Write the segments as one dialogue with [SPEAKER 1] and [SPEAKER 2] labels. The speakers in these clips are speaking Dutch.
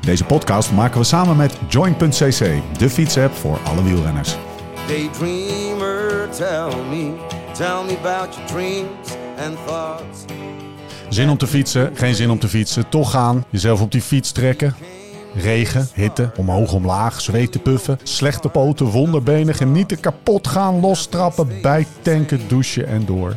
[SPEAKER 1] Deze podcast maken we samen met Join.cc, de fietsapp voor alle wielrenners.
[SPEAKER 2] Daydreamer, tell me, tell me about your dreams and thoughts.
[SPEAKER 1] Zin om te fietsen, geen zin om te fietsen, toch gaan, jezelf op die fiets trekken. Regen, hitte, omhoog, omlaag, zweet te puffen, slechte poten, wonderbenen, genieten, kapot gaan, lostrappen, bijtanken, douchen en door.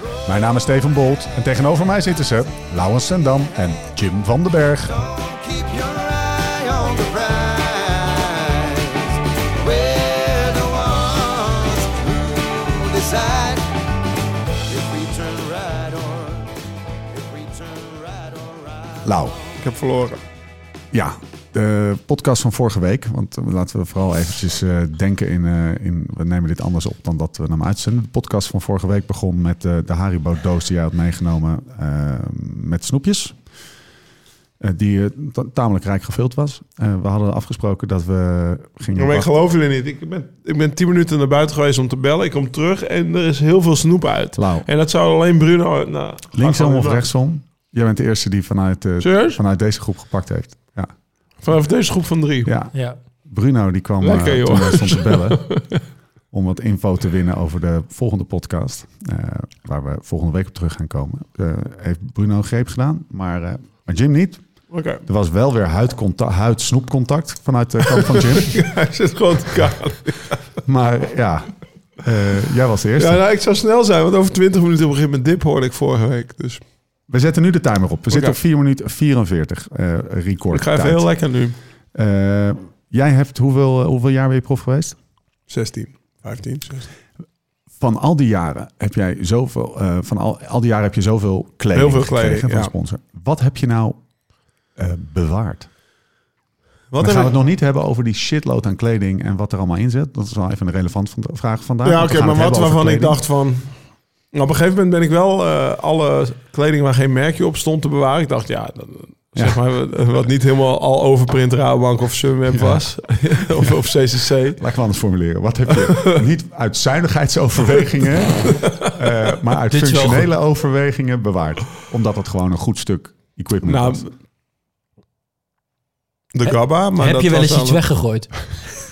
[SPEAKER 1] Mijn naam is Steven Bolt en tegenover mij zitten ze Lauwens Sendam en Jim van den Berg.
[SPEAKER 2] Keep your eye on the prize. We're the ones who decide if we turn right or if we turn right or right.
[SPEAKER 1] Lau,
[SPEAKER 3] Ik heb verloren.
[SPEAKER 1] ja, de podcast van vorige week. Want eh, laten we vooral eventjes eh, denken in, eh, in... We nemen dit anders op dan dat we hem uitzenden. De podcast van vorige week begon met eh, de Haribo-doos die jij had meegenomen eh, met snoepjes. Eh, die eh, ta- tamelijk rijk gevuld was. Eh, we hadden afgesproken dat we gingen...
[SPEAKER 3] Maar ik
[SPEAKER 1] wachten-
[SPEAKER 3] geloof jullie niet. Ik ben, ik ben tien minuten naar buiten geweest om te bellen. Ik kom terug en er is heel veel snoep uit.
[SPEAKER 1] Lau,
[SPEAKER 3] En dat zou alleen Bruno... Nou,
[SPEAKER 1] linksom
[SPEAKER 3] Ach,
[SPEAKER 1] of rechtsom? Jij bent de eerste die vanuit, eh,
[SPEAKER 3] Serieus?
[SPEAKER 1] vanuit deze groep gepakt heeft. Ja.
[SPEAKER 3] Vanaf deze groep van drie.
[SPEAKER 1] ja.
[SPEAKER 4] Ja,
[SPEAKER 1] Bruno die kwam
[SPEAKER 3] Lekker,
[SPEAKER 1] eh,
[SPEAKER 3] joh.
[SPEAKER 1] toen wij stond te bellen. om wat info te winnen over de volgende podcast. eh, waar we volgende week op terug gaan komen. Eh, heeft Bruno een greep gedaan, maar, eh, maar Jim niet.
[SPEAKER 3] Oké.
[SPEAKER 1] Er was wel weer huidconta- huid-snoepcontact vanuit de kant van Jim.
[SPEAKER 3] Hij zit gewoon te kaal.
[SPEAKER 1] maar ja, eh, jij was de eerste.
[SPEAKER 3] Ja, nou, ik zou snel zijn, want over 20 minuten begint mijn dip, hoorde ik vorige week. Dus
[SPEAKER 1] We zetten nu de timer op. We zitten
[SPEAKER 3] Oké.
[SPEAKER 1] op 4 minuten 44 eh record.
[SPEAKER 3] ik ga even heel lekker nu.
[SPEAKER 1] jij hebt hoeveel, eh, hoeveel jaar ben je prof geweest?
[SPEAKER 3] 16, 15, 16.
[SPEAKER 1] van al die jaren heb jij zoveel, eh, van al, al die jaren heb je zoveel kleding,
[SPEAKER 3] Heel veel kleding,
[SPEAKER 1] gekregen van
[SPEAKER 3] ja.
[SPEAKER 1] sponsor. Wat heb je nou eh, bewaard?
[SPEAKER 3] Wat
[SPEAKER 1] Dan gaan we
[SPEAKER 3] heb
[SPEAKER 1] het
[SPEAKER 3] ik...
[SPEAKER 1] nog niet hebben over die shitload aan kleding en wat er allemaal in zit. Dat is wel even een relevant van vraag vandaag.
[SPEAKER 3] Ja,
[SPEAKER 1] want
[SPEAKER 3] oké,
[SPEAKER 1] we gaan
[SPEAKER 3] maar
[SPEAKER 1] het
[SPEAKER 3] wat
[SPEAKER 1] hebben over
[SPEAKER 3] waarvan ik
[SPEAKER 1] kleding.
[SPEAKER 3] dacht van... Nou, Op een gegeven moment ben ik wel eh, alle kleding waar geen merkje op stond te bewaren. Ik dacht, ja, dat- zeg maar, wat niet helemaal al overprint Rabobank of Sunweb was. of, of CCC.
[SPEAKER 1] Laat ik het anders formuleren. Wat heb je niet uit zuinigheidsoverwegingen, eh, maar uit
[SPEAKER 4] Dit is wel
[SPEAKER 1] functionele overwegingen bewaard? Omdat het gewoon een goed stuk equipment
[SPEAKER 3] Nou,
[SPEAKER 1] was.
[SPEAKER 3] de Gabba. Maar
[SPEAKER 4] heb
[SPEAKER 3] dat
[SPEAKER 4] je wel
[SPEAKER 3] was
[SPEAKER 4] eens
[SPEAKER 3] dan-
[SPEAKER 4] iets weggegooid?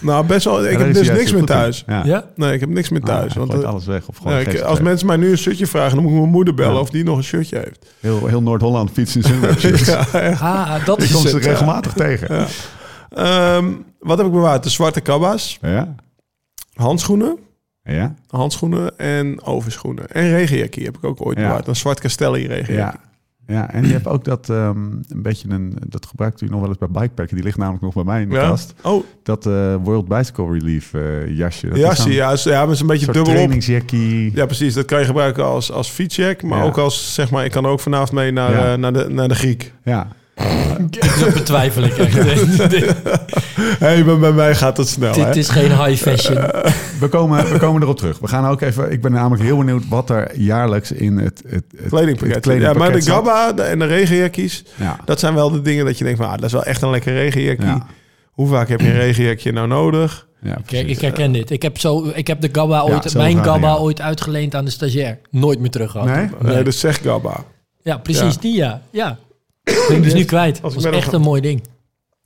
[SPEAKER 3] Nou, best wel.
[SPEAKER 1] Ja,
[SPEAKER 3] Ik
[SPEAKER 1] daar
[SPEAKER 3] heb
[SPEAKER 1] is
[SPEAKER 3] dus
[SPEAKER 1] hij
[SPEAKER 3] niks
[SPEAKER 1] juist
[SPEAKER 3] meer
[SPEAKER 1] heel goed
[SPEAKER 3] thuis.
[SPEAKER 1] in. Ja.
[SPEAKER 4] Ja?
[SPEAKER 3] Nee, ik heb niks meer
[SPEAKER 1] Ah, hij
[SPEAKER 3] thuis. want,
[SPEAKER 1] gooit
[SPEAKER 3] eh,
[SPEAKER 1] alles weg. Of gewoon
[SPEAKER 3] ja, ik-
[SPEAKER 1] geeft het
[SPEAKER 3] als
[SPEAKER 1] weg.
[SPEAKER 3] mensen mij nu een shirtje vragen, dan moet ik mijn moeder bellen
[SPEAKER 1] Ja.
[SPEAKER 3] of die nog een shirtje heeft.
[SPEAKER 1] heel, heel Noord-Holland fietsen in zijn
[SPEAKER 3] Ja, echt.
[SPEAKER 4] Ah, dat
[SPEAKER 1] Ik
[SPEAKER 4] is
[SPEAKER 1] kom ze
[SPEAKER 4] het.
[SPEAKER 3] eh,
[SPEAKER 1] regelmatig tegen. Ja.
[SPEAKER 3] Ehm, wat heb ik bewaard? De zwarte kabba's,
[SPEAKER 1] Ja.
[SPEAKER 3] handschoenen,
[SPEAKER 1] Ja.
[SPEAKER 3] handschoenen en overschoenen. En regenjackie heb ik ook ooit
[SPEAKER 1] Ja.
[SPEAKER 3] bewaard. Een zwart castelli regenjackie.
[SPEAKER 1] ja. en je hebt ook dat ehm, een beetje een dat gebruikt u nog wel eens bij bikepacken. Die ligt namelijk nog bij mij in de kast.
[SPEAKER 3] Oh,
[SPEAKER 1] Dat eh, World Bicycle Relief eh, jasje. Dat
[SPEAKER 3] ja,
[SPEAKER 1] is
[SPEAKER 3] zie,
[SPEAKER 1] zo'n
[SPEAKER 3] je, ja, is- ja, maar is een beetje
[SPEAKER 1] soort
[SPEAKER 3] dubbel op.
[SPEAKER 1] trainingsjackie.
[SPEAKER 3] Ja, precies. Dat kan je gebruiken als, als fietsjack, maar
[SPEAKER 1] Ja.
[SPEAKER 3] ook als, zeg maar, ik kan ook vanavond mee naar,
[SPEAKER 1] Ja.
[SPEAKER 3] eh, naar, de, naar de Griek.
[SPEAKER 1] Ja.
[SPEAKER 4] Dat betwijfel ik echt. Dit- dit,
[SPEAKER 3] hey, bij, bij mij gaat dat snel, hè?
[SPEAKER 4] dit is geen high fashion.
[SPEAKER 1] We, komen, we komen erop terug. We gaan ook even. Ik ben namelijk heel benieuwd wat er jaarlijks in het, het, het
[SPEAKER 3] Kledingpakket.
[SPEAKER 1] het kledingpakket
[SPEAKER 3] ja, maar de
[SPEAKER 1] zat.
[SPEAKER 3] gabba de- en de regenjackies,
[SPEAKER 1] Ja.
[SPEAKER 3] dat zijn wel de dingen dat je denkt van, ah, dat is wel echt een lekker regenjackie.
[SPEAKER 1] Ja.
[SPEAKER 3] Hoe vaak heb je een regenjackie nou nodig?
[SPEAKER 1] Ja,
[SPEAKER 4] Kijk,
[SPEAKER 1] precies.
[SPEAKER 4] ik herken dit. Ik heb, zo, ik heb de gabba
[SPEAKER 1] Ja,
[SPEAKER 4] ooit,
[SPEAKER 1] zo
[SPEAKER 4] mijn
[SPEAKER 1] vragen,
[SPEAKER 4] gabba
[SPEAKER 1] ja.
[SPEAKER 4] ooit uitgeleend aan de stagiair. Nooit meer terug gehad.
[SPEAKER 1] Nee?
[SPEAKER 3] Nee,
[SPEAKER 4] Nee.
[SPEAKER 3] dus zeg gabba.
[SPEAKER 4] Ja, precies
[SPEAKER 3] Ja.
[SPEAKER 4] die ja. Ja. Ik ben ik dus nu kwijt.
[SPEAKER 3] Als
[SPEAKER 4] Dat
[SPEAKER 3] ik
[SPEAKER 4] was
[SPEAKER 3] ben
[SPEAKER 4] echt
[SPEAKER 3] nog-
[SPEAKER 4] een mooi ding.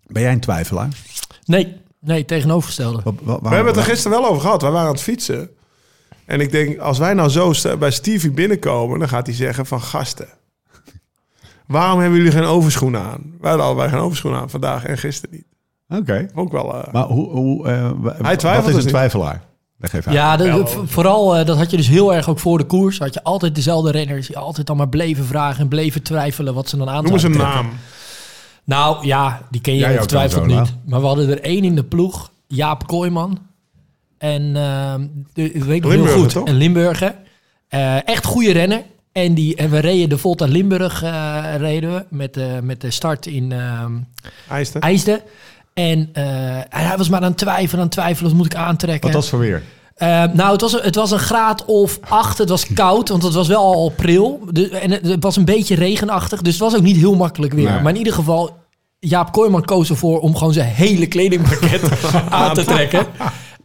[SPEAKER 1] Ben jij een twijfelaar?
[SPEAKER 4] Nee, nee, tegenovergestelde.
[SPEAKER 1] Wat- wat- waarom-
[SPEAKER 3] We hebben het er gisteren wel over gehad. Wij waren aan het fietsen. En ik denk, als wij nou zo st- bij Stevie binnenkomen, dan gaat hij zeggen van gasten. Waarom hebben jullie geen overschoenen aan? Wij hadden allebei geen overschoenen aan vandaag en gisteren niet.
[SPEAKER 1] Oké.
[SPEAKER 3] Ook wel. eh,
[SPEAKER 1] Maar hoe, hoe eh, wa-
[SPEAKER 3] twijfelt
[SPEAKER 1] wat is
[SPEAKER 3] dus
[SPEAKER 1] een
[SPEAKER 3] niet.
[SPEAKER 1] twijfelaar? Leg even uit.
[SPEAKER 4] Ja, de- de- vooral eh, dat had je dus heel erg ook voor de koers. Had je altijd dezelfde renners die altijd allemaal bleven vragen en bleven twijfelen wat ze dan aan
[SPEAKER 3] noem eens een
[SPEAKER 4] zouden
[SPEAKER 3] naam.
[SPEAKER 4] trekken. Nou ja, die ken je
[SPEAKER 1] Jij ook
[SPEAKER 4] ongetwijfeld
[SPEAKER 1] dan zo,
[SPEAKER 4] niet. Maar we hadden er één in de ploeg, Jaap Kooijman. En ehm de, ik weet nog heel
[SPEAKER 3] Limburger,
[SPEAKER 4] goed.
[SPEAKER 3] toch?
[SPEAKER 4] Een Limburger. Eh, echt goede renner. En, die, en we reden de Volta Limburg eh, reden we met, eh, met de start in ehm
[SPEAKER 3] Eisten.
[SPEAKER 4] IJsden. En eh, hij was maar aan het twijfelen, aan het twijfelen, wat moet ik aantrekken?
[SPEAKER 1] Wat was voor weer?
[SPEAKER 4] Eh, nou, het was, een- het was een graad of acht. Het was koud, want het was wel al april. Dus, en het, het was een beetje regenachtig. Dus het was ook niet heel makkelijk weer.
[SPEAKER 1] Nee.
[SPEAKER 4] Maar in ieder geval, Jaap Kooijman koos ervoor om gewoon zijn hele kledingpakket aan te trekken.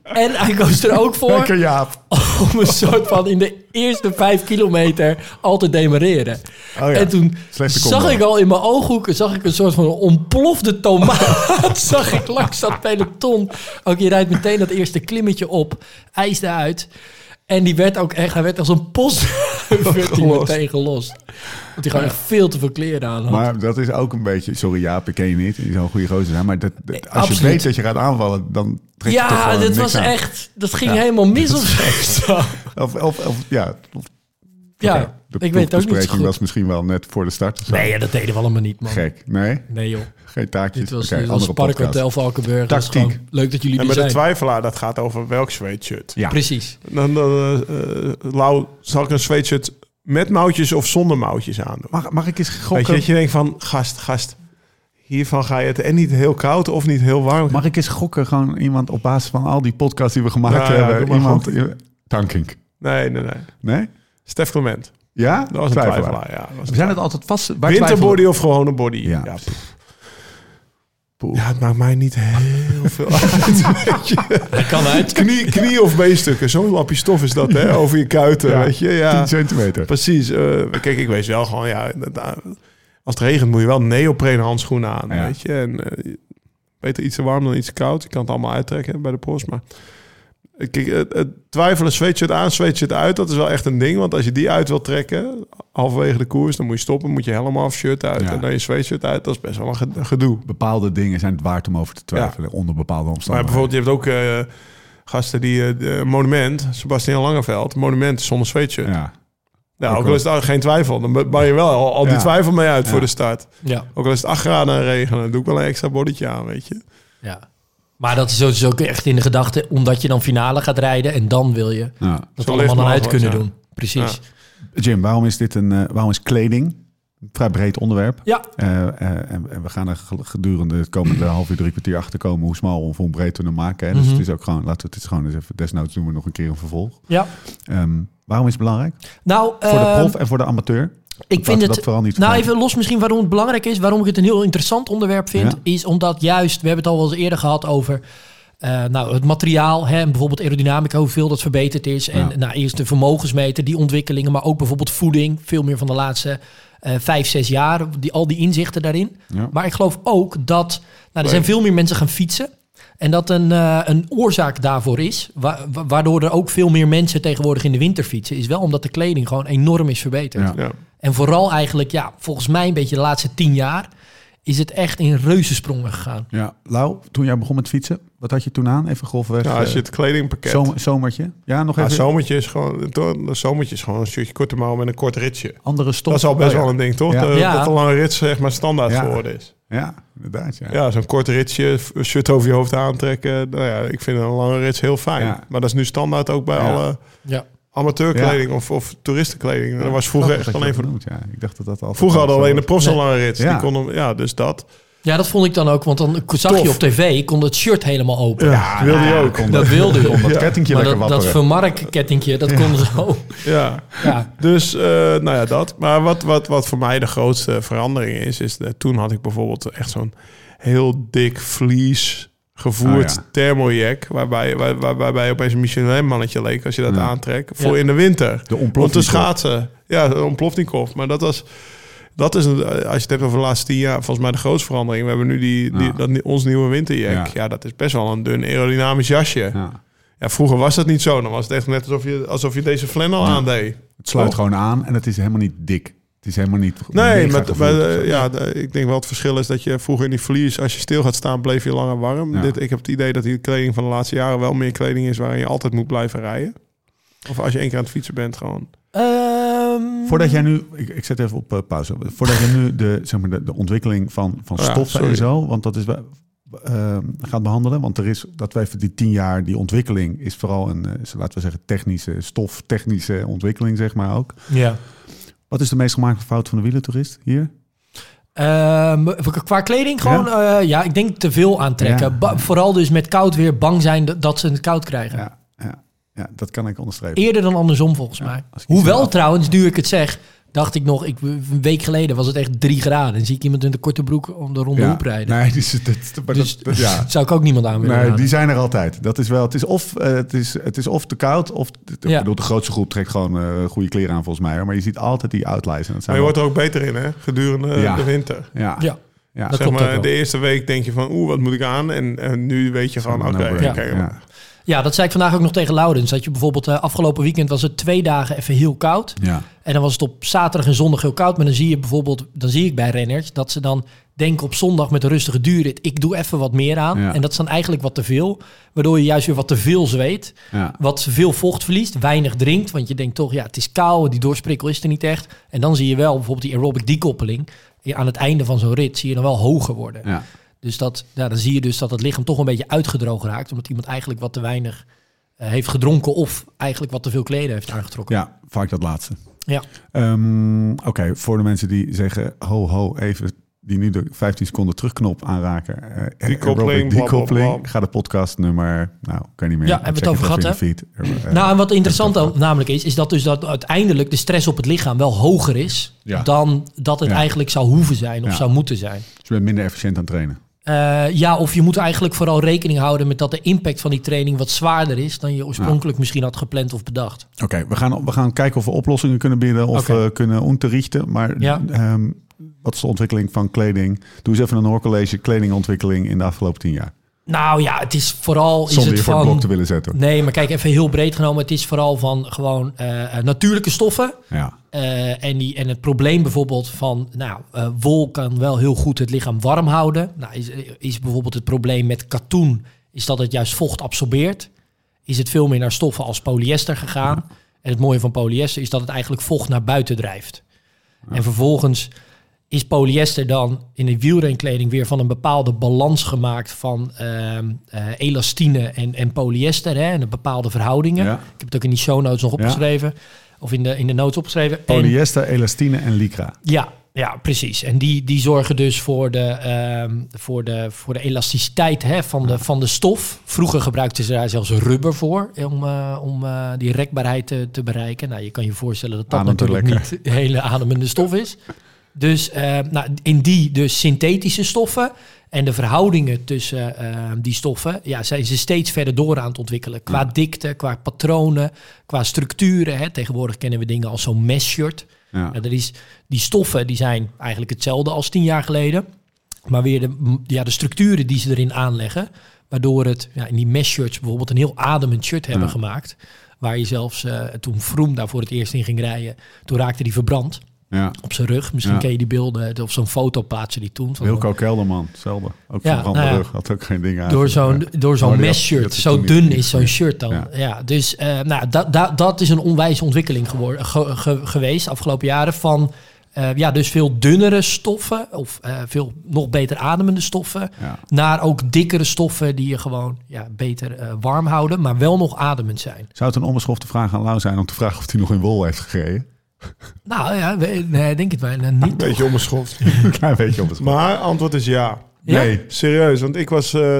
[SPEAKER 4] En hij koos er ook voor
[SPEAKER 5] Lekker Jaap.
[SPEAKER 4] Oh. om een soort van in de eerste vijf kilometer al te demareren.
[SPEAKER 1] Oh
[SPEAKER 5] ja.
[SPEAKER 4] En toen
[SPEAKER 5] Slechte combo.
[SPEAKER 4] zag ik al in mijn ooghoeken zag ik een soort van ontplofte tomaat. zag ik langs dat peloton. Ook je rijdt meteen dat eerste klimmetje op, ijsde uit. En die werd ook echt, hij werd als een post werd die
[SPEAKER 3] Gelost.
[SPEAKER 4] meteen gelost. Want die gewoon echt veel te veel kleren aan had.
[SPEAKER 1] Maar dat is ook een beetje... Sorry Jaap, ik ken je niet. Je zou een goede gozer zijn. Maar dat, dat- als je
[SPEAKER 4] absoluut.
[SPEAKER 1] weet dat je gaat aanvallen, dan trek je toch
[SPEAKER 4] ja,
[SPEAKER 1] gewoon
[SPEAKER 4] dat
[SPEAKER 1] niks
[SPEAKER 4] was
[SPEAKER 1] aan.
[SPEAKER 4] echt, dat ging
[SPEAKER 1] Ja.
[SPEAKER 4] helemaal mis of zo.
[SPEAKER 1] Of, of, of ja, of-
[SPEAKER 4] Ja,
[SPEAKER 1] oké, de
[SPEAKER 4] ik weet het ook niet zo
[SPEAKER 1] proefbespreking
[SPEAKER 4] goed.
[SPEAKER 1] was misschien wel net voor de start. of zo.
[SPEAKER 4] Nee, ja, dat deden we allemaal niet, man.
[SPEAKER 1] Gek. Nee,
[SPEAKER 4] Nee, joh.
[SPEAKER 1] geen taakjes.
[SPEAKER 4] Dit was,
[SPEAKER 1] Oké,
[SPEAKER 4] dit was
[SPEAKER 1] andere
[SPEAKER 4] Park
[SPEAKER 1] podcast.
[SPEAKER 4] Hotel Valkenburg. Dat is
[SPEAKER 1] Tactiek.
[SPEAKER 4] gewoon leuk dat jullie
[SPEAKER 3] En
[SPEAKER 4] er
[SPEAKER 3] met de
[SPEAKER 4] zijn.
[SPEAKER 3] twijfelaar, dat gaat over welk sweatshirt.
[SPEAKER 1] Ja,
[SPEAKER 4] Precies.
[SPEAKER 3] Dan, dan eh, eh, Lau, zal ik een sweatshirt met mouwtjes of zonder mouwtjes aandoen?
[SPEAKER 1] Mag, mag ik eens
[SPEAKER 3] Weet je,
[SPEAKER 1] gokken?
[SPEAKER 3] dat je denkt van, gast, gast, hiervan ga je het en niet heel koud of niet heel warm.
[SPEAKER 1] Mag ik eens gokken? Gewoon iemand op basis van al die podcasts die we gemaakt
[SPEAKER 3] Ja, ja,
[SPEAKER 1] hebben.
[SPEAKER 3] doe maar
[SPEAKER 1] iemand. Tankink.
[SPEAKER 3] Nee, nee, nee.
[SPEAKER 1] Nee?
[SPEAKER 3] Stef Clement,
[SPEAKER 1] Ja?
[SPEAKER 3] dat was een
[SPEAKER 1] Twijfelaar.
[SPEAKER 3] twijfelaar. Ja, dat was
[SPEAKER 1] We
[SPEAKER 3] een
[SPEAKER 1] zijn
[SPEAKER 3] twijfelaar.
[SPEAKER 1] het altijd vast. waar
[SPEAKER 3] Winterbody
[SPEAKER 1] twijfelen-
[SPEAKER 3] of gewone body?
[SPEAKER 1] Ja.
[SPEAKER 3] Ja, pff. ja, het maakt mij niet heel veel uit.
[SPEAKER 4] Hij kan uit.
[SPEAKER 3] knie, knie of beenstukken, zo'n lapje stof is dat, hè? Over je kuiten,
[SPEAKER 1] Ja.
[SPEAKER 3] weet je? Ja,
[SPEAKER 1] 10 centimeter.
[SPEAKER 3] precies. eh, kijk, ik weet wel gewoon, ja, inderdaad, als het regent moet je wel neopreen handschoenen aan,
[SPEAKER 1] Ja.
[SPEAKER 3] weet je? En eh, beter iets te warm dan iets te koud. Je kan het allemaal uittrekken bij de post, maar... Kijk, het, het twijfelen, sweatshirt aan, sweatshirt uit, dat is wel echt een ding. Want als je die uit wil trekken, halverwege de koers, dan moet je stoppen, moet je helm af, shirt uit
[SPEAKER 1] Ja.
[SPEAKER 3] en dan je sweatshirt uit. Dat is best wel een ge- gedoe.
[SPEAKER 1] Bepaalde dingen zijn het waard om over te twijfelen. Onder bepaalde
[SPEAKER 3] Maar
[SPEAKER 1] omstandigheden.
[SPEAKER 3] bijvoorbeeld, je hebt ook eh, gasten die eh, de- monument, Sebastian Langeveld, monument zonder sweatshirt. Ja,
[SPEAKER 1] Ja. ook
[SPEAKER 3] Nou, ook al is het geen twijfel, dan ba- ban je wel al, al die
[SPEAKER 1] Ja.
[SPEAKER 3] twijfel mee uit
[SPEAKER 1] Ja.
[SPEAKER 3] voor de start.
[SPEAKER 4] Ja,
[SPEAKER 3] Ook al is het 8 graden en regenen, dan doe ik wel een extra bodytje aan, weet je.
[SPEAKER 4] ja. Maar dat is dus ook echt in de gedachte, omdat je dan finale gaat rijden en dan wil je
[SPEAKER 1] Ja.
[SPEAKER 4] dat
[SPEAKER 3] Zo
[SPEAKER 4] allemaal
[SPEAKER 3] licht
[SPEAKER 4] dan uit
[SPEAKER 3] mogelijk,
[SPEAKER 4] kunnen
[SPEAKER 3] ja.
[SPEAKER 4] doen. Precies.
[SPEAKER 1] Jim, waarom is dit een. eh, waarom is kleding een vrij breed onderwerp?
[SPEAKER 4] Ja,
[SPEAKER 1] Eh, eh, en, en we gaan er gel- gedurende het komende half uur, drie kwartier achter komen hoe smal of hoe breed we hem maken. Hè? Dus
[SPEAKER 4] Mhm.
[SPEAKER 1] het is ook gewoon, laten we het is gewoon eens even, desnoods doen we nog een keer een vervolg.
[SPEAKER 4] ja.
[SPEAKER 1] Ehm, waarom is het belangrijk?
[SPEAKER 4] Nou,
[SPEAKER 1] voor de
[SPEAKER 4] ehm,
[SPEAKER 1] prof en voor de amateur?
[SPEAKER 4] ik
[SPEAKER 1] Laten
[SPEAKER 4] vind
[SPEAKER 1] we
[SPEAKER 4] het...
[SPEAKER 1] dat vooral niet
[SPEAKER 4] Nou,
[SPEAKER 1] vergeten.
[SPEAKER 4] even los misschien waarom het belangrijk is. Waarom ik het een heel interessant onderwerp vind,
[SPEAKER 1] Ja.
[SPEAKER 4] is omdat juist, we hebben het al wel eens eerder gehad over eh, nou, het materiaal, hè, en bijvoorbeeld aerodynamica, hoeveel dat verbeterd is. En
[SPEAKER 1] Ja.
[SPEAKER 4] nou, eerst de vermogensmeter, die ontwikkelingen, maar ook bijvoorbeeld voeding, veel meer van de laatste eh vijf, zes jaar, die, al die inzichten daarin.
[SPEAKER 1] Ja.
[SPEAKER 4] Maar ik geloof ook dat nou, er zijn veel meer mensen gaan fietsen. En dat een, eh, een oorzaak daarvoor is, wa- wa- waardoor er ook veel meer mensen tegenwoordig in de winter fietsen, is wel omdat de kleding gewoon enorm is verbeterd.
[SPEAKER 1] Ja.
[SPEAKER 3] Ja.
[SPEAKER 4] En vooral eigenlijk, ja, volgens mij een beetje de laatste tien jaar is het echt in reuzensprongen gegaan.
[SPEAKER 1] Ja, Lau, toen jij begon met fietsen, wat had je toen aan? Even grofweg.
[SPEAKER 3] Nou, als je
[SPEAKER 1] eh,
[SPEAKER 3] het kledingpakket...
[SPEAKER 1] zom- zomertje? Ja, nog
[SPEAKER 3] ja,
[SPEAKER 1] even.
[SPEAKER 3] zomertje is gewoon, toch? Een zomertje is gewoon een shirtje korte mouw met een kort ritsje.
[SPEAKER 1] Andere stof.
[SPEAKER 3] Dat is al best
[SPEAKER 1] Oh, ja.
[SPEAKER 3] wel een ding, toch?
[SPEAKER 1] Ja.
[SPEAKER 3] Dat-
[SPEAKER 4] Ja.
[SPEAKER 3] Dat een lange rits zeg maar standaard
[SPEAKER 1] Ja.
[SPEAKER 3] geworden is.
[SPEAKER 1] Ja, inderdaad. Ja.
[SPEAKER 3] Ja, zo'n kort ritsje, f- shirt over je hoofd aantrekken. Nou ja, ik vind een lange rits heel fijn.
[SPEAKER 1] Ja.
[SPEAKER 3] Maar dat is nu standaard ook bij
[SPEAKER 1] Ja.
[SPEAKER 3] alle
[SPEAKER 4] Ja.
[SPEAKER 3] amateurkleding of, of toeristenkleding. dat was vroeger
[SPEAKER 1] Grappig
[SPEAKER 3] echt
[SPEAKER 1] dat je
[SPEAKER 3] alleen
[SPEAKER 1] dat
[SPEAKER 3] voor...
[SPEAKER 1] noemt, ja. Ik dacht dat dat altijd
[SPEAKER 3] Vroeger
[SPEAKER 1] al
[SPEAKER 3] hadden
[SPEAKER 1] zo
[SPEAKER 3] alleen de
[SPEAKER 1] was.
[SPEAKER 3] profs een
[SPEAKER 4] Nee.
[SPEAKER 3] lange rits.
[SPEAKER 1] Ja.
[SPEAKER 3] Die konden, ja, dus dat.
[SPEAKER 4] ja, dat vond ik dan ook, want dan zag je
[SPEAKER 3] Tof.
[SPEAKER 4] op tv, kon het shirt helemaal open.
[SPEAKER 3] Ja, wilde je ook.
[SPEAKER 4] Dat wilde je.
[SPEAKER 1] Dat kettingje
[SPEAKER 4] Maar
[SPEAKER 1] lekker
[SPEAKER 4] dat, dat
[SPEAKER 1] wapperen.
[SPEAKER 4] vermarkkettingje, dat kon zo.
[SPEAKER 3] Ja.
[SPEAKER 4] Ja,
[SPEAKER 3] Dus, eh, nou ja, dat. Maar wat, wat, wat voor mij de grootste verandering is, is dat toen had ik bijvoorbeeld echt zo'n heel dik vlies gevoerd
[SPEAKER 1] Oh ja.
[SPEAKER 3] thermojack, waarbij, waar, waar- waarbij je opeens een Michelin-mannetje leek als je dat
[SPEAKER 1] Ja.
[SPEAKER 3] aantrekt, voor
[SPEAKER 4] Ja.
[SPEAKER 3] in de winter.
[SPEAKER 1] De
[SPEAKER 3] Om te
[SPEAKER 1] ontploffing.
[SPEAKER 3] schaatsen. Ja, een Plofnikov. Maar dat was... Dat is, een, eh, als je het hebt over de laatste tien jaar, volgens mij de grootste verandering. We hebben nu die, die,
[SPEAKER 1] Ja.
[SPEAKER 3] dat, ni- ons nieuwe winterjack.
[SPEAKER 1] Ja.
[SPEAKER 3] Ja. dat is best wel een dun aerodynamisch jasje. Ja.
[SPEAKER 1] Ja.
[SPEAKER 3] vroeger was dat niet zo. Dan was het echt net alsof je, alsof je deze flannel
[SPEAKER 1] Ja.
[SPEAKER 3] aandeed.
[SPEAKER 1] Het sluit
[SPEAKER 3] Oh.
[SPEAKER 1] gewoon aan en het is helemaal niet dik. Het is helemaal niet...
[SPEAKER 3] Nee,
[SPEAKER 1] mega
[SPEAKER 3] maar, maar,
[SPEAKER 1] gevoerd of zo.
[SPEAKER 3] eh, ja, de- ik denk wel het verschil is dat je vroeger in die vlies, als je stil gaat staan, bleef je langer warm.
[SPEAKER 1] Ja.
[SPEAKER 3] Dit, ik heb het idee dat die kleding van de laatste jaren wel meer kleding is waarin je altijd moet blijven rijden. Of als je één keer aan het fietsen bent, gewoon.
[SPEAKER 4] Ehm,
[SPEAKER 1] Voordat jij nu, ik, ik zet even op eh, pauze. Voordat jij nu de, zeg maar de, de ontwikkeling van, van
[SPEAKER 3] Oh Ja,
[SPEAKER 1] stoffen
[SPEAKER 3] sorry.
[SPEAKER 1] en zo, want dat is wel- ehm, gaat behandelen. Want er is, dat wij voor die tien jaar, die ontwikkeling is vooral een, eh, laten we zeggen, technische, stof, technische ontwikkeling, zeg maar ook.
[SPEAKER 4] ja.
[SPEAKER 1] Wat is de meest gemaakte fout van de wielentoerist hier?
[SPEAKER 4] Ehm, qua kleding gewoon, ja, ja ik denk te veel aantrekken.
[SPEAKER 1] Ja.
[SPEAKER 4] Ba- vooral dus met koud weer bang zijn dat- dat ze het koud krijgen.
[SPEAKER 1] Ja, ja, ja, dat kan ik onderstrepen.
[SPEAKER 4] Eerder dan andersom volgens mij.
[SPEAKER 1] als ik iets
[SPEAKER 4] Hoewel
[SPEAKER 1] wil-
[SPEAKER 4] trouwens, nu ik het zeg, dacht ik nog, ik, een week geleden was het echt drie graden. En zie ik iemand in de korte broek om de ronde
[SPEAKER 1] Ja.
[SPEAKER 4] hoep rijden.
[SPEAKER 1] Nee, dus, dat, dat- maar
[SPEAKER 4] dus
[SPEAKER 1] dat, dat- ja.
[SPEAKER 4] zou ik ook niemand aan willen
[SPEAKER 1] Nee,
[SPEAKER 4] raden.
[SPEAKER 1] die zijn er altijd. Dat is wel, het, is of, eh, het, is, het is of te koud, of ik
[SPEAKER 4] Ja.
[SPEAKER 1] bedoel, de grootste groep trekt gewoon eh, goede kleren aan volgens mij. hoor. Maar je ziet altijd die outliers. En dat
[SPEAKER 3] Maar
[SPEAKER 1] zijn
[SPEAKER 3] je wordt
[SPEAKER 1] wel-
[SPEAKER 3] er ook beter in, hè? Gedurende
[SPEAKER 1] Ja.
[SPEAKER 3] de winter.
[SPEAKER 1] ja, ja.
[SPEAKER 4] Ja, dat
[SPEAKER 1] Zeg
[SPEAKER 3] Zeg
[SPEAKER 4] klopt ook wel.
[SPEAKER 3] maar, de eerste week denk je van, oeh, wat moet ik aan? En, en nu weet je van,
[SPEAKER 1] maar,
[SPEAKER 3] oké,
[SPEAKER 1] nou,
[SPEAKER 3] oké.
[SPEAKER 1] ja.
[SPEAKER 3] maar-
[SPEAKER 1] Ja.
[SPEAKER 4] Ja, dat zei ik vandaag ook nog tegen Laurens. Dat je bijvoorbeeld eh, afgelopen weekend was het twee dagen even heel koud.
[SPEAKER 1] Ja.
[SPEAKER 4] En dan was het op zaterdag en zondag heel koud. Maar dan zie je bijvoorbeeld, dan zie ik bij renners dat ze dan denken op zondag met een rustige duurrit. Ik doe even wat meer aan.
[SPEAKER 1] Ja.
[SPEAKER 4] En dat is dan eigenlijk wat te veel. Waardoor je juist weer wat te veel zweet.
[SPEAKER 1] Ja.
[SPEAKER 4] Wat veel vocht verliest, weinig drinkt. Want je denkt toch, ja, het is koud, die doorsprikkel is er niet echt. En dan zie je wel bijvoorbeeld die aerobic dekoppeling. Ja, Aan het einde van zo'n rit zie je dan wel hoger worden.
[SPEAKER 1] Ja.
[SPEAKER 4] Dus dat, ja, dan zie je dus dat het lichaam toch een beetje uitgedroogd raakt. Omdat iemand eigenlijk wat te weinig eh, heeft gedronken. Of eigenlijk wat te veel kleden heeft aangetrokken.
[SPEAKER 1] Ja, vaak dat laatste.
[SPEAKER 4] Ja.
[SPEAKER 1] Ehm, Oké, voor de mensen die zeggen, ho ho, even die nu de 15 seconden terugknop aanraken. Eh,
[SPEAKER 3] Dekoppeling,
[SPEAKER 1] aerobic
[SPEAKER 3] bla, bla, bla.
[SPEAKER 1] dekoppeling. Ga de podcast nummer, nou, kan niet meer.
[SPEAKER 4] Ja, hebben we het
[SPEAKER 1] Check
[SPEAKER 4] over
[SPEAKER 1] even in je feed. Eh,
[SPEAKER 4] Nou, en wat interessant
[SPEAKER 1] dat-
[SPEAKER 4] dan namelijk is, is dat dus dat uiteindelijk de stress op het lichaam wel hoger is
[SPEAKER 1] Ja.
[SPEAKER 4] dan dat het
[SPEAKER 1] Ja.
[SPEAKER 4] eigenlijk zou hoeven zijn of
[SPEAKER 1] Ja.
[SPEAKER 4] zou moeten zijn.
[SPEAKER 1] Dus je bent minder efficiënt aan het trainen.
[SPEAKER 4] Eh, ja, of je moet eigenlijk vooral rekening houden met dat de impact van die training wat zwaarder is dan je oorspronkelijk misschien had gepland of bedacht.
[SPEAKER 1] Oké, we, gaan, we gaan kijken of we oplossingen kunnen bieden of
[SPEAKER 4] Oké.
[SPEAKER 1] eh, kunnen onderrichten. Maar
[SPEAKER 4] Ja.
[SPEAKER 1] ehm, wat is de ontwikkeling van kleding? Doe eens even een hoorcollege kledingontwikkeling in de afgelopen tien jaar.
[SPEAKER 4] Nou ja, het is vooral is
[SPEAKER 1] Zonder
[SPEAKER 4] het
[SPEAKER 1] je voor
[SPEAKER 4] van
[SPEAKER 1] het blok te willen zetten. hoor.
[SPEAKER 4] Nee, maar kijk, even heel breed genomen. Het is vooral van gewoon eh, eh, natuurlijke stoffen.
[SPEAKER 1] Ja,
[SPEAKER 4] Eh, en, die, en het probleem bijvoorbeeld van, nou, eh, wol kan wel heel goed het lichaam warm houden. Nou, is, is bijvoorbeeld het probleem met katoen, is dat het juist vocht absorbeert. Is het veel meer naar stoffen als polyester gegaan. En het mooie van polyester is dat het eigenlijk vocht naar buiten drijft. En vervolgens is polyester dan in de wielrenkleding weer van een bepaalde balans gemaakt van ehm, eh, elastine en, en polyester. Hè, en een bepaalde verhoudingen.
[SPEAKER 1] Ja.
[SPEAKER 4] Ik heb het ook in die show notes nog
[SPEAKER 1] Ja.
[SPEAKER 4] opgeschreven. Of in de, in de notes opgeschreven. En-
[SPEAKER 1] polyester, elastine en lycra.
[SPEAKER 4] ja, ja, precies. En die, die zorgen dus voor de, ehm, voor de, voor de elasticiteit hè, van, de, van de stof. Vroeger gebruikten ze daar zelfs rubber voor om, eh, om eh, die rekbaarheid te, te bereiken. Nou, je kan je voorstellen dat dat
[SPEAKER 1] Ademt er
[SPEAKER 4] natuurlijk
[SPEAKER 1] lekker.
[SPEAKER 4] niet de hele ademende stof is. Dus eh, nou, in die dus synthetische stoffen en de verhoudingen tussen eh, die stoffen, ja, zijn ze steeds verder door aan het ontwikkelen. Qua dikte, qua patronen, qua structuren. Hè. Tegenwoordig kennen we dingen als zo'n mesh shirt.
[SPEAKER 1] Ja.
[SPEAKER 4] Ja, dat is, die stoffen die zijn eigenlijk hetzelfde als tien jaar geleden. Maar weer de, m- ja, de structuren die ze erin aanleggen. Waardoor het ja, in die mesh shirts bijvoorbeeld een heel ademend shirt hebben
[SPEAKER 1] Ja.
[SPEAKER 4] gemaakt. Waar je zelfs eh, toen Vroom daar voor het eerst in ging rijden. Toen raakte die verbrand
[SPEAKER 1] Ja.
[SPEAKER 4] op zijn rug. Misschien
[SPEAKER 1] Ja.
[SPEAKER 4] ken je die beelden of zo'n foto plaatsen die toen. Van
[SPEAKER 1] Wilco Kelderman, hetzelfde. Ook
[SPEAKER 4] Ja,
[SPEAKER 1] van brand
[SPEAKER 4] nou ja.
[SPEAKER 1] rug, had ook geen ding aan.
[SPEAKER 4] Door zo'n,
[SPEAKER 1] Ja.
[SPEAKER 4] door zo'n
[SPEAKER 1] Maar die had-
[SPEAKER 4] mesh
[SPEAKER 1] die
[SPEAKER 4] shirt.
[SPEAKER 1] had
[SPEAKER 4] Zo
[SPEAKER 1] toen
[SPEAKER 4] dun
[SPEAKER 1] niet-
[SPEAKER 4] is zo'n shirt dan.
[SPEAKER 1] Ja.
[SPEAKER 4] Ja, dus eh, nou, da, da- dat is een onwijze ontwikkeling geworden, ge- ge- geweest de afgelopen jaren. Van eh, ja, dus veel dunnere stoffen of eh, veel nog beter ademende stoffen.
[SPEAKER 1] Ja.
[SPEAKER 4] Naar ook dikkere stoffen die je gewoon ja, beter eh, warm houden, maar wel nog ademend zijn.
[SPEAKER 1] Zou het een onbeschofte vraag aan Lau zijn om te vragen of hij nog in wol heeft gereden?
[SPEAKER 4] Nou ja, we- nee, denk het bijna niet.
[SPEAKER 3] Een beetje onbeschoft.
[SPEAKER 1] Een klein beetje op het
[SPEAKER 3] Maar antwoord is ja.
[SPEAKER 4] Ja?
[SPEAKER 1] Nee.
[SPEAKER 3] Serieus, want ik was eh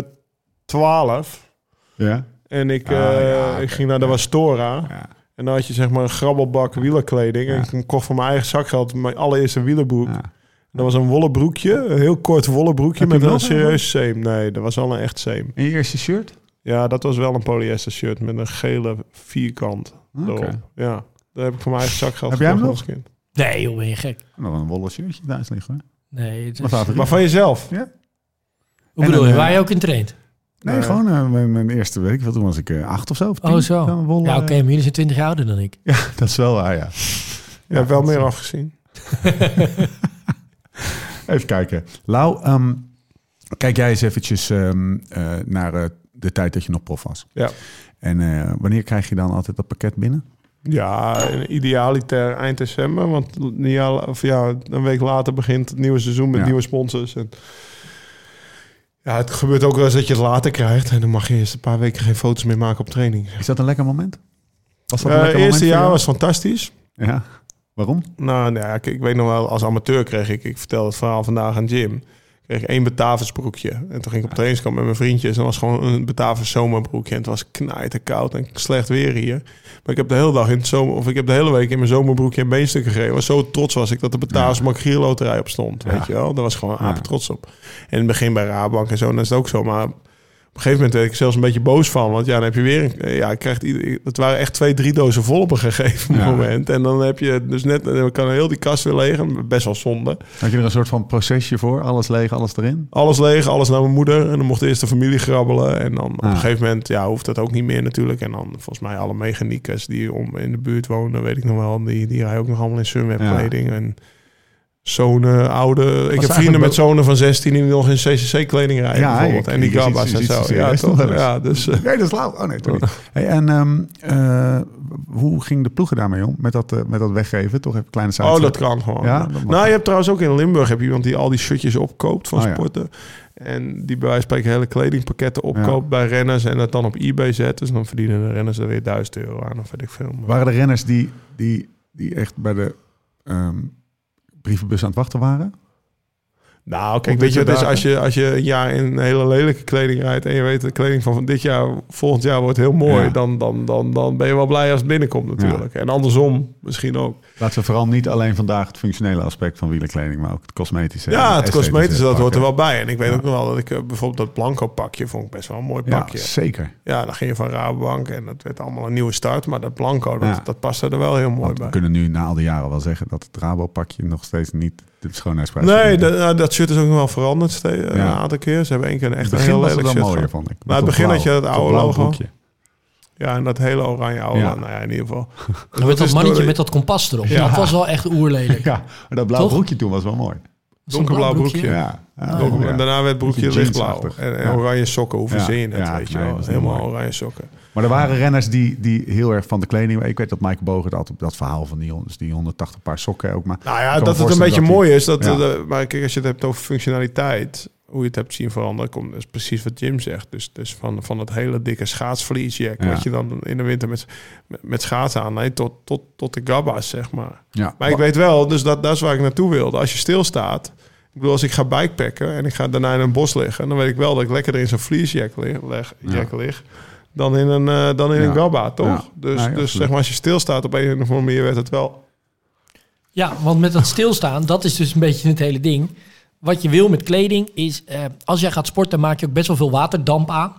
[SPEAKER 3] 12
[SPEAKER 1] Ja?
[SPEAKER 3] en ik,
[SPEAKER 1] Ah,
[SPEAKER 3] eh,
[SPEAKER 1] ja,
[SPEAKER 3] ik
[SPEAKER 1] oké.
[SPEAKER 3] ging naar de Wastora.
[SPEAKER 1] Ja.
[SPEAKER 3] En dan had je zeg maar een grabbelbak wielerkleding.
[SPEAKER 1] Ja.
[SPEAKER 3] En ik kocht van mijn eigen zakgeld mijn allereerste wielerbroek.
[SPEAKER 1] Ja.
[SPEAKER 3] Dat was een wollen broekje, een heel kort wollen broekje
[SPEAKER 1] Heb je
[SPEAKER 3] met
[SPEAKER 1] hem
[SPEAKER 3] een
[SPEAKER 1] nog?
[SPEAKER 3] serieus seam. Nee, dat was al een echt seam.
[SPEAKER 1] En je eerste shirt?
[SPEAKER 3] Ja, dat was wel een polyester shirt met een gele vierkant
[SPEAKER 1] Oké.
[SPEAKER 3] erop. Ja, dat heb ik van mijn eigen zakgeld
[SPEAKER 1] Heb jij hem nog?
[SPEAKER 3] gekocht als kind.
[SPEAKER 4] Nee, joh, ben je gek.
[SPEAKER 1] Nog een wollen shirtje thuis liggen. hè?
[SPEAKER 4] Nee, het
[SPEAKER 1] Mijn
[SPEAKER 4] is-
[SPEAKER 1] favoriet.
[SPEAKER 3] Maar van jezelf?
[SPEAKER 4] hoe
[SPEAKER 1] En
[SPEAKER 4] bedoel
[SPEAKER 1] dan,
[SPEAKER 4] je,
[SPEAKER 1] eh,
[SPEAKER 4] waar je ook in traint?
[SPEAKER 1] Nee,
[SPEAKER 3] Nee.
[SPEAKER 1] gewoon eh, mijn, mijn eerste week. Wat, toen was ik eh, acht of zo. Of tien.
[SPEAKER 4] Oh, zo.
[SPEAKER 1] Zo'n wollen-
[SPEAKER 4] Ja, oké, maar jullie zijn twintig jaar ouder dan ik.
[SPEAKER 1] Dat is wel waar, ja.
[SPEAKER 3] Je hebt wel meer afgezien.
[SPEAKER 1] Even kijken. Lau, ehm, kijk jij eens eventjes ehm, eh, naar eh, de tijd dat je nog prof was.
[SPEAKER 3] Ja.
[SPEAKER 1] En eh, wanneer krijg je dan altijd dat pakket binnen?
[SPEAKER 3] Ja, in idealiter eind december. Want een jaar- of ja, een week later begint het nieuwe seizoen met
[SPEAKER 1] Ja.
[SPEAKER 3] nieuwe sponsors. En ja, het gebeurt ook wel eens dat je het later krijgt. En dan mag je eerst een paar weken geen foto's meer maken op training.
[SPEAKER 1] Is dat een lekker moment? Was dat
[SPEAKER 3] Eh,
[SPEAKER 1] een lekker
[SPEAKER 3] eerste
[SPEAKER 1] moment voor
[SPEAKER 3] jaar
[SPEAKER 1] jou?
[SPEAKER 3] was fantastisch.
[SPEAKER 1] Ja. Waarom?
[SPEAKER 3] Nou, nou ja, ik, ik weet nog wel, als amateur kreeg ik, ik vertel het verhaal vandaag aan Jim. Kreeg ik één Batavus broekje. En toen ging ik op trainingskamp met mijn vriendjes. En dat was gewoon een Batavus zomerbroekje. En het was knijterkoud en slecht weer hier. Maar ik heb de hele dag in het zomer, of ik heb de hele week in mijn zomerbroekje en beenstukken gereden. Zo trots was ik dat de Batavus Makrierloterij op stond. Weet je wel, daar was ik gewoon apen trots op. En in het begin bij Rabank en zo, en dat is het ook zo. Maar op een gegeven moment werd ik zelfs een beetje boos van. Want ja, dan heb je weer... een- Ja, krijgt ieder, het waren echt twee, drie dozen vol op een gegeven
[SPEAKER 1] Ja.
[SPEAKER 3] moment. En dan heb je dus net... Dan kan heel die kast weer leeg. en Best wel zonde.
[SPEAKER 1] Had je er een soort van procesje voor? Alles leeg, alles erin?
[SPEAKER 3] Alles leeg, alles naar mijn moeder. En dan mocht eerst de familie grabbelen. En dan op
[SPEAKER 1] Ah.
[SPEAKER 3] een gegeven moment ja, hoeft dat ook niet meer natuurlijk. En dan volgens mij alle mechaniekers die om in de buurt wonen... weet ik nog wel, die, die rijden ook nog allemaal in Sunweb
[SPEAKER 1] Ja.
[SPEAKER 3] kleding. En zonen, oude... Ik heb vrienden
[SPEAKER 1] eigenlijk
[SPEAKER 3] met zonen van 16 die nog in CCC-kleding rijden
[SPEAKER 1] Ja,
[SPEAKER 3] bijvoorbeeld.
[SPEAKER 1] ik-
[SPEAKER 3] en die
[SPEAKER 1] je ziet-
[SPEAKER 3] gabbas
[SPEAKER 1] je
[SPEAKER 3] en
[SPEAKER 1] ziet
[SPEAKER 3] zo.
[SPEAKER 1] ze
[SPEAKER 3] Ja,
[SPEAKER 1] serieus nog
[SPEAKER 3] toch?
[SPEAKER 1] wel eens.
[SPEAKER 3] Ja, dus... eh,
[SPEAKER 1] Nee, dat is lauw. Oh nee, toch niet. Hey, en ehm, eh, hoe ging de ploegen daarmee om? Met dat, eh, met dat weggeven? Toch even een kleine zaak.
[SPEAKER 3] Oh, dat kan gewoon.
[SPEAKER 1] Ja, dat mag.
[SPEAKER 3] nou, je hebt trouwens ook in Limburg heb je iemand die al die shirtjes opkoopt van
[SPEAKER 1] Oh, ja.
[SPEAKER 3] sporten. En die bij wijze van spreken hele kledingpakketten opkoopt bij renners en dat dan op eBay zet. Dus dan verdienen de renners er weer 1000 euro aan of weet ik veel. Maar
[SPEAKER 1] Waren er renners die, die, die echt bij de ehm, brievenbus aan het wachten waren?
[SPEAKER 3] nou, kijk, weet je, het is als je, als je een jaar in hele lelijke kleding rijdt en je weet de kleding van, van dit jaar, volgend jaar wordt heel mooi,
[SPEAKER 1] Ja.
[SPEAKER 3] dan, dan, dan, dan ben je wel blij als het binnenkomt natuurlijk. En andersom misschien ook.
[SPEAKER 1] Laten we vooral niet alleen vandaag het functionele aspect van wielerkleding, maar ook het cosmetische. en
[SPEAKER 3] Ja, het
[SPEAKER 1] esthetische
[SPEAKER 3] cosmetische, dat hoort er
[SPEAKER 1] E pakken.
[SPEAKER 3] wel bij. En ik weet ook nog wel dat ik eh, bijvoorbeeld dat blanco pakje vond ik best wel een mooi pakje.
[SPEAKER 1] Ja, zeker.
[SPEAKER 3] Ja, dan ging je van Rabobank en dat werd allemaal een nieuwe start. Maar dat Blanco, dat,
[SPEAKER 1] Ja.
[SPEAKER 3] dat paste er wel heel mooi
[SPEAKER 1] Want we
[SPEAKER 3] bij.
[SPEAKER 1] kunnen nu na al die jaren wel zeggen dat het Rabo-pakje nog steeds niet de schoonheidsprijs
[SPEAKER 3] Nee,
[SPEAKER 1] verdient.
[SPEAKER 3] dat, nou, dat shirt is ook nog wel veranderd ste- een aantal keer. Ze hebben één keer een
[SPEAKER 1] In
[SPEAKER 3] echt
[SPEAKER 1] het
[SPEAKER 3] een
[SPEAKER 1] begin
[SPEAKER 3] heel
[SPEAKER 1] was het
[SPEAKER 3] lelijk
[SPEAKER 1] wel
[SPEAKER 3] shirt
[SPEAKER 1] mooier,
[SPEAKER 3] gehad.
[SPEAKER 1] vond ik.
[SPEAKER 3] Maar het
[SPEAKER 1] Met
[SPEAKER 3] begin
[SPEAKER 1] dat
[SPEAKER 3] had je dat
[SPEAKER 1] blauw-
[SPEAKER 3] oude
[SPEAKER 1] blauw
[SPEAKER 3] logo.
[SPEAKER 1] broekje.
[SPEAKER 3] Ja, en dat hele oranje oude.
[SPEAKER 1] Ja.
[SPEAKER 3] Nou ja, in ieder geval.
[SPEAKER 4] Dan met dat
[SPEAKER 3] is
[SPEAKER 4] mannetje
[SPEAKER 3] door-
[SPEAKER 4] met dat kompas erop.
[SPEAKER 3] Ja.
[SPEAKER 4] Dat was wel echt oerlelijk.
[SPEAKER 1] Ja, maar dat blauw
[SPEAKER 4] Toch?
[SPEAKER 1] broekje toen was wel mooi.
[SPEAKER 3] Donkerblauw broekje.
[SPEAKER 1] Ja.
[SPEAKER 3] Ja.
[SPEAKER 1] Ja,
[SPEAKER 3] Donker-
[SPEAKER 1] Oh, ja.
[SPEAKER 3] En daarna werd broekje
[SPEAKER 1] Beetje
[SPEAKER 3] lichtblauw.
[SPEAKER 1] jeansachtig.
[SPEAKER 3] En, en
[SPEAKER 1] Ja.
[SPEAKER 3] oranje sokken, hoe
[SPEAKER 1] Ja.
[SPEAKER 3] verzin je het,
[SPEAKER 1] Ja,
[SPEAKER 3] weet je
[SPEAKER 1] nee,
[SPEAKER 3] wel.
[SPEAKER 1] dat is niet
[SPEAKER 3] Helemaal
[SPEAKER 1] mooi.
[SPEAKER 3] oranje sokken.
[SPEAKER 1] Maar er waren renners die, die heel erg van de kleding... Ik weet dat Mike Bogert altijd dat verhaal van die, hon- dus die 180 paar sokken ook. Maar
[SPEAKER 3] Nou
[SPEAKER 1] ik
[SPEAKER 3] ja,
[SPEAKER 1] kan me
[SPEAKER 3] dat het een
[SPEAKER 1] voorstellen
[SPEAKER 3] beetje
[SPEAKER 1] dat die-
[SPEAKER 3] mooi is. Dat,
[SPEAKER 1] Ja.
[SPEAKER 3] eh, maar kijk, als je het hebt over functionaliteit, hoe je het hebt zien veranderen, komt is precies wat Jim zegt. Dus, dus van, van dat hele dikke schaatsvliesjack,
[SPEAKER 1] Ja.
[SPEAKER 3] wat je dan in de winter met, met, met schaatsen aan, nee, tot, tot, tot de gabba's, zeg maar.
[SPEAKER 1] Ja.
[SPEAKER 3] Maar ik weet wel, dus dat, dat is waar ik naartoe wilde. Als je stilstaat, ik bedoel, als ik ga bikepacken en ik ga daarna in een bos liggen, dan weet ik wel dat ik lekkerder in zo'n vliesjack lig, leg, jack lig dan in een, eh, dan in
[SPEAKER 1] Ja.
[SPEAKER 3] een gabba, toch?
[SPEAKER 1] Ja.
[SPEAKER 3] Dus,
[SPEAKER 1] Nee, absoluut.
[SPEAKER 3] dus zeg maar, als je stilstaat op een of andere manier, werd het wel
[SPEAKER 4] Ja, want met dat stilstaan, dat is dus een beetje het hele ding. Wat je wil met kleding is, eh, als jij gaat sporten, maak je ook best wel veel waterdamp aan.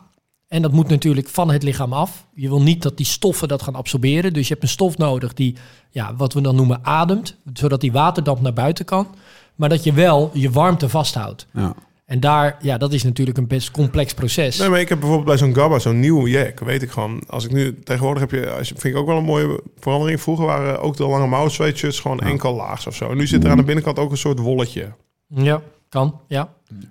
[SPEAKER 4] En dat moet natuurlijk van het lichaam af. Je wil niet dat die stoffen dat gaan absorberen. Dus je hebt een stof nodig die, ja, wat we dan noemen, ademt. Zodat die waterdamp naar buiten kan. Maar dat je wel je warmte vasthoudt.
[SPEAKER 1] Ja.
[SPEAKER 4] En daar, ja, dat is natuurlijk een best complex proces.
[SPEAKER 3] Nee, maar ik heb bijvoorbeeld bij zo'n Gabba, zo'n nieuw jack, weet ik gewoon. Als ik nu tegenwoordig heb je, als je, vind ik ook wel een mooie verandering. Vroeger waren ook de lange mouw sweatshirts gewoon enkel laags of zo. En nu zit er aan de binnenkant ook een soort wolletje.
[SPEAKER 4] Ja, kan. Ja,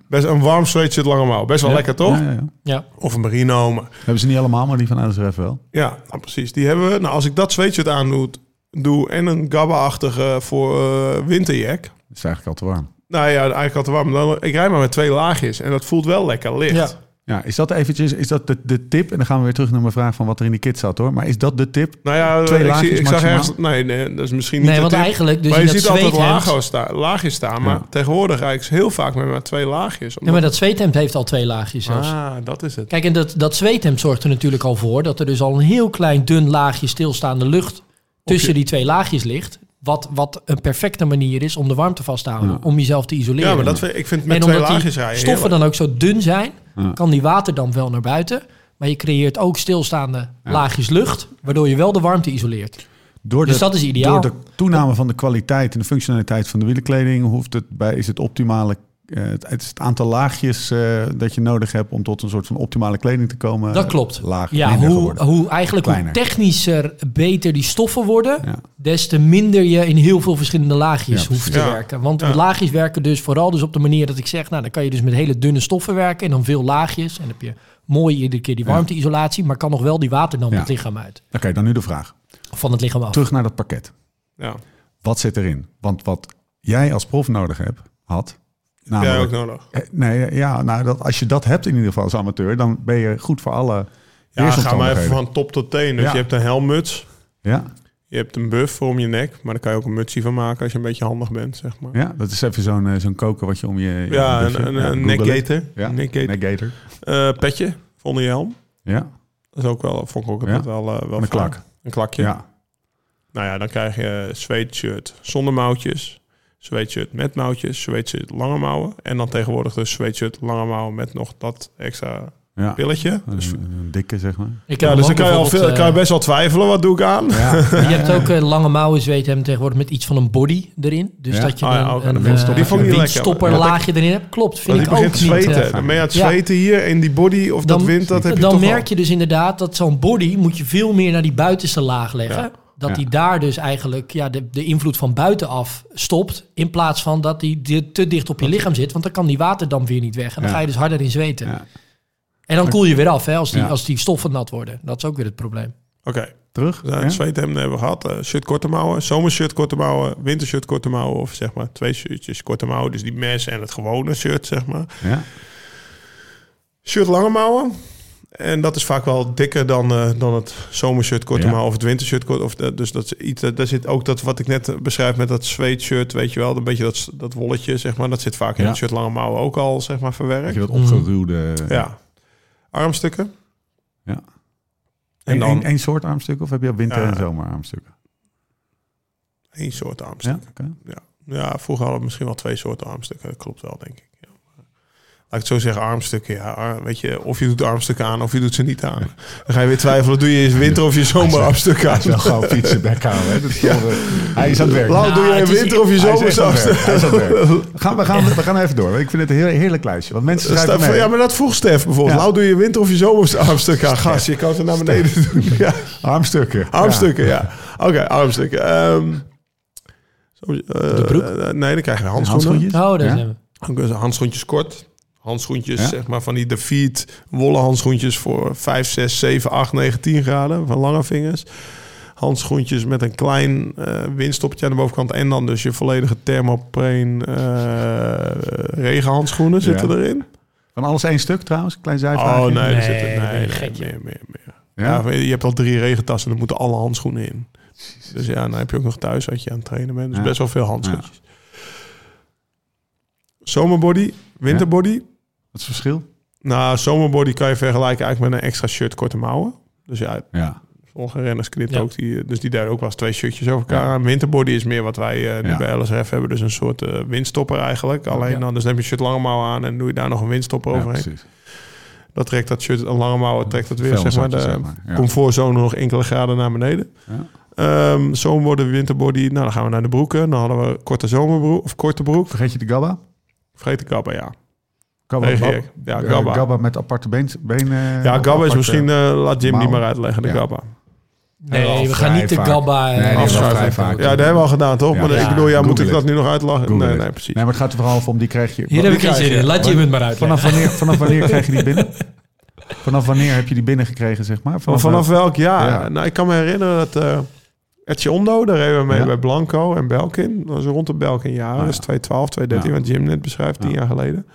[SPEAKER 3] Best een warm sweatshirt lange mouw, best wel lekker toch?
[SPEAKER 1] Ja, ja, ja.
[SPEAKER 4] ja.
[SPEAKER 3] Of een merino, maar
[SPEAKER 1] Hebben ze niet allemaal, maar die van NSRF wel.
[SPEAKER 3] ja, nou, precies. Die hebben we. Nou, als ik dat sweatshirt aandoe doe en een Gabba-achtige voor eh, winterjack.
[SPEAKER 1] Dat is eigenlijk al te warm.
[SPEAKER 3] Nou ja, eigenlijk al te warm. Dan, ik rij maar met twee laagjes en dat voelt wel lekker licht.
[SPEAKER 4] ja.
[SPEAKER 1] Ja, is dat eventjes, is dat de, de tip? En dan gaan we weer terug naar mijn vraag van wat er in die kit zat hoor. Maar is dat de tip?
[SPEAKER 3] Nou ja,
[SPEAKER 1] Twee
[SPEAKER 3] ik, zie-
[SPEAKER 1] laagjes
[SPEAKER 3] ik zag
[SPEAKER 1] maximaal?
[SPEAKER 3] ergens... Nee, nee, dat is misschien niet
[SPEAKER 4] Nee,
[SPEAKER 3] de
[SPEAKER 4] want
[SPEAKER 3] tip.
[SPEAKER 4] eigenlijk, dus
[SPEAKER 3] maar
[SPEAKER 4] in
[SPEAKER 3] je
[SPEAKER 4] dat
[SPEAKER 3] ziet altijd
[SPEAKER 4] zweethemd-
[SPEAKER 3] laagjes staan, laagjes staan. Maar
[SPEAKER 1] Ja.
[SPEAKER 3] tegenwoordig rijd ik heel vaak met maar twee laagjes.
[SPEAKER 4] Ja, maar dat zweethemd heeft al twee laagjes zelfs.
[SPEAKER 3] Ah, dat is het.
[SPEAKER 4] Kijk, en dat, dat zweethemd zorgt er natuurlijk al voor dat er dus al een heel klein dun laagje stilstaande lucht tussen die twee laagjes ligt. Wat, wat een perfecte manier is om de warmte vast te houden, om jezelf te isoleren.
[SPEAKER 3] Ja, maar dat vind, ik vind met
[SPEAKER 4] en
[SPEAKER 3] twee
[SPEAKER 4] omdat
[SPEAKER 3] laagjes
[SPEAKER 4] die
[SPEAKER 3] rijden
[SPEAKER 4] stoffen dan ook zo dun zijn,
[SPEAKER 1] Ja.
[SPEAKER 4] kan die waterdamp wel naar buiten. Maar je creëert ook stilstaande laagjes lucht, waardoor je wel de warmte isoleert.
[SPEAKER 1] Door
[SPEAKER 4] Dus dat is ideaal.
[SPEAKER 1] Door de toename van de kwaliteit en de functionaliteit van de wielerkleding hoeft het bij, is het optimale. eh, het het is het aantal laagjes eh, dat je nodig hebt om tot een soort van optimale kleding te komen.
[SPEAKER 4] Dat klopt.
[SPEAKER 1] eh, Laag,
[SPEAKER 4] ja,
[SPEAKER 1] minder
[SPEAKER 4] hoe,
[SPEAKER 1] geworden.
[SPEAKER 4] hoe eigenlijk hoe
[SPEAKER 1] Kleiner.
[SPEAKER 4] technischer beter die stoffen worden,
[SPEAKER 1] Ja.
[SPEAKER 4] des te minder je in heel veel verschillende laagjes
[SPEAKER 1] Ja,
[SPEAKER 4] hoeft te
[SPEAKER 3] precies. Ja.
[SPEAKER 4] werken. Want
[SPEAKER 3] Ja.
[SPEAKER 4] met laagjes werken dus vooral dus op de manier dat ik zeg, nou dan kan je dus met hele dunne stoffen werken en dan veel laagjes. En dan heb je mooi iedere keer die
[SPEAKER 1] Ja.
[SPEAKER 4] warmteisolatie, maar kan nog wel die waterdamp
[SPEAKER 1] Ja.
[SPEAKER 4] het lichaam uit.
[SPEAKER 1] Oké, dan nu de vraag.
[SPEAKER 4] Van het lichaam af.
[SPEAKER 1] Terug naar dat pakket.
[SPEAKER 3] Ja,
[SPEAKER 1] Wat zit erin? Want wat jij als prof nodig hebt, had.
[SPEAKER 3] jij
[SPEAKER 1] Namelijk,
[SPEAKER 3] ook nodig.
[SPEAKER 1] Eh, Nee, ja, nou, dat, als je dat hebt in ieder geval als amateur, dan ben je goed voor alle
[SPEAKER 3] Ja, ga maar even
[SPEAKER 1] weersomstandigheden.
[SPEAKER 3] van top tot teen. Dus
[SPEAKER 1] Ja.
[SPEAKER 3] je hebt een helmmuts.
[SPEAKER 1] Ja,
[SPEAKER 3] Je Je hebt een buff om je nek, maar daar kan je ook een mutsie van maken als je een beetje handig bent, zeg maar.
[SPEAKER 1] Ja, dat is even zo'n eh, zo'n koker wat je om je... je
[SPEAKER 3] Ja,
[SPEAKER 1] buffet-
[SPEAKER 3] een, een,
[SPEAKER 1] Ja,
[SPEAKER 3] een
[SPEAKER 1] Google it.
[SPEAKER 3] neckgaiter.
[SPEAKER 1] Ja,
[SPEAKER 3] Neckgaiter.
[SPEAKER 1] neckgator.
[SPEAKER 3] Eh, petje van onder je helm.
[SPEAKER 1] Ja,
[SPEAKER 3] Dat is ook wel, vond ik ook
[SPEAKER 1] Ja.
[SPEAKER 3] altijd wel, eh, wel
[SPEAKER 1] een
[SPEAKER 3] fijn.
[SPEAKER 1] klak.
[SPEAKER 3] Een klakje.
[SPEAKER 1] Ja.
[SPEAKER 3] Nou ja, dan krijg je sweatshirt zonder mouwtjes, sweatshirt met mouwtjes, sweatshirt lange mouwen. En dan tegenwoordig dus sweatshirt lange mouwen met nog dat extra
[SPEAKER 1] ja.
[SPEAKER 3] pilletje.
[SPEAKER 1] Een,
[SPEAKER 3] Dus,
[SPEAKER 1] een dikke, zeg maar.
[SPEAKER 4] Ik heb
[SPEAKER 3] ja,
[SPEAKER 4] hem
[SPEAKER 3] dus dan
[SPEAKER 4] ook
[SPEAKER 3] kan je, al veel,
[SPEAKER 4] bijvoorbeeld,
[SPEAKER 3] kan je
[SPEAKER 4] eh,
[SPEAKER 3] best wel twijfelen, wat doe ik aan?
[SPEAKER 1] Ja.
[SPEAKER 4] Je hebt ook eh, lange mouwen zweethemden tegenwoordig met iets van een body erin. Dus
[SPEAKER 1] Ja.
[SPEAKER 4] dat je
[SPEAKER 3] Oh ja,
[SPEAKER 4] een,
[SPEAKER 3] ook
[SPEAKER 4] een,
[SPEAKER 1] een windstopper.
[SPEAKER 4] eh,
[SPEAKER 1] Die vond ik
[SPEAKER 3] niet lekker.
[SPEAKER 4] windstopperlaagje erin hebt. Klopt,
[SPEAKER 3] Als
[SPEAKER 4] vind
[SPEAKER 3] je
[SPEAKER 4] ik ook
[SPEAKER 3] begint
[SPEAKER 4] niet.
[SPEAKER 3] te zweten,
[SPEAKER 4] eh,
[SPEAKER 3] dan ben je aan het zweten hier en die body of dat wind, dat heb je
[SPEAKER 4] dan
[SPEAKER 3] toch
[SPEAKER 4] merk je dus inderdaad dat zo'n body moet je veel meer naar die buitenste laag leggen.
[SPEAKER 3] Ja.
[SPEAKER 4] Dat
[SPEAKER 1] Ja.
[SPEAKER 4] die daar dus eigenlijk ja, de, de invloed van buitenaf stopt. In plaats van dat die di- te dicht op je lichaam zit. Want dan kan die waterdamp weer niet weg. En dan
[SPEAKER 1] Ja.
[SPEAKER 4] ga je dus harder in zweten.
[SPEAKER 1] Ja.
[SPEAKER 4] En dan koel je weer af hè, als, die,
[SPEAKER 1] Ja.
[SPEAKER 4] als die stoffen nat worden. Dat is ook weer het probleem.
[SPEAKER 3] Oké,
[SPEAKER 1] Terug?
[SPEAKER 3] dus, eh, het zweethemden hebben we gehad. Eh, shirt korte mouwen, zomershirt korte mouwen, wintershirt korte mouwen. Of zeg maar twee shirtjes korte mouwen. Dus die mes en het gewone shirt, zeg maar.
[SPEAKER 1] Ja.
[SPEAKER 3] Shirt lange mouwen. En dat is vaak wel dikker dan, eh, dan het zomershirt korte
[SPEAKER 1] Ja.
[SPEAKER 3] mouwen of het wintershirt kort. Of, eh, dus dat is iets, eh, daar zit ook dat wat ik net eh, beschrijf met dat sweatshirt, weet je wel. Een beetje dat, dat wolletje, zeg maar. Dat zit vaak in
[SPEAKER 1] Ja.
[SPEAKER 3] het shirt lange mouwen ook al, zeg maar, verwerkt.
[SPEAKER 1] Heb je dat
[SPEAKER 5] Mhm.
[SPEAKER 1] opgeruwde...
[SPEAKER 3] Ja. Armstukken.
[SPEAKER 1] Ja.
[SPEAKER 3] En
[SPEAKER 1] Eén
[SPEAKER 3] dan
[SPEAKER 1] één-
[SPEAKER 3] één
[SPEAKER 1] één soort armstuk of heb je winter-
[SPEAKER 3] Ja.
[SPEAKER 1] en zomerarmstukken?
[SPEAKER 3] soort armstuk.
[SPEAKER 1] Ja, oké.
[SPEAKER 3] Ja, vroeger hadden we misschien wel twee soorten armstukken. Dat klopt wel, denk ik. Ja. Laat ik het zo zeggen, armstukken. Ja, ar- weet je, of je doet armstukken aan of je doet ze niet aan. Dan ga je weer twijfelen, doe je eens winter of je zomerarmstukken aan.
[SPEAKER 5] Wel gauw fietsen bek houden. Hè? Dat is wel, eh, hij is aan het werk.
[SPEAKER 3] Lau, doe
[SPEAKER 4] Nou,
[SPEAKER 3] je
[SPEAKER 4] het is-
[SPEAKER 3] winter of je
[SPEAKER 5] Hij is echt aan het
[SPEAKER 3] zomerarmstukken
[SPEAKER 5] werk. Hij is aan het werk. Gaan, we, gaan, we gaan even door. Ik vind het een heel, heerlijk lijstje. Want mensen schrijven
[SPEAKER 3] aan?
[SPEAKER 5] mee.
[SPEAKER 3] Ja, maar dat vroeg Stef bijvoorbeeld.
[SPEAKER 5] Ja.
[SPEAKER 3] Lau, doe je winter of je zomerarmstukken aan? Gast, je kan ze naar beneden doen. Ja.
[SPEAKER 5] Armstukken. Ja.
[SPEAKER 3] Armstukken, ja. Oké, armstukken. Ehm, zo, eh,
[SPEAKER 4] De broek?
[SPEAKER 3] eh, nee, dan krijg je handschoenen.
[SPEAKER 1] Handschoentjes?
[SPEAKER 4] Oh, daar
[SPEAKER 1] Ja?
[SPEAKER 4] zijn we.
[SPEAKER 3] Handschoentjes, handschoentjes kort. Handschoentjes,
[SPEAKER 1] Ja.
[SPEAKER 3] zeg maar, van die de feet wollen handschoentjes voor 5, 6, 7, 8, 9, 10 graden van lange vingers. Handschoentjes met een klein eh windstoppertje aan de bovenkant. En dan dus je volledige thermopreen eh, regenhandschoenen zitten
[SPEAKER 1] Ja.
[SPEAKER 3] erin.
[SPEAKER 1] Van alles één stuk trouwens, klein zijvraagje.
[SPEAKER 3] Oh nee, er
[SPEAKER 4] Nee,
[SPEAKER 3] zitten, nee,
[SPEAKER 4] ben je
[SPEAKER 3] nee,
[SPEAKER 4] gek, joh.
[SPEAKER 3] meer, meer, meer.
[SPEAKER 1] Ja?
[SPEAKER 3] Ja, je hebt al drie regentassen en er moeten alle handschoenen in. Dus ja, dan heb je ook nog thuis wat je aan het trainen bent. Dus
[SPEAKER 1] Ja.
[SPEAKER 3] best wel veel handschoentjes. Zomerbody, winterbody.
[SPEAKER 1] Wat is het verschil?
[SPEAKER 3] Nou, zomerbody kan je vergelijken eigenlijk met een extra shirt korte mouwen. Dus ja,
[SPEAKER 1] Ja.
[SPEAKER 3] sommige renners knipt
[SPEAKER 4] Ja.
[SPEAKER 3] ook die. Dus die daar ook wel eens twee shirtjes over elkaar
[SPEAKER 1] Ja.
[SPEAKER 3] aan. Winterbody is meer wat wij eh, nu
[SPEAKER 1] Ja.
[SPEAKER 3] bij LSRF hebben. Dus een soort eh, windstopper eigenlijk. Alleen
[SPEAKER 4] Ja.
[SPEAKER 3] dan dus neem je shirt lange mouwen aan en doe je daar nog een windstopper
[SPEAKER 1] ja,
[SPEAKER 3] overheen.
[SPEAKER 1] precies.
[SPEAKER 3] Dat trekt dat shirt een lange mouwen, trekt dat weer zeg maar, de
[SPEAKER 5] eh,
[SPEAKER 1] Vuilniszakje, zeg maar. Ja.
[SPEAKER 3] comfortzone nog enkele graden naar beneden.
[SPEAKER 1] Ja.
[SPEAKER 3] Ehm zomerbody, winterbody, nou dan gaan we naar de broeken. Dan hadden we korte zomerbroek of korte broek.
[SPEAKER 1] Vergeet je de gabba?
[SPEAKER 3] Vergeet de gabba, ja.
[SPEAKER 1] Gabba,
[SPEAKER 3] Nee,
[SPEAKER 1] gabba.
[SPEAKER 3] Erik. Ja,
[SPEAKER 1] Eh,
[SPEAKER 3] gabba.
[SPEAKER 1] met aparte been, benen.
[SPEAKER 3] Ja, gabba is misschien, eh, laat Jim die
[SPEAKER 1] mouwen.
[SPEAKER 3] maar uitleggen, de
[SPEAKER 1] Ja.
[SPEAKER 3] gabba.
[SPEAKER 4] Nee, we
[SPEAKER 1] al
[SPEAKER 4] gaan
[SPEAKER 1] vrij
[SPEAKER 4] niet de
[SPEAKER 1] vaak.
[SPEAKER 4] gabba... eh,
[SPEAKER 1] Nee, die hebben we al
[SPEAKER 4] afschuiven.
[SPEAKER 1] vrij vaak.
[SPEAKER 3] Ja, dat hebben we al gedaan, toch?
[SPEAKER 1] Ja.
[SPEAKER 3] Maar
[SPEAKER 4] Ja,
[SPEAKER 3] ik bedoel, ja, moet
[SPEAKER 1] Google
[SPEAKER 3] ik dat nu nog uitlachen?
[SPEAKER 1] Google
[SPEAKER 3] Nee,
[SPEAKER 1] it.
[SPEAKER 3] nee, precies.
[SPEAKER 1] Nee, maar het gaat er vooral om, die krijg je...
[SPEAKER 4] Hier heb
[SPEAKER 1] die
[SPEAKER 4] ik geen
[SPEAKER 1] krijg
[SPEAKER 4] zin
[SPEAKER 1] je-
[SPEAKER 4] in. Laat je hem het maar uitleggen.
[SPEAKER 1] Vanaf wanneer, vanaf wanneer krijg je die binnen? Vanaf wanneer heb je die binnen gekregen, zeg maar?
[SPEAKER 3] Maar vanaf welk jaar?
[SPEAKER 1] Ja.
[SPEAKER 3] Nou, ik kan me herinneren dat eh Etje Ondo, daar reden we mee
[SPEAKER 1] Ja.
[SPEAKER 3] bij Blanco en Belkin. Dat was rond de Belkin jaren,
[SPEAKER 1] Ah, ja.
[SPEAKER 3] dus 2012, 2013,
[SPEAKER 1] Ja.
[SPEAKER 3] wat Jim net beschrijft, tien
[SPEAKER 1] Ja.
[SPEAKER 3] jaar geleden.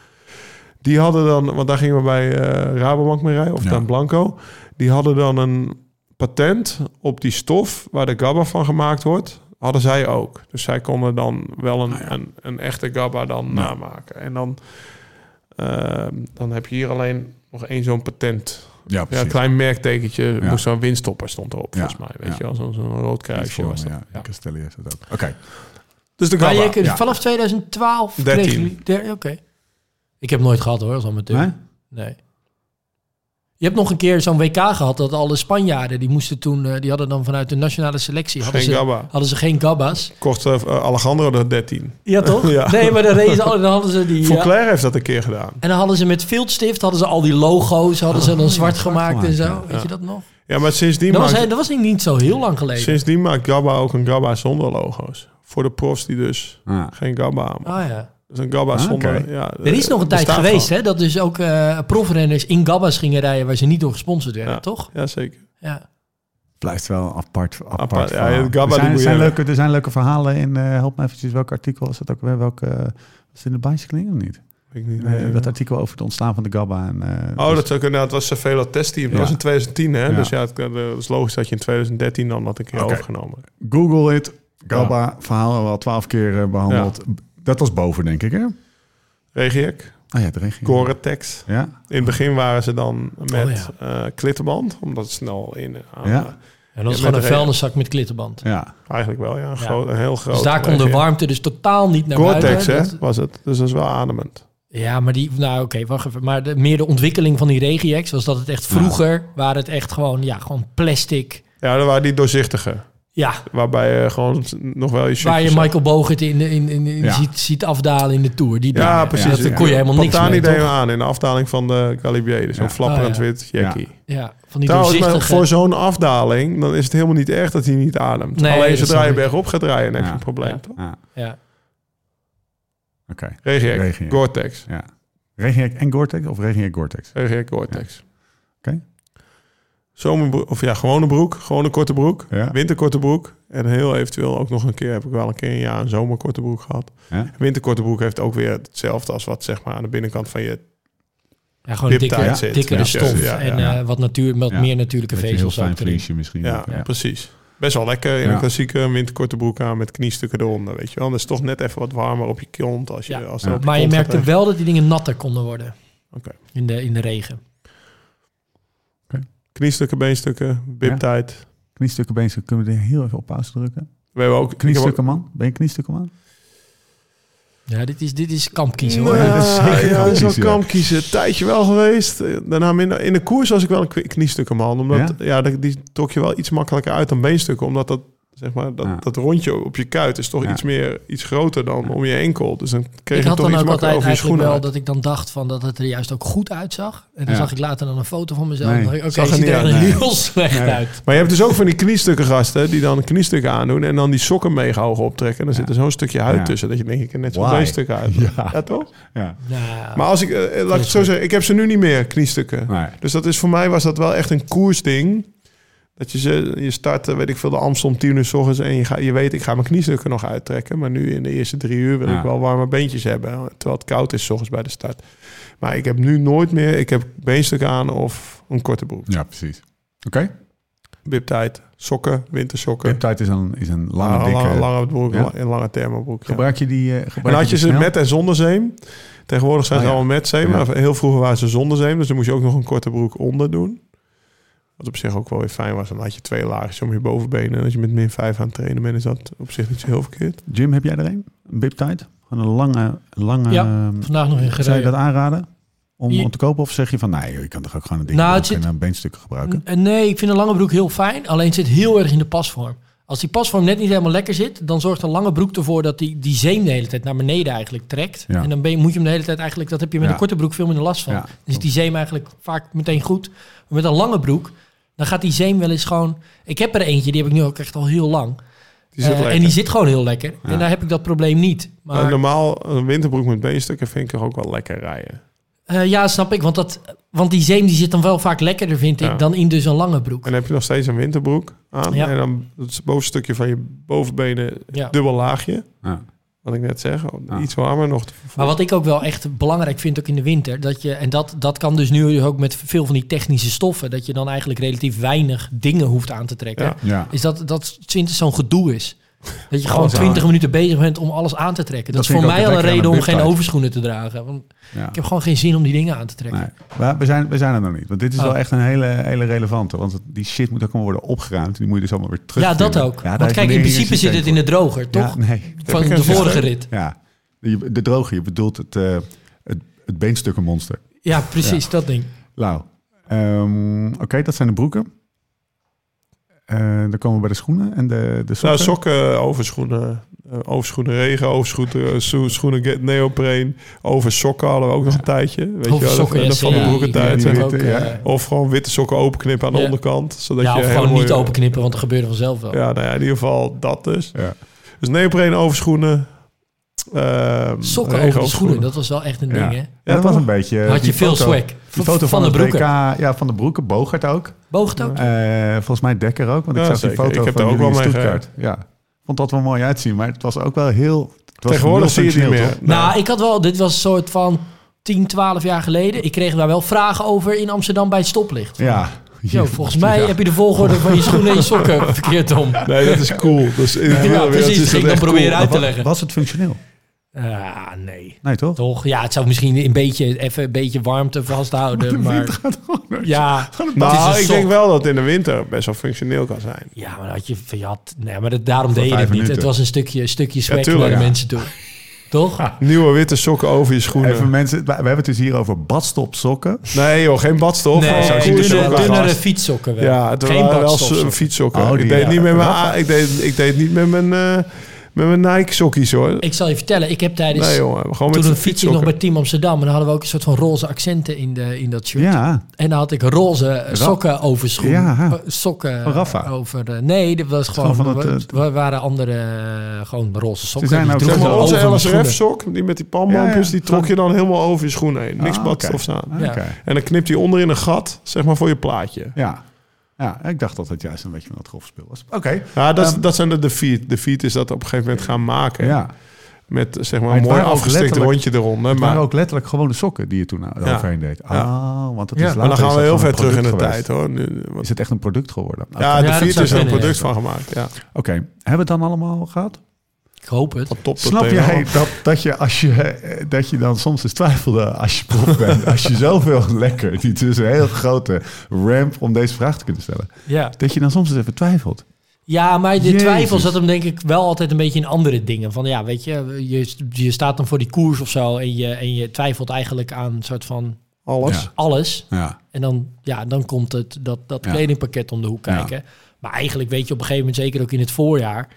[SPEAKER 3] Die hadden dan, want daar gingen we bij eh, Rabobank mee rijden, of
[SPEAKER 1] Ja.
[SPEAKER 3] dan Blanco. Die hadden dan een patent op die stof waar de gabba van gemaakt wordt. Hadden zij ook. Dus zij konden dan wel
[SPEAKER 1] Ah,
[SPEAKER 3] een, een, een echte gabba dan namaken. En dan, eh, dan heb je hier alleen nog één zo'n patent
[SPEAKER 1] Ja,
[SPEAKER 3] ja, een klein merktekentje.
[SPEAKER 1] Ja.
[SPEAKER 3] Moest zo'n windstopper stond erop,
[SPEAKER 1] Ja.
[SPEAKER 3] volgens mij. Weet
[SPEAKER 1] Ja.
[SPEAKER 3] je wel, zo'n zo'n rood kruisje was dat.
[SPEAKER 1] Ja,
[SPEAKER 3] Ja.
[SPEAKER 1] Castelli is dat ook. Oké.
[SPEAKER 3] Dus de
[SPEAKER 4] Maar
[SPEAKER 3] gabba.
[SPEAKER 4] je kunt-
[SPEAKER 1] ja.
[SPEAKER 4] vanaf 2012
[SPEAKER 3] Dertien.
[SPEAKER 4] kreeg jullie... der- Oké. Ik heb nooit gehad hoor, als amateur.
[SPEAKER 1] Nee?
[SPEAKER 4] Nee. Je hebt nog een keer zo'n WK gehad dat alle Spanjaarden die moesten toen, eh, die hadden dan vanuit de nationale selectie hadden,
[SPEAKER 3] Geen
[SPEAKER 4] ze,
[SPEAKER 3] gabba.
[SPEAKER 4] hadden ze geen gabbas.
[SPEAKER 3] Kocht eh, Alejandro de 13.
[SPEAKER 4] Ja toch?
[SPEAKER 3] Ja.
[SPEAKER 4] Nee, maar dan reden ze alle, dan hadden ze die. ja.
[SPEAKER 3] Fouclair heeft dat een keer gedaan.
[SPEAKER 4] en dan hadden ze met viltstift hadden ze al die logo's, hadden ze dan Oh, zwart gemaakt en zo.
[SPEAKER 1] gemaakt,
[SPEAKER 4] Weet je dat nog?
[SPEAKER 3] Ja, maar sindsdien
[SPEAKER 4] Dat was,
[SPEAKER 3] maakt,
[SPEAKER 4] hij- dat was niet zo heel lang geleden.
[SPEAKER 3] sindsdien maakt gabba ook een gabba zonder logo's. Voor de profs die dus
[SPEAKER 1] Ah.
[SPEAKER 3] geen gabba maken.
[SPEAKER 4] Ah ja.
[SPEAKER 3] Dus een gabba
[SPEAKER 1] Ah,
[SPEAKER 3] zonder...
[SPEAKER 1] oké.
[SPEAKER 3] Ja, eh,
[SPEAKER 4] Er is nog een tijd geweest hè, dat dus ook eh, profrenners in gabbas gingen rijden waar ze niet door gesponsord werden,
[SPEAKER 3] Ja.
[SPEAKER 4] toch?
[SPEAKER 3] Ja, zeker.
[SPEAKER 4] Ja.
[SPEAKER 1] Blijft wel een apart. apart,
[SPEAKER 3] Apart, ja,
[SPEAKER 1] verhaal.
[SPEAKER 3] het gabba die
[SPEAKER 1] er, zijn,
[SPEAKER 3] moet je
[SPEAKER 1] zijn
[SPEAKER 3] hebben.
[SPEAKER 1] leuke, er zijn leuke verhalen in. eh, help me eventjes, welk artikel was dat ook weer? Welk, eh, was het in de bicycling of niet?
[SPEAKER 3] Ik niet,
[SPEAKER 1] Eh,
[SPEAKER 3] nee.
[SPEAKER 1] dat artikel over het ontstaan van de Gabba. En, eh,
[SPEAKER 3] Oh, dat zou kunnen. Ja, het was Cervelo Test Team. Dat
[SPEAKER 1] Ja.
[SPEAKER 3] was in 2010, hè?
[SPEAKER 1] Ja.
[SPEAKER 3] Dus ja, het, eh, het is logisch dat je in 2013 dan dat een keer
[SPEAKER 1] Oké.
[SPEAKER 3] overgenomen.
[SPEAKER 1] Google it. Gabba, verhaal hebben we al twaalf keer eh, behandeld. Dat was boven, denk ik, hè?
[SPEAKER 3] Regiek,
[SPEAKER 1] Ah ja, de regio.
[SPEAKER 3] Gore-Tex.
[SPEAKER 1] Ja,
[SPEAKER 3] In het begin waren ze dan met
[SPEAKER 4] Oh,
[SPEAKER 3] eh klittenband, omdat het snel in... eh, aan-
[SPEAKER 1] Ja.
[SPEAKER 4] En dat is
[SPEAKER 3] Ja, met
[SPEAKER 4] gewoon een
[SPEAKER 3] de-
[SPEAKER 4] vuilniszak met klittenband.
[SPEAKER 1] ja.
[SPEAKER 3] Eigenlijk wel, ja. Een, groot- een heel groot...
[SPEAKER 4] Dus daar kon de
[SPEAKER 3] regiek.
[SPEAKER 4] warmte dus totaal niet naar
[SPEAKER 3] Gore-Tex,
[SPEAKER 4] buiten.
[SPEAKER 3] hè,
[SPEAKER 4] Dat-
[SPEAKER 3] was het. Dus dat is wel ademend.
[SPEAKER 4] Ja, maar die, nou oké, wacht even. Maar de, meer de ontwikkeling van die regiex was dat het echt vroeger waren het echt gewoon, ja, gewoon plastic.
[SPEAKER 3] Ja, dat waren die doorzichtige.
[SPEAKER 4] Ja,
[SPEAKER 3] Waarbij je gewoon nog wel je shirtje
[SPEAKER 4] waar je
[SPEAKER 3] zag.
[SPEAKER 4] Michael Bogert in, in, in, in
[SPEAKER 1] Ja.
[SPEAKER 4] ziet, ziet afdalen in de Tour. Die
[SPEAKER 3] Ja,
[SPEAKER 4] dingen.
[SPEAKER 3] precies.
[SPEAKER 4] Dat- Daar kon je helemaal niks
[SPEAKER 3] Pantani
[SPEAKER 4] mee,
[SPEAKER 3] deed
[SPEAKER 4] toch?
[SPEAKER 3] hem aan in de afdaling van de Galibier. Dus
[SPEAKER 1] Ja.
[SPEAKER 3] zo'n flapperend
[SPEAKER 4] Oh, ja.
[SPEAKER 3] wit jackie.
[SPEAKER 4] Ja, van die
[SPEAKER 3] Trouwens, maar
[SPEAKER 4] doorzichtige...
[SPEAKER 3] voor zo'n afdaling, dan is het helemaal niet erg dat hij niet ademt.
[SPEAKER 4] Nee,
[SPEAKER 3] Alleen
[SPEAKER 4] dat
[SPEAKER 3] zodra
[SPEAKER 4] snap
[SPEAKER 3] je
[SPEAKER 4] ik.
[SPEAKER 3] bergop gaat rijden, dan heb je
[SPEAKER 1] Ja.
[SPEAKER 3] een probleem,
[SPEAKER 4] Ja.
[SPEAKER 3] toch?
[SPEAKER 1] Ah,
[SPEAKER 4] Ja.
[SPEAKER 1] Oké.
[SPEAKER 3] Regiek,
[SPEAKER 1] Regiek.
[SPEAKER 3] Gore-Tex.
[SPEAKER 1] Ja. Regenjack en Gore-Tex of Regenjack Gore-Tex?
[SPEAKER 3] Regiek, Gore-Tex.
[SPEAKER 1] Oké.
[SPEAKER 3] Zomerbroek, of ja, gewone broek, gewone korte broek,
[SPEAKER 1] Ja.
[SPEAKER 3] winterkorte broek. En heel eventueel ook nog een keer, heb ik wel een keer een jaar een zomerkorte broek gehad.
[SPEAKER 1] Ja.
[SPEAKER 3] Winterkorte broek heeft ook weer hetzelfde als wat zeg maar aan de binnenkant van je...
[SPEAKER 4] Ja, gewoon
[SPEAKER 3] Diptijd
[SPEAKER 4] dikker,
[SPEAKER 3] zit.
[SPEAKER 4] dikkere
[SPEAKER 3] Ja,
[SPEAKER 4] stof
[SPEAKER 3] ja, ja,
[SPEAKER 4] en
[SPEAKER 1] ja.
[SPEAKER 4] eh, wat, natuur, wat
[SPEAKER 1] Ja.
[SPEAKER 4] meer natuurlijke
[SPEAKER 1] Beetje Een heel
[SPEAKER 4] vezels
[SPEAKER 1] fijn
[SPEAKER 4] ook erin.
[SPEAKER 1] vliesje misschien.
[SPEAKER 3] Ja,
[SPEAKER 1] Ja.
[SPEAKER 3] precies. Best wel lekker in
[SPEAKER 1] Ja.
[SPEAKER 3] een klassieke winterkorte broek aan met kniestukken eronder, weet je wel. Dan is het toch net even wat warmer op je kont als je...
[SPEAKER 4] Ja.
[SPEAKER 3] Als
[SPEAKER 1] Ja.
[SPEAKER 3] het op
[SPEAKER 4] Maar je
[SPEAKER 3] kont gaat
[SPEAKER 4] merkte
[SPEAKER 3] regenen.
[SPEAKER 4] wel dat die dingen natter konden worden
[SPEAKER 3] Oké.
[SPEAKER 4] in, de, in de regen.
[SPEAKER 3] Kniestukken, beenstukken, biptijd.
[SPEAKER 1] Kniestukken, beenstukken, kunnen we er heel even op pauze drukken?
[SPEAKER 3] We hebben ook
[SPEAKER 1] Kniestukken, man? Ben je kniestukken, man?
[SPEAKER 4] Ja, dit is, dit is kamp kiezen
[SPEAKER 3] Nou,
[SPEAKER 4] hoor.
[SPEAKER 1] Ja, dat is zeker
[SPEAKER 3] ja, dat is wel
[SPEAKER 1] kampkiezen, ja.
[SPEAKER 3] kamp kiezen. Een tijdje wel geweest. Eh, Daarna minder. In de koers was ik wel een knie- kniestukkenman. Omdat ja? dat- die trok je wel iets makkelijker uit dan beenstukken. Omdat dat, zeg maar, dat,
[SPEAKER 1] Ja.
[SPEAKER 3] dat rondje op je kuit is toch
[SPEAKER 1] Ja.
[SPEAKER 3] iets, meer, iets groter dan om je enkel. Dus dan kreeg
[SPEAKER 4] Ik
[SPEAKER 3] je
[SPEAKER 4] had
[SPEAKER 3] toch
[SPEAKER 4] dan
[SPEAKER 3] iets
[SPEAKER 4] ook
[SPEAKER 3] makkelijker over
[SPEAKER 4] altijd
[SPEAKER 3] je
[SPEAKER 4] eigenlijk
[SPEAKER 3] schoenen
[SPEAKER 4] wel
[SPEAKER 3] uit.
[SPEAKER 4] dat ik dan dacht van dat het er juist ook goed uitzag. En dan
[SPEAKER 1] Ja.
[SPEAKER 4] zag ik later dan een foto van mezelf.
[SPEAKER 1] Nee,
[SPEAKER 4] en dacht ik, Oké,
[SPEAKER 3] zag er
[SPEAKER 4] het ziet
[SPEAKER 3] niet
[SPEAKER 4] er
[SPEAKER 3] uit,
[SPEAKER 1] nee.
[SPEAKER 4] heel slecht
[SPEAKER 1] Nee.
[SPEAKER 4] uit.
[SPEAKER 3] Maar je hebt dus ook van die kniestukken gasten die dan kniestukken aandoen en dan die sokken mega hoog optrekken. En dan
[SPEAKER 1] Ja.
[SPEAKER 3] zit er zo'n stukje huid
[SPEAKER 1] Ja.
[SPEAKER 3] tussen dat je denkt, ik heb net zo'n
[SPEAKER 1] Why?
[SPEAKER 3] beenstuk uit.
[SPEAKER 1] Ja.
[SPEAKER 3] ja, toch?
[SPEAKER 1] Ja.
[SPEAKER 4] Nou,
[SPEAKER 3] Maar als ik, eh, laat ik het zo
[SPEAKER 4] goed.
[SPEAKER 3] zeggen, ik heb ze nu niet meer, kniestukken.
[SPEAKER 1] Nee.
[SPEAKER 3] Dus dat is voor mij was dat wel echt een koersding. Dat je, ze, je start, eh, weet ik veel, de Amstel om tien uur s ochtends en je, ga, je weet, ik ga mijn kniestukken nog uittrekken. Maar nu in de eerste drie uur wil
[SPEAKER 1] Ja.
[SPEAKER 3] ik wel warme beentjes hebben, terwijl het koud is s ochtends bij de start. Maar ik heb nu nooit meer, ik heb beenstukken aan of een korte broek.
[SPEAKER 1] ja, precies. Oké.
[SPEAKER 3] Biptijd, sokken, wintersokken.
[SPEAKER 1] Webtijd is een, is een lange,
[SPEAKER 3] Ah,
[SPEAKER 1] dikke...
[SPEAKER 3] lange, lange broek,
[SPEAKER 1] Ja.
[SPEAKER 3] een lange thermobroek. ja.
[SPEAKER 1] Gebruik je die... eh, gebruik
[SPEAKER 3] En dan had je
[SPEAKER 1] die
[SPEAKER 3] ze
[SPEAKER 1] snel?
[SPEAKER 3] met en zonder zeem. Tegenwoordig zijn
[SPEAKER 1] Ah,
[SPEAKER 3] ze
[SPEAKER 1] ja.
[SPEAKER 3] allemaal met zeem.
[SPEAKER 1] Ja.
[SPEAKER 3] Maar heel vroeger waren ze zonder zeem. Dus dan moest je ook nog een korte broek onder doen. Wat op zich ook wel weer fijn was. Dan had je twee laagjes om je bovenbenen. En als je met min 5 aan het trainen bent, is dat op zich niet zo heel verkeerd.
[SPEAKER 1] Jim, heb jij er een? Een Biptide? Gewoon een lange... lange
[SPEAKER 4] Ja,
[SPEAKER 1] ehm,
[SPEAKER 4] vandaag nog in
[SPEAKER 1] zou je
[SPEAKER 4] gereden.
[SPEAKER 1] dat aanraden? Om,
[SPEAKER 4] Je-
[SPEAKER 1] om te kopen? Of zeg je van, nee, joh, je kan toch ook gewoon een dikke
[SPEAKER 4] Nou,
[SPEAKER 1] nou,
[SPEAKER 4] het zit-
[SPEAKER 1] en een beenstuk gebruiken?
[SPEAKER 4] N- Nee, ik vind een lange broek heel fijn. Alleen het zit heel erg in de pasvorm. Als die pasvorm net niet helemaal lekker zit, dan zorgt een lange broek ervoor dat die, die zeem de hele tijd naar beneden eigenlijk trekt.
[SPEAKER 1] Ja.
[SPEAKER 4] En dan ben je, moet je hem de hele tijd eigenlijk, dat heb je met
[SPEAKER 1] Ja.
[SPEAKER 4] een korte broek veel minder last van.
[SPEAKER 1] Ja,
[SPEAKER 4] Dan is die zeem eigenlijk vaak meteen goed. Maar met een lange broek, dan gaat die zeem wel eens gewoon. Ik heb er eentje, die heb ik nu ook echt al heel lang.
[SPEAKER 3] Die zit
[SPEAKER 4] Eh,
[SPEAKER 3] lekker. Eh,
[SPEAKER 4] en die zit gewoon heel lekker. En daar heb ik dat probleem niet.
[SPEAKER 3] En
[SPEAKER 4] Maar
[SPEAKER 3] normaal een winterbroek met beenstukken vind ik er ook wel lekker rijden.
[SPEAKER 4] eh, ja, snap ik. Want, dat, want die zeem die zit dan wel vaak lekkerder, vind ik,
[SPEAKER 3] Ja.
[SPEAKER 4] dan in dus een lange broek.
[SPEAKER 3] En dan heb je nog steeds een winterbroek aan.
[SPEAKER 4] Ja.
[SPEAKER 3] En dan het bovenstukje van je bovenbenen
[SPEAKER 4] Ja. Ah.
[SPEAKER 3] dubbel laagje.
[SPEAKER 1] Ja.
[SPEAKER 4] Mm.
[SPEAKER 3] Wat ik net zeg. Oh,
[SPEAKER 1] Ja.
[SPEAKER 3] Iets warmer nog.
[SPEAKER 4] Maar wat ik ook wel echt belangrijk vind, ook in de winter, dat je, en dat, dat kan dus nu ook met veel van die technische stoffen, dat je dan eigenlijk relatief weinig dingen hoeft aan te trekken,
[SPEAKER 3] Ja.
[SPEAKER 1] Ja.
[SPEAKER 4] is dat dat sinds zo'n gedoe is. Dat je gewoon
[SPEAKER 1] Alles aan.
[SPEAKER 4] 20 minuten bezig bent om alles aan te trekken. Dat,
[SPEAKER 1] Dat
[SPEAKER 4] is
[SPEAKER 1] vind
[SPEAKER 4] voor
[SPEAKER 1] ik ook
[SPEAKER 4] mij al
[SPEAKER 1] het
[SPEAKER 4] een
[SPEAKER 1] lekkere
[SPEAKER 4] reden
[SPEAKER 1] aan
[SPEAKER 4] om
[SPEAKER 1] de webtijd.
[SPEAKER 4] geen overschoenen te dragen. Want
[SPEAKER 1] Ja.
[SPEAKER 4] ik heb gewoon geen zin om die dingen aan te trekken.
[SPEAKER 1] Nee. Maar we zijn, we zijn er nog niet. Want dit is
[SPEAKER 4] Oh.
[SPEAKER 1] wel echt een hele, hele relevante. Want het- die shit moet ook allemaal worden opgeruimd. Die moet je dus allemaal weer terug.
[SPEAKER 4] ja, dat ook. Want kijk, in principe zit het in de droger, toch?
[SPEAKER 1] Ja, nee.
[SPEAKER 4] Van de vorige rit.
[SPEAKER 1] Ja. Je- De droge, je bedoelt het, eh het, het beenstukkenmonster.
[SPEAKER 4] Ja, precies, dat ding.
[SPEAKER 1] Lau. Ehm, Oké, dat zijn de broeken. Eh, dan komen we bij de schoenen en de, de sokken.
[SPEAKER 3] Nou, sokken, overschoenen, eh, overschoenen regen, overschoenen, eh, scho- schoenen get- neopreen, over sokken hadden we ook nog een tijdje. Weet
[SPEAKER 4] Over
[SPEAKER 3] je wel,
[SPEAKER 4] sokken,
[SPEAKER 3] de,
[SPEAKER 4] ja,
[SPEAKER 3] de van de
[SPEAKER 4] zeker.
[SPEAKER 3] broeken
[SPEAKER 4] Ja,
[SPEAKER 3] tijd.
[SPEAKER 1] die
[SPEAKER 3] zeg.
[SPEAKER 1] witte,
[SPEAKER 4] ook,
[SPEAKER 1] ja.
[SPEAKER 4] eh,
[SPEAKER 3] Of gewoon witte sokken openknippen aan de
[SPEAKER 4] Ja.
[SPEAKER 3] onderkant. Zodat
[SPEAKER 4] ja,
[SPEAKER 3] je
[SPEAKER 4] of
[SPEAKER 3] hele
[SPEAKER 4] gewoon niet
[SPEAKER 3] mooie-
[SPEAKER 4] openknippen, want dat gebeurde vanzelf wel.
[SPEAKER 3] Ja, nou ja, in ieder geval dat dus.
[SPEAKER 1] Ja.
[SPEAKER 3] Dus neopreen, overschoenen. ehm, regen,
[SPEAKER 4] Sokken over de schoenen,
[SPEAKER 3] overschoenen.
[SPEAKER 4] dat was wel echt een
[SPEAKER 1] Ja.
[SPEAKER 4] ding, hè?
[SPEAKER 1] Ja, dat
[SPEAKER 3] toch?
[SPEAKER 1] was een beetje... eh,
[SPEAKER 4] Had je
[SPEAKER 1] die
[SPEAKER 4] veel
[SPEAKER 1] foto-
[SPEAKER 4] swag.
[SPEAKER 1] Die foto van,
[SPEAKER 4] de
[SPEAKER 1] het
[SPEAKER 4] broeken.
[SPEAKER 1] WK, ja, van de broeken. Bogert ook.
[SPEAKER 4] Boog het ook?
[SPEAKER 1] Eh, volgens mij Dekker ook, want ik
[SPEAKER 3] Ja,
[SPEAKER 1] zag
[SPEAKER 3] zeker.
[SPEAKER 1] die foto
[SPEAKER 3] Ik heb
[SPEAKER 1] van
[SPEAKER 3] er ook
[SPEAKER 1] jullie in
[SPEAKER 3] wel mee
[SPEAKER 1] Stuttgart. Ja, vond dat wel mooi uitzien, maar het was ook wel heel... Het was
[SPEAKER 3] Tegenwoordig zie je het niet
[SPEAKER 1] multifunctioneel,
[SPEAKER 3] meer.
[SPEAKER 1] toch?
[SPEAKER 4] Nou, ik had wel, dit was een soort van 10, 12 jaar geleden. Ik kreeg daar wel vragen over in Amsterdam bij het stoplicht.
[SPEAKER 1] Ja.
[SPEAKER 4] Yo, volgens mij heb je de volgorde van je schoenen en je sokken verkeerd om.
[SPEAKER 3] Nee, dat is cool. Dat is, in de
[SPEAKER 4] Ja,
[SPEAKER 3] wereld
[SPEAKER 4] precies.
[SPEAKER 3] is dat
[SPEAKER 4] Ik dan
[SPEAKER 3] echt cool.
[SPEAKER 4] proberen uit te
[SPEAKER 1] Wa-
[SPEAKER 4] leggen.
[SPEAKER 1] Was het functioneel?
[SPEAKER 4] Ah, nee.
[SPEAKER 1] Nee, toch?
[SPEAKER 4] Toch? Ja, het zou misschien een beetje, even een beetje warmte vasthouden. eh, Maar ja, het is
[SPEAKER 3] Nou,
[SPEAKER 4] een
[SPEAKER 3] ik denk
[SPEAKER 4] sok.
[SPEAKER 3] wel dat het in de winter best wel functioneel kan zijn.
[SPEAKER 4] Ja, maar dan had je, je had, nee, maar dat, daarom deed je het
[SPEAKER 1] vijf
[SPEAKER 4] niet.
[SPEAKER 1] minuten.
[SPEAKER 4] Het was een stukje, een stukje swag
[SPEAKER 3] tuurlijk,
[SPEAKER 4] naar de
[SPEAKER 3] ja.
[SPEAKER 4] mensen toe. Toch?
[SPEAKER 3] Nieuwe witte sokken over je schoenen.
[SPEAKER 1] Even mensen, we we hebben het dus hier over badstopsokken.
[SPEAKER 3] Nee joh, geen badstof.
[SPEAKER 4] nee,
[SPEAKER 3] Gewoon
[SPEAKER 1] zo
[SPEAKER 3] koers-
[SPEAKER 1] ziet het er
[SPEAKER 4] dunne,
[SPEAKER 1] wel
[SPEAKER 3] sokken.
[SPEAKER 4] dunnere fietssokken wel.
[SPEAKER 3] Ja, het
[SPEAKER 4] Geen
[SPEAKER 3] waren wel
[SPEAKER 4] badstofsokken.
[SPEAKER 3] so- fietssokken.
[SPEAKER 1] Oh, die,
[SPEAKER 3] ik, deed
[SPEAKER 1] ja.
[SPEAKER 3] niet met mijn,
[SPEAKER 1] Rafa.
[SPEAKER 3] ik, deed, ik deed niet met mijn, eh, met mijn Nike sokkies hoor.
[SPEAKER 4] Ik zal je vertellen, ik heb tijdens...
[SPEAKER 3] nee jongen, gewoon met mijn
[SPEAKER 4] toen fiets ik nog
[SPEAKER 3] fietssokken.
[SPEAKER 4] bij Team Amsterdam. En dan hadden we ook een soort van roze accenten in, de, in dat shirt.
[SPEAKER 1] Ja,
[SPEAKER 4] En dan had ik roze eh, sokken over schoen.
[SPEAKER 1] Ja.
[SPEAKER 4] Eh, sokken
[SPEAKER 1] Van Rafa.
[SPEAKER 4] over... eh, nee, dat was gewoon...
[SPEAKER 1] Gewoon van het,
[SPEAKER 4] we, we waren andere... eh, gewoon roze sokken.
[SPEAKER 1] zijn
[SPEAKER 4] Die
[SPEAKER 1] ook-
[SPEAKER 4] droegen
[SPEAKER 3] Zeg maar
[SPEAKER 4] we
[SPEAKER 3] nou onze
[SPEAKER 4] over mijn schoenen.
[SPEAKER 3] LSRF sok, die met die palmlampjes,
[SPEAKER 1] Ja, ja.
[SPEAKER 3] die trok je dan helemaal over je schoen heen. Niks
[SPEAKER 1] Ah,
[SPEAKER 3] badstofs
[SPEAKER 1] oké.
[SPEAKER 3] aan.
[SPEAKER 1] oké.
[SPEAKER 4] Ja.
[SPEAKER 3] En dan knipt hij onderin een gat, zeg maar voor je plaatje.
[SPEAKER 1] Ja. ja, ik dacht dat het juist een beetje van dat golfspel was. Oké.
[SPEAKER 3] Ja, dat, is-
[SPEAKER 1] Ehm,
[SPEAKER 3] dat zijn de defeat. Defeat is dat op een gegeven moment gaan maken.
[SPEAKER 1] Ja.
[SPEAKER 3] Met zeg maar
[SPEAKER 1] Maar het
[SPEAKER 3] een mooi
[SPEAKER 1] waren ook
[SPEAKER 3] afgestikt
[SPEAKER 1] letterlijk-
[SPEAKER 3] rondje eronder.
[SPEAKER 1] Het waren
[SPEAKER 3] Maar,
[SPEAKER 1] ook letterlijk gewone sokken die je toen overheen deed. Ah, want het is
[SPEAKER 3] maar dan
[SPEAKER 1] later
[SPEAKER 3] gaan
[SPEAKER 1] is
[SPEAKER 3] we
[SPEAKER 1] dat gewoon
[SPEAKER 3] heel ver
[SPEAKER 1] een
[SPEAKER 3] terug in de
[SPEAKER 1] product geweest.
[SPEAKER 3] tijd hoor. Nu, want-
[SPEAKER 1] Is het echt een product geworden? Oké.
[SPEAKER 3] ja,
[SPEAKER 4] dat
[SPEAKER 3] de
[SPEAKER 4] zou
[SPEAKER 3] Fiat is er een
[SPEAKER 4] kunnen,
[SPEAKER 3] product
[SPEAKER 4] ja.
[SPEAKER 3] van gemaakt. Ja.
[SPEAKER 1] Oké. hebben we het dan allemaal gehad?
[SPEAKER 4] Ik hoop het.
[SPEAKER 3] Van top tot
[SPEAKER 1] Snap
[SPEAKER 3] teen
[SPEAKER 1] jij
[SPEAKER 3] af.
[SPEAKER 1] dat, dat, je als je, eh, dat je dan soms eens twijfelde als je prof bent? Als je zoveel lekker, die tussen een heel grote ramp om deze vraag te kunnen stellen.
[SPEAKER 4] Ja.
[SPEAKER 1] Dat je dan soms eens even twijfelt.
[SPEAKER 4] Ja, maar de
[SPEAKER 1] Jezus.
[SPEAKER 4] twijfel zat hem denk ik wel altijd een beetje in andere dingen. Van ja, weet je, je, je staat dan voor die koers of zo en je, en je twijfelt eigenlijk aan een soort van
[SPEAKER 3] Alles.
[SPEAKER 1] Ja.
[SPEAKER 4] alles.
[SPEAKER 1] Ja.
[SPEAKER 4] En dan, ja, dan komt het, dat, dat
[SPEAKER 1] Ja.
[SPEAKER 4] kledingpakket om de hoek kijken. Maar eigenlijk weet je op een gegeven moment, zeker ook in het voorjaar...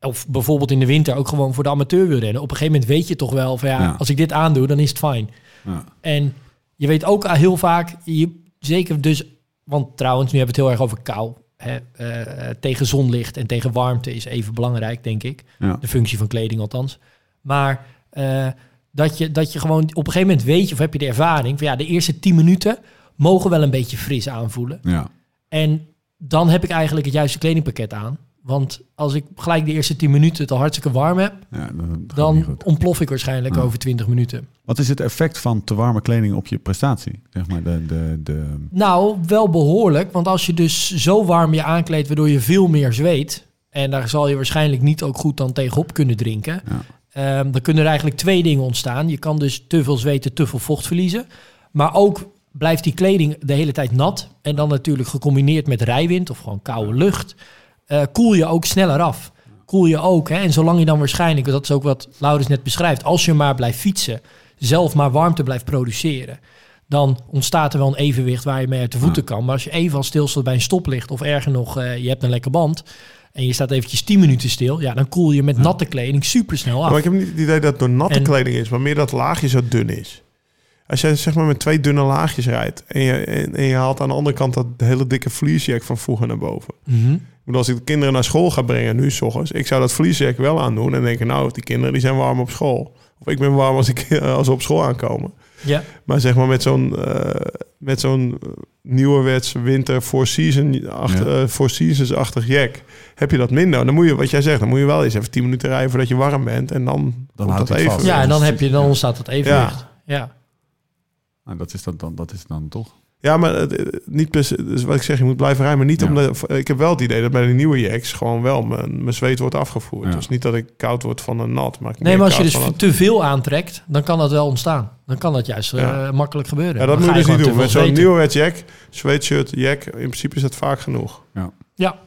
[SPEAKER 4] of bijvoorbeeld in de winter ook gewoon voor de amateur wil rennen. Op een gegeven moment weet je toch wel van ja,
[SPEAKER 1] Ja.
[SPEAKER 4] als ik dit aandoe, dan is het fijn.
[SPEAKER 1] Ja.
[SPEAKER 4] En je weet ook heel vaak, je, zeker dus... want trouwens, nu hebben we het heel erg over kou. Hè, Eh, eh, tegen zonlicht en tegen warmte is even belangrijk, denk ik.
[SPEAKER 1] Ja.
[SPEAKER 4] De functie van kleding althans. Maar eh, dat, je, dat je gewoon op een gegeven moment weet je of heb je de ervaring van ja, de eerste 10 minuten mogen wel een beetje fris aanvoelen.
[SPEAKER 1] ja.
[SPEAKER 4] En dan heb ik eigenlijk het juiste kledingpakket aan. Want als ik gelijk de eerste 10 minuten het al hartstikke warm heb,
[SPEAKER 1] dan, gaat het niet
[SPEAKER 4] dan
[SPEAKER 1] goed.
[SPEAKER 4] ontplof ik waarschijnlijk
[SPEAKER 1] Ja.
[SPEAKER 4] over 20 minuten.
[SPEAKER 1] Wat is het effect van te warme kleding op je prestatie? Zeg maar de, de, de,
[SPEAKER 4] Nou, wel behoorlijk. Want als je dus zo warm je aankleedt, waardoor je veel meer zweet. En daar zal je waarschijnlijk niet ook goed dan tegenop kunnen drinken.
[SPEAKER 1] Ja.
[SPEAKER 4] Ehm, dan kunnen er eigenlijk twee dingen ontstaan. Je kan dus te veel zweten, te veel vocht verliezen. Maar ook blijft die kleding de hele tijd nat. En dan natuurlijk gecombineerd met rijwind of gewoon koude lucht. eh, koel je ook sneller af. Koel je ook. Hè? En zolang je dan waarschijnlijk, dat is ook wat Laurens net beschrijft. Als je maar blijft fietsen, zelf maar warmte blijft produceren. Dan ontstaat er wel een evenwicht waar je mee uit de voeten kan. Maar als je even al stilstaat bij een stoplicht of erger nog, eh, je hebt een lekker band. En je staat eventjes 10 minuten stil. Ja, dan koel je met natte kleding supersnel
[SPEAKER 3] Maar
[SPEAKER 4] af.
[SPEAKER 3] ik heb niet het idee dat het door natte
[SPEAKER 4] Ah. En-
[SPEAKER 3] kleding is, maar meer dat het laagje zo dun is. Als jij zeg maar met twee dunne laagjes rijdt en je, en, en je haalt aan de andere kant dat hele dikke vliesjack van vroeger naar boven.
[SPEAKER 4] Mhm.
[SPEAKER 3] Ik bedoel, als ik de kinderen naar school ga brengen nu, s ochtends, ik zou dat vliesjack wel aandoen en denken, nou, die kinderen die zijn warm op school. Of ik ben warm als, ik, als ze op school aankomen.
[SPEAKER 4] Ja.
[SPEAKER 3] Maar zeg maar met zo'n eh, met zo'n eh, nieuwerwets winter four, season achter,
[SPEAKER 1] Ja.
[SPEAKER 3] eh, four seasons-achtig jack, heb je dat minder. Dan moet je, wat jij zegt, dan moet je wel eens even 10 minuten rijden voordat je warm bent. En dan, komt
[SPEAKER 1] houdt
[SPEAKER 3] dat
[SPEAKER 1] het
[SPEAKER 3] even.
[SPEAKER 1] vast.
[SPEAKER 4] ja, en dan, heb je, dan
[SPEAKER 1] Ja.
[SPEAKER 4] ontstaat dat evenwicht. Ja.
[SPEAKER 1] nou, dat, is dan, dan, dat is dan toch?
[SPEAKER 3] Ja, maar het- het- niet per se- dus wat ik zeg, je moet blijven rijden. Maar niet
[SPEAKER 1] Ja.
[SPEAKER 3] omdat, ik heb wel het idee dat bij de nieuwe jacks gewoon wel mijn, mijn zweet wordt afgevoerd.
[SPEAKER 1] Ja.
[SPEAKER 3] Dus niet dat ik koud word van een nat. Maar ik
[SPEAKER 4] Nee,
[SPEAKER 3] meer
[SPEAKER 4] maar als je
[SPEAKER 3] koud
[SPEAKER 4] dus
[SPEAKER 3] van
[SPEAKER 4] te veel aantrekt, dan kan dat wel ontstaan. Dan kan dat juist eh,
[SPEAKER 3] Ja.
[SPEAKER 4] makkelijk gebeuren.
[SPEAKER 3] een- Ja, dat
[SPEAKER 4] Dan
[SPEAKER 3] moet
[SPEAKER 4] ga
[SPEAKER 3] je dus niet
[SPEAKER 4] gewoon
[SPEAKER 3] doen. Met
[SPEAKER 4] te veel
[SPEAKER 3] zo'n
[SPEAKER 4] zweten.
[SPEAKER 3] nieuwe jack, sweatshirt, jack, in principe is dat vaak genoeg.
[SPEAKER 4] Ja.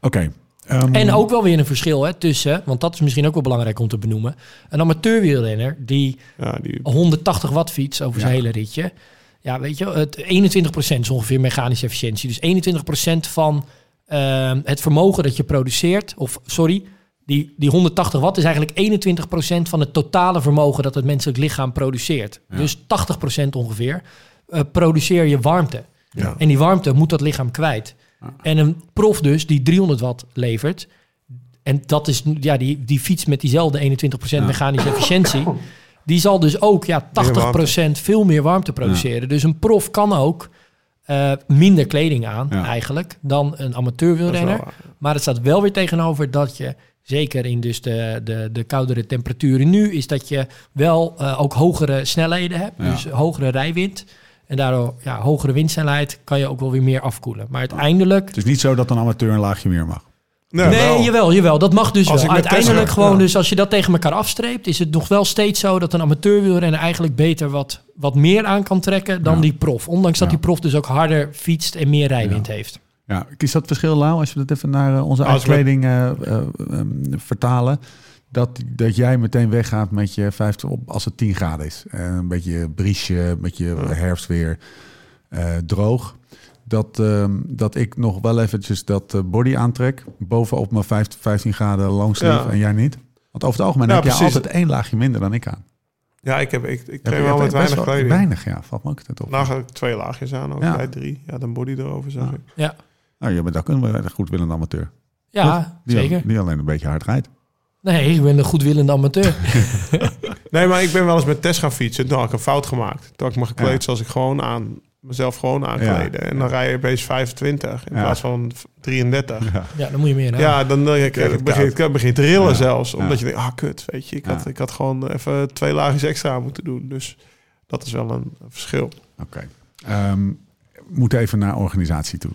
[SPEAKER 1] Oké. ehm,
[SPEAKER 3] Mm.
[SPEAKER 4] En ook wel weer een verschil hè, tussen, want dat is misschien ook wel belangrijk om te benoemen. Een amateurwielrenner die
[SPEAKER 3] Ja, die,
[SPEAKER 4] 180 watt fiets over zijn
[SPEAKER 1] Ja.
[SPEAKER 4] hele ritje. Ja, weet je, het 21% is ongeveer mechanische efficiëntie. Dus 21% van ehm, het vermogen dat je produceert, of sorry, die, die 180 watt is eigenlijk 21% van het totale vermogen dat het menselijk lichaam produceert.
[SPEAKER 1] Ja.
[SPEAKER 4] Dus 80% ongeveer eh, produceer je warmte.
[SPEAKER 3] ja.
[SPEAKER 4] En die warmte moet dat lichaam kwijt.
[SPEAKER 1] Ja.
[SPEAKER 4] En een prof dus die 300 watt levert. En dat is ja, die, die fiets met diezelfde 21% mechanische efficiëntie. Die zal dus ook ja, 80% veel meer warmte produceren. Dus een prof kan ook eh, minder kleding aan
[SPEAKER 1] Ja.
[SPEAKER 4] eigenlijk dan een amateur
[SPEAKER 3] dat is wel
[SPEAKER 4] wielrenner.
[SPEAKER 3] waar.
[SPEAKER 4] Maar het staat wel weer tegenover dat je, zeker in dus de, de, de koudere temperaturen nu, is dat je wel eh, ook hogere snelheden hebt.
[SPEAKER 1] Ja.
[SPEAKER 4] Dus hogere rijwind. En daardoor, ja, hogere windsnelheid kan je ook wel weer meer afkoelen. Maar uiteindelijk...
[SPEAKER 1] Het is niet zo dat een amateur een laagje meer mag.
[SPEAKER 3] Nee,
[SPEAKER 4] nee,
[SPEAKER 3] wel.
[SPEAKER 4] jawel, jawel. Dat mag dus
[SPEAKER 3] Als ik
[SPEAKER 4] wel.
[SPEAKER 3] met
[SPEAKER 4] Uiteindelijk
[SPEAKER 3] Tesla-
[SPEAKER 4] gewoon,
[SPEAKER 3] ja.
[SPEAKER 4] dus als je dat tegen elkaar afstreept, is het nog wel steeds zo dat een amateurwielrenner eigenlijk beter wat, wat meer aan kan trekken dan
[SPEAKER 1] Ja.
[SPEAKER 4] die prof. Ondanks dat
[SPEAKER 1] Ja.
[SPEAKER 4] die prof dus ook harder fietst en meer rijwind heeft.
[SPEAKER 1] Ja, is dat verschil, Lau, als we dat even naar eh, onze
[SPEAKER 3] Als
[SPEAKER 1] eigen
[SPEAKER 3] we-
[SPEAKER 1] kleding eh, eh, ehm, vertalen? Dat, dat jij meteen weggaat met je 50 op als het 10 graden is. Eh, een beetje briesje, een beetje herfstweer, eh, droog. Dat, ehm, dat ik nog wel eventjes dat eh, body aantrek. Bovenop mijn 15, 15 graden langsleeve
[SPEAKER 3] Ja.
[SPEAKER 1] en jij niet. Want over het algemeen
[SPEAKER 3] Ja,
[SPEAKER 1] heb jij
[SPEAKER 3] precies.
[SPEAKER 1] altijd één laagje minder dan ik aan.
[SPEAKER 3] Ja, ik, heb, ik, ik
[SPEAKER 1] Heb
[SPEAKER 3] train
[SPEAKER 1] je
[SPEAKER 3] wel met
[SPEAKER 1] best
[SPEAKER 3] weinig
[SPEAKER 1] wel-
[SPEAKER 3] kleding. Nou,
[SPEAKER 1] Weinig, ja. Valt me ook altijd op.
[SPEAKER 3] Vandaag had ik twee laagjes aan, ook
[SPEAKER 1] Ja.
[SPEAKER 3] bij drie. Ja, dan body erover, zag
[SPEAKER 1] Ja.
[SPEAKER 3] ik.
[SPEAKER 4] Ja,
[SPEAKER 1] Nou, je bent ook een goedwillende amateur.
[SPEAKER 4] ja
[SPEAKER 1] Die,
[SPEAKER 4] zeker.
[SPEAKER 1] die alleen een beetje hard rijdt.
[SPEAKER 4] Nee, ik ben een goedwillende amateur.
[SPEAKER 3] Nee, maar ik ben wel eens met Tess gaan fietsen. Toen had ik een fout gemaakt. Toen had ik me gekleed
[SPEAKER 1] Ja.
[SPEAKER 3] zoals ik gewoon aan mezelf gewoon aankleden.
[SPEAKER 1] Ja.
[SPEAKER 3] En dan rij je opeens 25 in
[SPEAKER 1] Ja.
[SPEAKER 3] plaats van 33. Ja,
[SPEAKER 4] Ja, dan moet je meer naar.
[SPEAKER 3] dan eh, ik,
[SPEAKER 1] Krijg je
[SPEAKER 3] ik
[SPEAKER 1] het
[SPEAKER 3] begin,
[SPEAKER 1] koud.
[SPEAKER 3] ik begin te rillen
[SPEAKER 1] Ja.
[SPEAKER 3] zelfs. Omdat
[SPEAKER 1] Ja.
[SPEAKER 3] je denkt, ah kut, weet je. Ik, had,
[SPEAKER 1] Ja.
[SPEAKER 3] ik had gewoon even twee laagjes extra moeten doen. Dus dat is wel een verschil.
[SPEAKER 1] Oké. Ehm, we moeten even naar organisatie toe.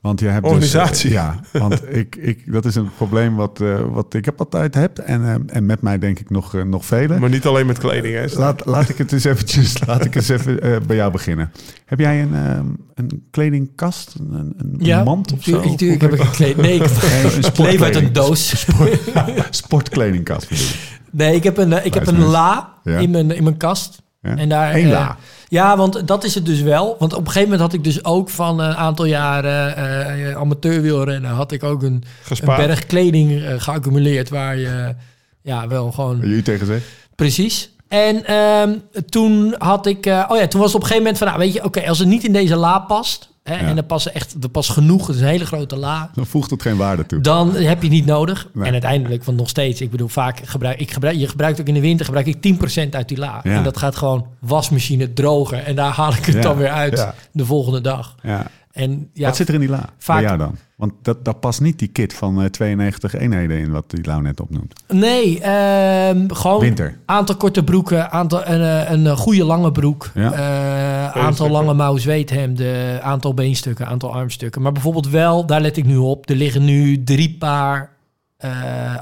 [SPEAKER 1] Want je hebt dus-
[SPEAKER 3] Organisatie?
[SPEAKER 1] ja, want ik, ik, dat is een probleem wat, eh, wat ik heb altijd heb. En, ehm, en met mij denk ik nog, eh, nog velen.
[SPEAKER 3] Maar niet alleen met kleding, hè.
[SPEAKER 1] Laat, laat ik het eens eventjes laat ik eens even, eh, bij jou beginnen. Heb jij een, ehm, een kledingkast, een, een- een mand of zo?
[SPEAKER 4] tuurlijk- tuurlijk heb ik een kleed. Nee, ik
[SPEAKER 1] Nee, een
[SPEAKER 4] ik leef uit een doos.
[SPEAKER 1] Sportkledingkast. bedoel ik.
[SPEAKER 4] Nee, ik heb een, eh, ik heb een
[SPEAKER 1] Luister
[SPEAKER 4] la
[SPEAKER 1] Ja.
[SPEAKER 4] in, mijn, in mijn kast.
[SPEAKER 1] Ja.
[SPEAKER 4] En daar,
[SPEAKER 1] Eén
[SPEAKER 4] eh,
[SPEAKER 1] la.
[SPEAKER 4] ja, want dat is het dus wel. Want op een gegeven moment had ik dus ook van een aantal jaren eh amateurwielrennen... had ik ook een, een
[SPEAKER 3] Gespaard.
[SPEAKER 4] berg kleding eh, geaccumuleerd waar je... Ja, wel gewoon
[SPEAKER 1] Jullie tegen zeggen?
[SPEAKER 4] Precies. En ehm, toen had ik, eh, oh ja, toen was het op een gegeven moment van, nou, weet je, oké, als het niet in deze la past, hè, en er passen echt, er past genoeg, het is een hele grote la,
[SPEAKER 1] Dan voegt het geen waarde toe.
[SPEAKER 4] dan heb je het niet nodig.
[SPEAKER 1] Nee.
[SPEAKER 4] En uiteindelijk, want nog steeds, ik bedoel, vaak gebruik ik gebruik, je gebruikt ook in de winter gebruik ik 10% uit die la,
[SPEAKER 1] Ja.
[SPEAKER 4] en dat gaat gewoon wasmachine drogen, en daar haal ik het
[SPEAKER 1] Ja,
[SPEAKER 4] dan weer uit
[SPEAKER 1] ja.
[SPEAKER 4] de volgende dag.
[SPEAKER 1] ja.
[SPEAKER 4] En ja,
[SPEAKER 1] Wat zit er in die la?
[SPEAKER 4] vaak-
[SPEAKER 1] Bij jou dan? Want dat, daar past niet die kit van eh, 92 eenheden in wat die Lau net opnoemt.
[SPEAKER 4] Nee, ehm, gewoon
[SPEAKER 1] Winter.
[SPEAKER 4] aantal korte broeken, aantal, een, eh, een, eh, goede lange broek,
[SPEAKER 1] Ja.
[SPEAKER 4] eh, aantal lange mouw zweethemden, aantal beenstukken, aantal armstukken. Maar bijvoorbeeld wel, daar let ik nu op, er liggen nu drie paar eh,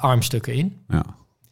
[SPEAKER 4] armstukken in
[SPEAKER 1] Ja.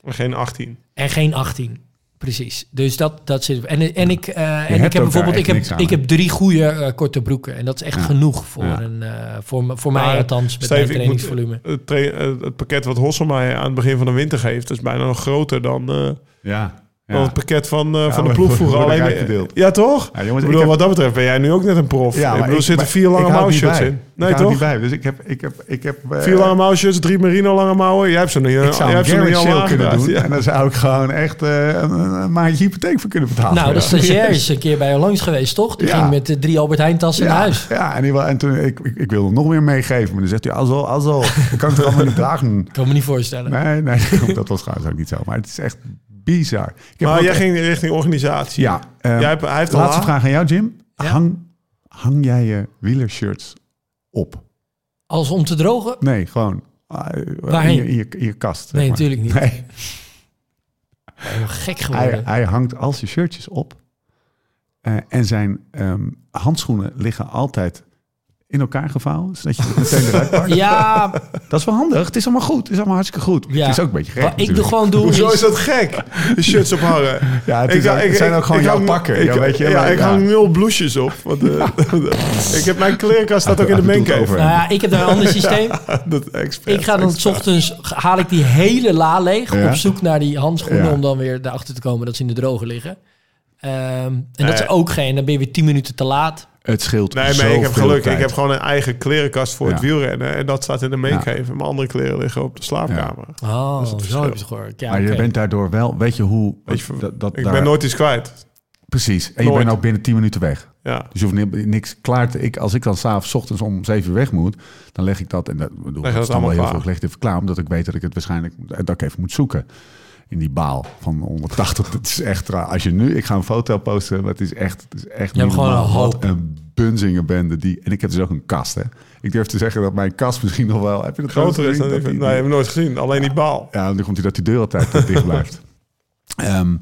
[SPEAKER 3] Maar geen 18.
[SPEAKER 4] en geen 18. Precies. Dus dat, dat zit. En, en ik, eh,
[SPEAKER 1] hebt
[SPEAKER 4] en
[SPEAKER 1] ook
[SPEAKER 4] ik
[SPEAKER 1] daar
[SPEAKER 4] heb bijvoorbeeld
[SPEAKER 1] echt
[SPEAKER 4] ik heb,
[SPEAKER 1] niks aan,
[SPEAKER 4] ik
[SPEAKER 1] hè?
[SPEAKER 4] heb drie goede eh, korte broeken. En dat is echt
[SPEAKER 1] Ja.
[SPEAKER 4] genoeg voor,
[SPEAKER 1] Ja. Nou
[SPEAKER 4] een, eh, voor, m- voor
[SPEAKER 3] Maar,
[SPEAKER 4] mij althans, met
[SPEAKER 3] Steve,
[SPEAKER 4] mijn
[SPEAKER 3] ik moet-
[SPEAKER 4] trainingsvolume.
[SPEAKER 3] Het, tra- eh, het pakket wat Hossel mij aan het begin van de winter geeft... is bijna nog groter dan, eh,
[SPEAKER 1] Ja.
[SPEAKER 3] dan het pakket van, eh, van de
[SPEAKER 1] we
[SPEAKER 3] ploeg
[SPEAKER 1] worden-
[SPEAKER 3] vroeger.
[SPEAKER 1] worden
[SPEAKER 3] Alleen, eh,
[SPEAKER 1] rijk verdeeld.
[SPEAKER 3] ja, toch?
[SPEAKER 1] Ja, jongens,
[SPEAKER 3] ik
[SPEAKER 1] ik
[SPEAKER 3] bedoel,
[SPEAKER 1] heb-
[SPEAKER 3] wat dat betreft ben jij nu ook net een prof.
[SPEAKER 1] maar
[SPEAKER 3] ik bedoel,
[SPEAKER 1] ik-
[SPEAKER 3] er zitten
[SPEAKER 1] maar
[SPEAKER 3] vier lange
[SPEAKER 1] ik hou niet
[SPEAKER 3] mouwshirts
[SPEAKER 1] bij.
[SPEAKER 3] in.
[SPEAKER 1] ik
[SPEAKER 3] Nee,
[SPEAKER 1] hou
[SPEAKER 3] toch?
[SPEAKER 1] niet bij. Dus ik heb... Ik heb, ik heb eh,
[SPEAKER 3] Vier lange mouwshirts, drie merino lange mouwen. Jij hebt zo'n
[SPEAKER 1] Ik zou een
[SPEAKER 3] zo'n
[SPEAKER 1] Garrett sale kunnen doen.
[SPEAKER 3] Ja.
[SPEAKER 1] En dan zou ik gewoon echt eh, een, een maandje hypotheek voor kunnen betalen.
[SPEAKER 4] Nou, de
[SPEAKER 1] Ah, Ja.
[SPEAKER 4] stagiair is een keer bij jou langs geweest, toch? Die
[SPEAKER 1] Ja.
[SPEAKER 4] ging met de drie Albert Heijn tassen naar
[SPEAKER 1] Ja,
[SPEAKER 4] huis.
[SPEAKER 1] ja en, die wel, en toen, ik, ik, ik wilde hem nog meer meegeven. Maar dan zegt hij, alzo, alzo. Ik kan het er allemaal niet dragen.
[SPEAKER 4] Ik kan me niet voorstellen.
[SPEAKER 1] Nee, nee, dat was trouwens ook niet zo. Maar het is echt bizar. Ik heb
[SPEAKER 3] Maar
[SPEAKER 1] ook
[SPEAKER 3] jij
[SPEAKER 1] echt-
[SPEAKER 3] ging richting organisatie.
[SPEAKER 1] Ja. ehm,
[SPEAKER 3] Jij hebt, hij heeft al
[SPEAKER 1] Laatste
[SPEAKER 3] A.
[SPEAKER 1] vraag aan jou, Jim.
[SPEAKER 4] Ja?
[SPEAKER 1] Hang, hang jij je wielershirts op?
[SPEAKER 4] Als om te drogen?
[SPEAKER 1] Nee, gewoon ah, in,
[SPEAKER 4] Waarheen?
[SPEAKER 1] je, in, je, in je kast. zeg
[SPEAKER 4] Nee,
[SPEAKER 1] maar.
[SPEAKER 4] natuurlijk niet.
[SPEAKER 1] Nee,
[SPEAKER 4] Helemaal Oh, gek
[SPEAKER 1] hij,
[SPEAKER 4] geworden.
[SPEAKER 1] hij hangt al zijn shirtjes op. Eh, en zijn ehm, handschoenen liggen altijd in elkaar gevouwen. Zodat je het meteen eruit pakt.
[SPEAKER 4] Ja,
[SPEAKER 1] Dat is wel handig. Het is allemaal goed. Het is allemaal hartstikke goed.
[SPEAKER 4] Ja.
[SPEAKER 1] Het is ook een beetje gek
[SPEAKER 4] wat ik
[SPEAKER 1] natuurlijk.
[SPEAKER 4] doe gewoon doe
[SPEAKER 3] Hoezo
[SPEAKER 4] is...
[SPEAKER 3] is dat gek? De shirts ophangen.
[SPEAKER 1] Ja, het, is
[SPEAKER 3] Ik-
[SPEAKER 1] ook- het
[SPEAKER 3] ik-
[SPEAKER 1] zijn ook gewoon
[SPEAKER 3] ik
[SPEAKER 1] jouw
[SPEAKER 3] hang-
[SPEAKER 1] pakken.
[SPEAKER 3] Ik,
[SPEAKER 1] ja, weet je,
[SPEAKER 3] ja,
[SPEAKER 1] maar-
[SPEAKER 3] ik
[SPEAKER 1] ja.
[SPEAKER 3] hang nul blouses op. Want, eh, ik heb mijn klerenkast staat ook in de
[SPEAKER 1] Hij bedoelt
[SPEAKER 3] menkever.
[SPEAKER 1] over.
[SPEAKER 4] Nou ja, ik heb daar een ander systeem.
[SPEAKER 3] Dat expert.
[SPEAKER 4] Ik ga dan 's ochtends, haal ik die hele la leeg
[SPEAKER 1] Ja.
[SPEAKER 4] op zoek naar die handschoenen
[SPEAKER 1] Ja.
[SPEAKER 4] om dan weer erachter te komen dat ze in de droge liggen. Ehm, en dat
[SPEAKER 3] Nee.
[SPEAKER 4] is ook geen, dan ben je weer 10 minuten te laat.
[SPEAKER 1] Het scheelt
[SPEAKER 3] Nee, maar
[SPEAKER 1] zoveel
[SPEAKER 3] ik heb geluk.
[SPEAKER 1] tijd.
[SPEAKER 3] Ik heb gewoon een eigen klerenkast voor het
[SPEAKER 1] Ja.
[SPEAKER 3] wielrennen. En dat staat in de meegeven. Mijn andere kleren liggen op de slaapkamer.
[SPEAKER 4] Oh, zo
[SPEAKER 3] verschil.
[SPEAKER 4] heb je het gehoord. Ja,
[SPEAKER 1] Maar je
[SPEAKER 4] oké.
[SPEAKER 1] bent daardoor wel... Weet je hoe...
[SPEAKER 3] Weet je,
[SPEAKER 1] dat, dat
[SPEAKER 3] ik
[SPEAKER 1] daar-
[SPEAKER 3] ben nooit iets kwijt.
[SPEAKER 1] Precies. En je
[SPEAKER 3] nooit.
[SPEAKER 1] bent ook binnen 10 minuten weg.
[SPEAKER 3] Ja.
[SPEAKER 1] Dus je hoeft ni- niks klaar te... Ik, als ik dan s'avonds ochtends om 7 uur weg moet... dan leg ik dat... En dat, ik bedoel,
[SPEAKER 3] je
[SPEAKER 1] dat
[SPEAKER 3] dat
[SPEAKER 1] is dan wel
[SPEAKER 3] allemaal
[SPEAKER 1] heel
[SPEAKER 3] klaar.
[SPEAKER 1] veel gelegd even klaar... omdat ik weet dat ik het waarschijnlijk... dat ik even moet zoeken. In die baal van 180. Dat is echt... raar. Als je nu... Ik ga een foto posten... maar het is echt... Het is echt
[SPEAKER 4] Je hebt
[SPEAKER 1] niet
[SPEAKER 4] gewoon
[SPEAKER 1] normaal.
[SPEAKER 4] een hoop.
[SPEAKER 1] Wat een bunzingenbende die... En ik heb dus ook een kast, hè. Ik durf te zeggen dat mijn kast misschien nog wel... Heb je dat
[SPEAKER 3] Groter
[SPEAKER 1] nooit
[SPEAKER 3] is dan nou
[SPEAKER 1] gezien?
[SPEAKER 3] die
[SPEAKER 1] Dat die-
[SPEAKER 3] van... Nee, heb ik nooit gezien. Alleen die baal.
[SPEAKER 1] Ja, dan komt hij dat die deur altijd eh, dicht blijft. Ehm,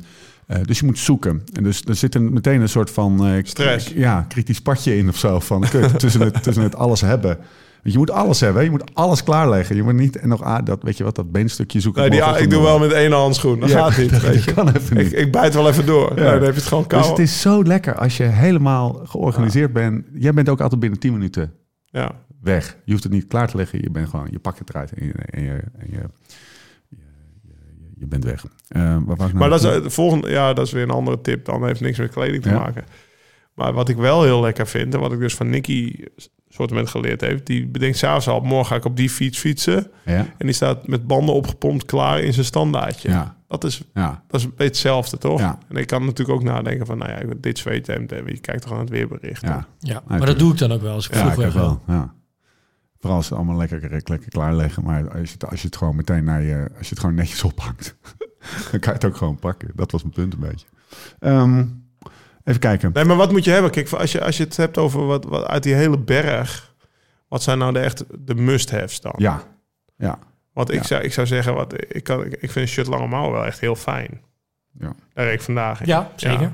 [SPEAKER 1] eh, dus je moet zoeken. En dus er zit een, meteen een soort van... eh,
[SPEAKER 3] Stress.
[SPEAKER 1] Ja, kritisch padje in of zo. Van, kut, tussen, het, tussen het alles hebben. Want je moet alles hebben. hè. Je moet alles klaarleggen. Je moet niet... En nog, ah, dat, weet je wat, dat beenstukje zoeken.
[SPEAKER 3] Nee, die,
[SPEAKER 1] morgen
[SPEAKER 3] ik doe
[SPEAKER 1] vanmorgen.
[SPEAKER 3] wel met één handschoen. Dat
[SPEAKER 1] Ja,
[SPEAKER 3] gaat niet.
[SPEAKER 1] dat
[SPEAKER 3] weet je.
[SPEAKER 1] kan even
[SPEAKER 3] Ik,
[SPEAKER 1] niet.
[SPEAKER 3] ik bijt wel even door.
[SPEAKER 1] Ja.
[SPEAKER 3] Nee, dan heb je het gewoon koud.
[SPEAKER 1] Dus het is zo lekker als je helemaal georganiseerd bent. Jij bent ook altijd binnen 10 minuten Nou,
[SPEAKER 3] ja.
[SPEAKER 1] weg. Je hoeft het niet klaar te leggen. Je, bent gewoon, je pakt het eruit en je, en je, en je, je- je- je bent weg. Eh, waar was ik nou
[SPEAKER 3] Maar dat is,
[SPEAKER 1] naartoe?
[SPEAKER 3] eh, de volgende, ja, dat is weer een andere tip. Dan heeft niks met kleding te
[SPEAKER 1] Ja.
[SPEAKER 3] maken. Maar wat ik wel heel lekker vind... en wat ik dus van Nicky soort met geleerd heb... die bedenkt s'avonds al... morgen ga ik op die fiets fietsen.
[SPEAKER 1] Ja,
[SPEAKER 3] En die staat met banden opgepompt klaar in zijn standaardje.
[SPEAKER 1] ja,
[SPEAKER 3] Dat is
[SPEAKER 1] ja.
[SPEAKER 3] Dat is een beetje hetzelfde, toch?
[SPEAKER 1] Ja.
[SPEAKER 3] En ik kan natuurlijk ook nadenken van, nou ja, dit zweethemd hebben. Je kijkt toch aan het weerbericht.
[SPEAKER 1] ja.
[SPEAKER 4] Ja, maar
[SPEAKER 1] tuurlijk.
[SPEAKER 4] dat doe ik dan ook wel als ik
[SPEAKER 1] Ja,
[SPEAKER 4] vroeg
[SPEAKER 1] ik heb
[SPEAKER 4] weg wil.
[SPEAKER 1] wel. Ja. Vooral als ze allemaal lekker, lekker klaarleggen. Maar als je, het, als je het gewoon meteen naar je... Als je het gewoon netjes ophangt, dan kan je het ook gewoon pakken. Dat was mijn punt een beetje. Ehm, even kijken.
[SPEAKER 3] Nee, maar wat moet je hebben? Kijk, als je, als je het hebt over wat, wat uit die hele berg... Wat zijn nou de echt de must-haves dan?
[SPEAKER 1] Ja, ja.
[SPEAKER 3] Want ik,
[SPEAKER 1] Ja.
[SPEAKER 3] zou, ik zou zeggen, wat, ik, kan, ik vind een shirt lange mouw wel echt heel fijn.
[SPEAKER 1] Ja.
[SPEAKER 3] Daar reed ik vandaag in.
[SPEAKER 4] Ja,
[SPEAKER 3] Ja.
[SPEAKER 4] zeker.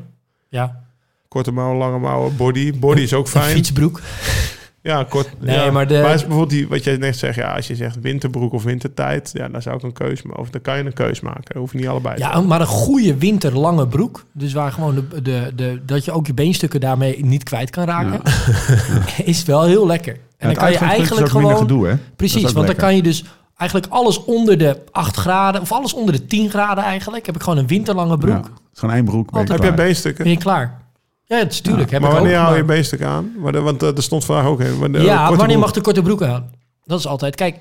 [SPEAKER 4] Ja.
[SPEAKER 3] Korte mouw, lange mouwen, body. Body is ook
[SPEAKER 4] Een
[SPEAKER 3] fijn.
[SPEAKER 4] fietsbroek.
[SPEAKER 3] Ja, kort.
[SPEAKER 4] Nee,
[SPEAKER 3] ja.
[SPEAKER 4] maar de-
[SPEAKER 3] is bijvoorbeeld die, wat jij net zegt, ja, als je zegt winterbroek of wintertijd... Ja, dan zou ik een keus maken. Of dan kan je een keus maken. Dan hoef je niet allebei te
[SPEAKER 4] Ja, maar een goede winterlange broek. Dus waar gewoon de, de, de, dat je ook je beenstukken daarmee niet kwijt kan raken. Is wel heel lekker. En dan
[SPEAKER 1] het
[SPEAKER 4] kan je
[SPEAKER 1] uitgangspunt is
[SPEAKER 4] eigenlijk
[SPEAKER 1] ook minder
[SPEAKER 4] gewoon...
[SPEAKER 1] Gedoe, hè? Dat
[SPEAKER 4] Precies, want
[SPEAKER 1] is ook
[SPEAKER 4] dan
[SPEAKER 1] lekker.
[SPEAKER 4] kan je dus eigenlijk alles onder de 8 graden... of alles onder de 10 graden eigenlijk... heb ik gewoon een winterlange broek.
[SPEAKER 1] Ja, het is gewoon één broek. ben je
[SPEAKER 3] Heb
[SPEAKER 1] klaar.
[SPEAKER 3] jij beenstukken?
[SPEAKER 4] Ben je klaar? Ja, dat is tuurlijk. heb
[SPEAKER 3] Maar
[SPEAKER 4] ik ook,
[SPEAKER 3] wanneer hou je
[SPEAKER 4] maar-
[SPEAKER 3] beestek aan? Maar de- Want eh, er stond vandaag ook in. Wanneer,
[SPEAKER 4] Ja,
[SPEAKER 3] korte
[SPEAKER 4] wanneer
[SPEAKER 3] broek.
[SPEAKER 4] mag de korte broek aan? Dat is altijd. Kijk,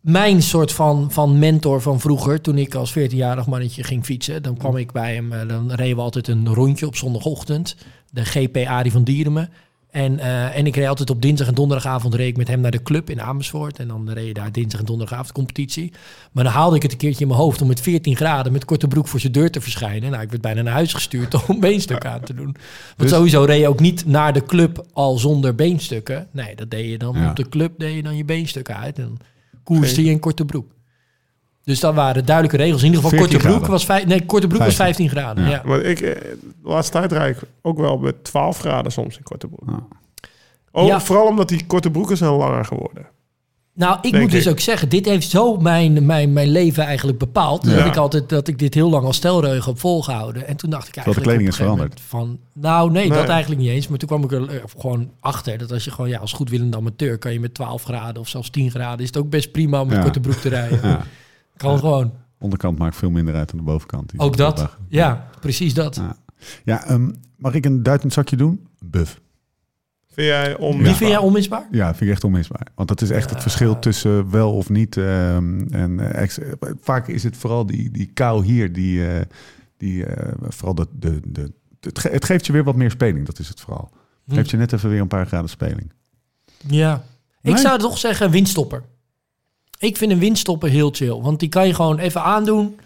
[SPEAKER 4] mijn soort van, van mentor van vroeger, toen ik als 14-jarig mannetje ging fietsen, dan kwam ik bij hem, eh, dan reden we altijd een rondje op zondagochtend. De GP Arie van Dierenme. En, eh, en ik reed altijd op dinsdag en donderdagavond reed ik met hem naar de club in Amersfoort. En dan reed je daar dinsdag en donderdagavond competitie. Maar dan haalde ik het een keertje in mijn hoofd om met 14 graden met korte broek voor zijn deur te verschijnen. Nou, ik werd bijna naar huis gestuurd om beenstuk aan te doen. Want sowieso reed je ook niet naar de club al zonder beenstukken. Nee, dat deed je dan
[SPEAKER 1] Ja.
[SPEAKER 4] op de club deed je dan je beenstukken uit. En dan koerste je in korte broek. Dus dat waren duidelijke regels. In ieder geval korte
[SPEAKER 1] 14
[SPEAKER 4] broek
[SPEAKER 1] graden.
[SPEAKER 4] was vijf, nee, korte broek was 15 graden. Ja.
[SPEAKER 3] Maar ik, eh, de laatste tijd rijd ik ook wel met 12 graden soms in korte broek.
[SPEAKER 1] Ja.
[SPEAKER 3] Oh,
[SPEAKER 4] Ja.
[SPEAKER 3] Vooral omdat die korte broeken zijn langer geworden.
[SPEAKER 4] Nou, ik
[SPEAKER 3] Denk
[SPEAKER 4] moet dus
[SPEAKER 3] ik.
[SPEAKER 4] ook zeggen, dit heeft zo mijn, mijn, mijn leven eigenlijk bepaald.
[SPEAKER 1] Ja.
[SPEAKER 4] Dat ik altijd dat ik dit heel lang als stelreugen heb volgehouden. En toen dacht ik
[SPEAKER 1] de
[SPEAKER 4] eigenlijk.
[SPEAKER 1] kleding
[SPEAKER 4] op een
[SPEAKER 1] is
[SPEAKER 4] gegeven moment Van, nou, nee,
[SPEAKER 3] Nee.
[SPEAKER 4] dat eigenlijk niet eens. Maar toen kwam ik er eh, gewoon achter dat als je gewoon ja, als goedwillende amateur kan je met 12 graden of zelfs 10 graden, is het ook best prima om met
[SPEAKER 1] Ja.
[SPEAKER 4] korte broek te rijden.
[SPEAKER 1] Ja.
[SPEAKER 4] Kan gewoon.
[SPEAKER 1] Onderkant maakt veel minder uit dan de bovenkant. Die
[SPEAKER 4] Ook dat.
[SPEAKER 1] dag.
[SPEAKER 4] Ja, precies dat.
[SPEAKER 1] Ja. Ja, ehm, mag ik een duitend zakje doen? Buff.
[SPEAKER 3] Vind jij om...
[SPEAKER 4] Die vind jij onmisbaar?
[SPEAKER 1] Ja, vind ik echt onmisbaar. Want dat is echt het verschil tussen wel of niet. ehm, en eh, ex- vaak is het vooral die, die kou hier, die, eh, die eh, vooral dat de, de, het, ge- het geeft je weer wat meer speling, dat is het vooral. Het geeft je net even weer een paar graden speling.
[SPEAKER 4] Ja. Ik
[SPEAKER 1] Nee.
[SPEAKER 4] zou toch zeggen windstopper. Ik vind een windstopper heel chill. Want die kan je gewoon even aandoen.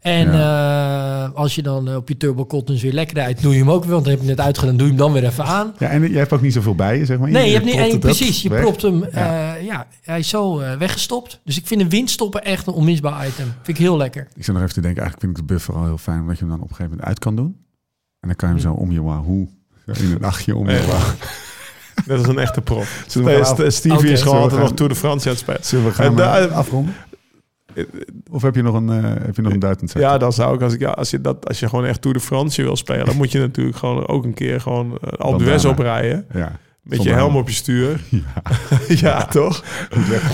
[SPEAKER 4] En eh, als je dan eh, op je turbo cottons weer lekker rijdt, doe je hem ook weer. Want dan heb je het net uitgedaan, doe je hem dan weer even aan.
[SPEAKER 1] Ja, en je hebt ook niet zoveel bij je, zeg maar.
[SPEAKER 4] Nee, je hebt niet
[SPEAKER 1] propt
[SPEAKER 4] één.
[SPEAKER 1] het op,
[SPEAKER 4] Precies, je
[SPEAKER 1] weg.
[SPEAKER 4] propt hem. Ja. ja, hij is zo eh, weggestopt. Dus ik vind een windstopper echt een onmisbaar item. Vind ik heel lekker.
[SPEAKER 1] Ik zit nog even te denken, eigenlijk vind ik de buff vooral heel fijn, omdat je hem dan op een gegeven moment uit kan doen. En dan kan je hem
[SPEAKER 4] Hmm.
[SPEAKER 1] zo om je wahoo, zo in een nachtje om je
[SPEAKER 3] Ja.
[SPEAKER 1] wahoo.
[SPEAKER 3] Dat is een echte prof.
[SPEAKER 1] Zullen we
[SPEAKER 3] St-
[SPEAKER 1] gaan
[SPEAKER 3] St- Stevie
[SPEAKER 4] Oké.
[SPEAKER 3] is gewoon
[SPEAKER 1] Zullen we
[SPEAKER 3] altijd
[SPEAKER 1] gaan-
[SPEAKER 3] nog Tour de France aan het spelen.
[SPEAKER 1] Zullen we
[SPEAKER 3] Eh,
[SPEAKER 1] gaan
[SPEAKER 3] daar-
[SPEAKER 1] eh, afronden?
[SPEAKER 4] Eh,
[SPEAKER 1] Of heb je nog een, eh, heb je nog een duitend zakje?
[SPEAKER 3] Ja, dan zou ik, als, ik ja, als, je dat, als je gewoon echt Tour de France wil spelen... dan moet je natuurlijk gewoon ook een keer gewoon eh, Alpe d'Huez
[SPEAKER 1] Bandana.
[SPEAKER 3] oprijden.
[SPEAKER 1] Ja.
[SPEAKER 3] Met je
[SPEAKER 1] Zonder
[SPEAKER 3] helm
[SPEAKER 1] helm.
[SPEAKER 3] op je stuur. Ja, toch?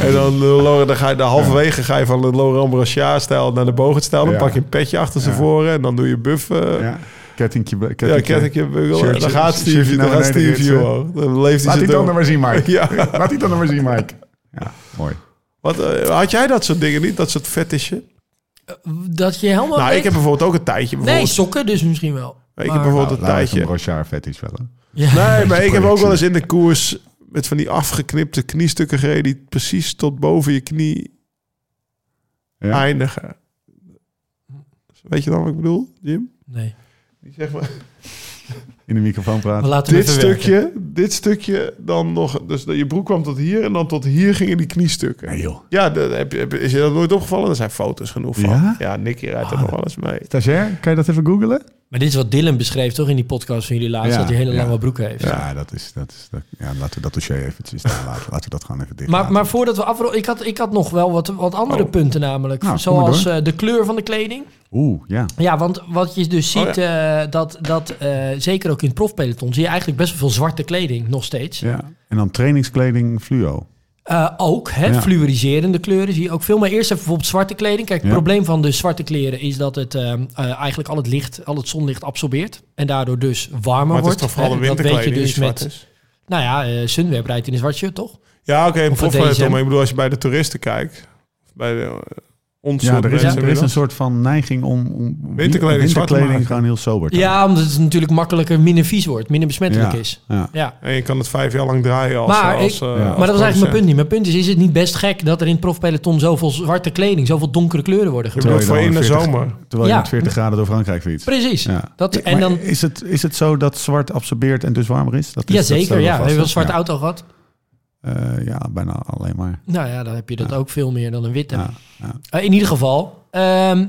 [SPEAKER 3] En dan, eh, Laurent, dan ga je de halverwege ga je van de Laurent Brachard-stijl naar de Bogert-stijl. Dan
[SPEAKER 1] Ja.
[SPEAKER 3] pak je een petje achter ze voren en dan doe je buffen. Ja.
[SPEAKER 1] Ja. Kettingje, be-
[SPEAKER 3] Ja,
[SPEAKER 1] kettingje.
[SPEAKER 3] kettingje, bugel.
[SPEAKER 1] Shirtje-
[SPEAKER 3] En dan gaat
[SPEAKER 1] shirtje nou
[SPEAKER 3] Stevie,
[SPEAKER 1] naar
[SPEAKER 3] dan gaat
[SPEAKER 1] beneden
[SPEAKER 3] Stevie,
[SPEAKER 1] ritsen.
[SPEAKER 3] hoor. Dan
[SPEAKER 1] Laat
[SPEAKER 3] leeft hij
[SPEAKER 1] die
[SPEAKER 3] zijn
[SPEAKER 1] dan
[SPEAKER 3] door.
[SPEAKER 1] dan maar zien, Mike.
[SPEAKER 3] Ja.
[SPEAKER 1] Laat die dan dan maar zien, Mike. Ja, mooi.
[SPEAKER 3] Wat, eh, had jij dat soort dingen niet? Dat soort fetishen?
[SPEAKER 4] Dat je helemaal.
[SPEAKER 3] nou,
[SPEAKER 4] weet-
[SPEAKER 3] ik heb bijvoorbeeld ook een tijdje.
[SPEAKER 4] nee,
[SPEAKER 3] Bijvoorbeeld,
[SPEAKER 4] sokken dus misschien wel.
[SPEAKER 3] ik heb
[SPEAKER 4] Maar-
[SPEAKER 3] bijvoorbeeld
[SPEAKER 1] Nou,
[SPEAKER 3] een
[SPEAKER 1] Laurens
[SPEAKER 3] tijdje.
[SPEAKER 1] van Brochard vet is wel. hè?
[SPEAKER 4] Ja.
[SPEAKER 3] Nee, maar ik heb ook
[SPEAKER 1] projectie.
[SPEAKER 3] wel eens in de koers met van die afgeknipte kniestukken gereden... die precies tot boven je knie
[SPEAKER 1] Ja.
[SPEAKER 3] eindigen. Weet je dan wat ik bedoel, Jim?
[SPEAKER 4] Nee.
[SPEAKER 3] Die zeg maar...
[SPEAKER 1] in de microfoon
[SPEAKER 4] We
[SPEAKER 1] praten.
[SPEAKER 4] laten hem
[SPEAKER 3] Dit
[SPEAKER 4] even werken.
[SPEAKER 3] stukje, dit stukje dan nog... Dus je broek kwam tot hier en dan tot hier gingen die kniestukken.
[SPEAKER 1] Nee joh.
[SPEAKER 3] Ja, dat heb, je- heb, je- is je dat nooit opgevallen? Er zijn foto's genoeg van.
[SPEAKER 1] Ja? Ah,
[SPEAKER 3] Ja, Nicky rijdt er nog wel eens mee.
[SPEAKER 1] Stagiair, kan je dat even googelen?
[SPEAKER 4] Maar dit is wat Dylan beschreef toch in die podcast van jullie laatst,
[SPEAKER 1] Ja,
[SPEAKER 4] dat hij hele
[SPEAKER 1] ja.
[SPEAKER 4] lange broek heeft.
[SPEAKER 1] Ja, dat is... Dat is dat, ja, laten we dat dossier eventjes daar laten. Laten we dat gewoon even dicht
[SPEAKER 4] Maar,
[SPEAKER 1] laten.
[SPEAKER 4] maar voordat we afronden, ik had, ik had nog wel wat, wat andere
[SPEAKER 3] Oh.
[SPEAKER 4] punten namelijk.
[SPEAKER 1] Nou, kom maar
[SPEAKER 4] zoals
[SPEAKER 1] door.
[SPEAKER 4] eh, de kleur van de kleding.
[SPEAKER 1] Oeh, ja.
[SPEAKER 4] Ja, want wat je dus
[SPEAKER 3] Oh,
[SPEAKER 4] ziet, eh, dat, dat eh, zeker ook in het profpeloton, zie je eigenlijk best wel veel zwarte kleding nog steeds.
[SPEAKER 1] ja. En dan trainingskleding fluo.
[SPEAKER 4] Eh, ook, hè,
[SPEAKER 1] Ja.
[SPEAKER 4] fluoriserende kleuren zie je ook veel. Maar eerst even bijvoorbeeld zwarte kleding. Kijk, het
[SPEAKER 1] Ja.
[SPEAKER 4] probleem van de zwarte kleren is dat het eh, eh, eigenlijk al het licht, al het zonlicht absorbeert. En daardoor dus warmer
[SPEAKER 3] Maar het is
[SPEAKER 4] wordt.
[SPEAKER 3] toch vooral de
[SPEAKER 4] hè. Dat weet je
[SPEAKER 3] winterkleding die
[SPEAKER 4] dus
[SPEAKER 3] zwart
[SPEAKER 4] met,
[SPEAKER 3] is?
[SPEAKER 4] nou ja, eh Sunweb rijdt in een zwart shirt, toch?
[SPEAKER 3] Ja, oké, een
[SPEAKER 4] Of het
[SPEAKER 3] profletter,
[SPEAKER 4] DSM.
[SPEAKER 3] Maar ik bedoel, als je bij de toeristen kijkt... of Bij de, eh, ons
[SPEAKER 1] Ja,
[SPEAKER 3] soort
[SPEAKER 1] er is,
[SPEAKER 3] mensen
[SPEAKER 1] er is een
[SPEAKER 3] inmiddels.
[SPEAKER 1] soort van neiging om, om om
[SPEAKER 3] Winterkleding zwart te maken.
[SPEAKER 1] gewoon heel sober te
[SPEAKER 4] Ja, omdat het natuurlijk makkelijker minder vies wordt, minder besmettelijk
[SPEAKER 1] maken.
[SPEAKER 4] is.
[SPEAKER 1] Ja.
[SPEAKER 4] Ja.
[SPEAKER 3] En je kan het vijf jaar lang draaien als...
[SPEAKER 4] Maar
[SPEAKER 3] als,
[SPEAKER 4] ik-
[SPEAKER 3] eh,
[SPEAKER 1] Maar dat
[SPEAKER 3] als
[SPEAKER 4] Maar dat was eigenlijk mijn
[SPEAKER 3] producent.
[SPEAKER 4] punt niet. Mijn punt is, is het niet best gek dat er in het profpeloton zoveel zwarte kleding, zoveel donkere kleuren worden
[SPEAKER 3] Je
[SPEAKER 4] gebruikt?
[SPEAKER 3] bedoelt
[SPEAKER 1] je
[SPEAKER 3] voor
[SPEAKER 1] dan
[SPEAKER 3] in de
[SPEAKER 1] 40
[SPEAKER 3] zomer.
[SPEAKER 1] Terwijl
[SPEAKER 4] Ja.
[SPEAKER 1] je met 40 graden door Frankrijk fietst.
[SPEAKER 4] Precies.
[SPEAKER 1] Ja.
[SPEAKER 4] Dat,
[SPEAKER 1] Ja,
[SPEAKER 4] en
[SPEAKER 1] maar
[SPEAKER 4] dan,
[SPEAKER 1] is, het, is het zo dat zwart absorbeert en dus warmer is? Dat is dat
[SPEAKER 4] jazeker,
[SPEAKER 1] stellen we
[SPEAKER 4] ja.
[SPEAKER 1] vast,
[SPEAKER 4] Heb je wel
[SPEAKER 1] hè?
[SPEAKER 4] een zwarte
[SPEAKER 1] ja.
[SPEAKER 4] auto gehad?
[SPEAKER 1] Eh, ja, bijna alleen maar.
[SPEAKER 4] Nou ja, dan heb je dat
[SPEAKER 1] Ja.
[SPEAKER 4] ook veel meer dan een witte.
[SPEAKER 1] Ja, ja.
[SPEAKER 4] Eh, in ieder geval, ehm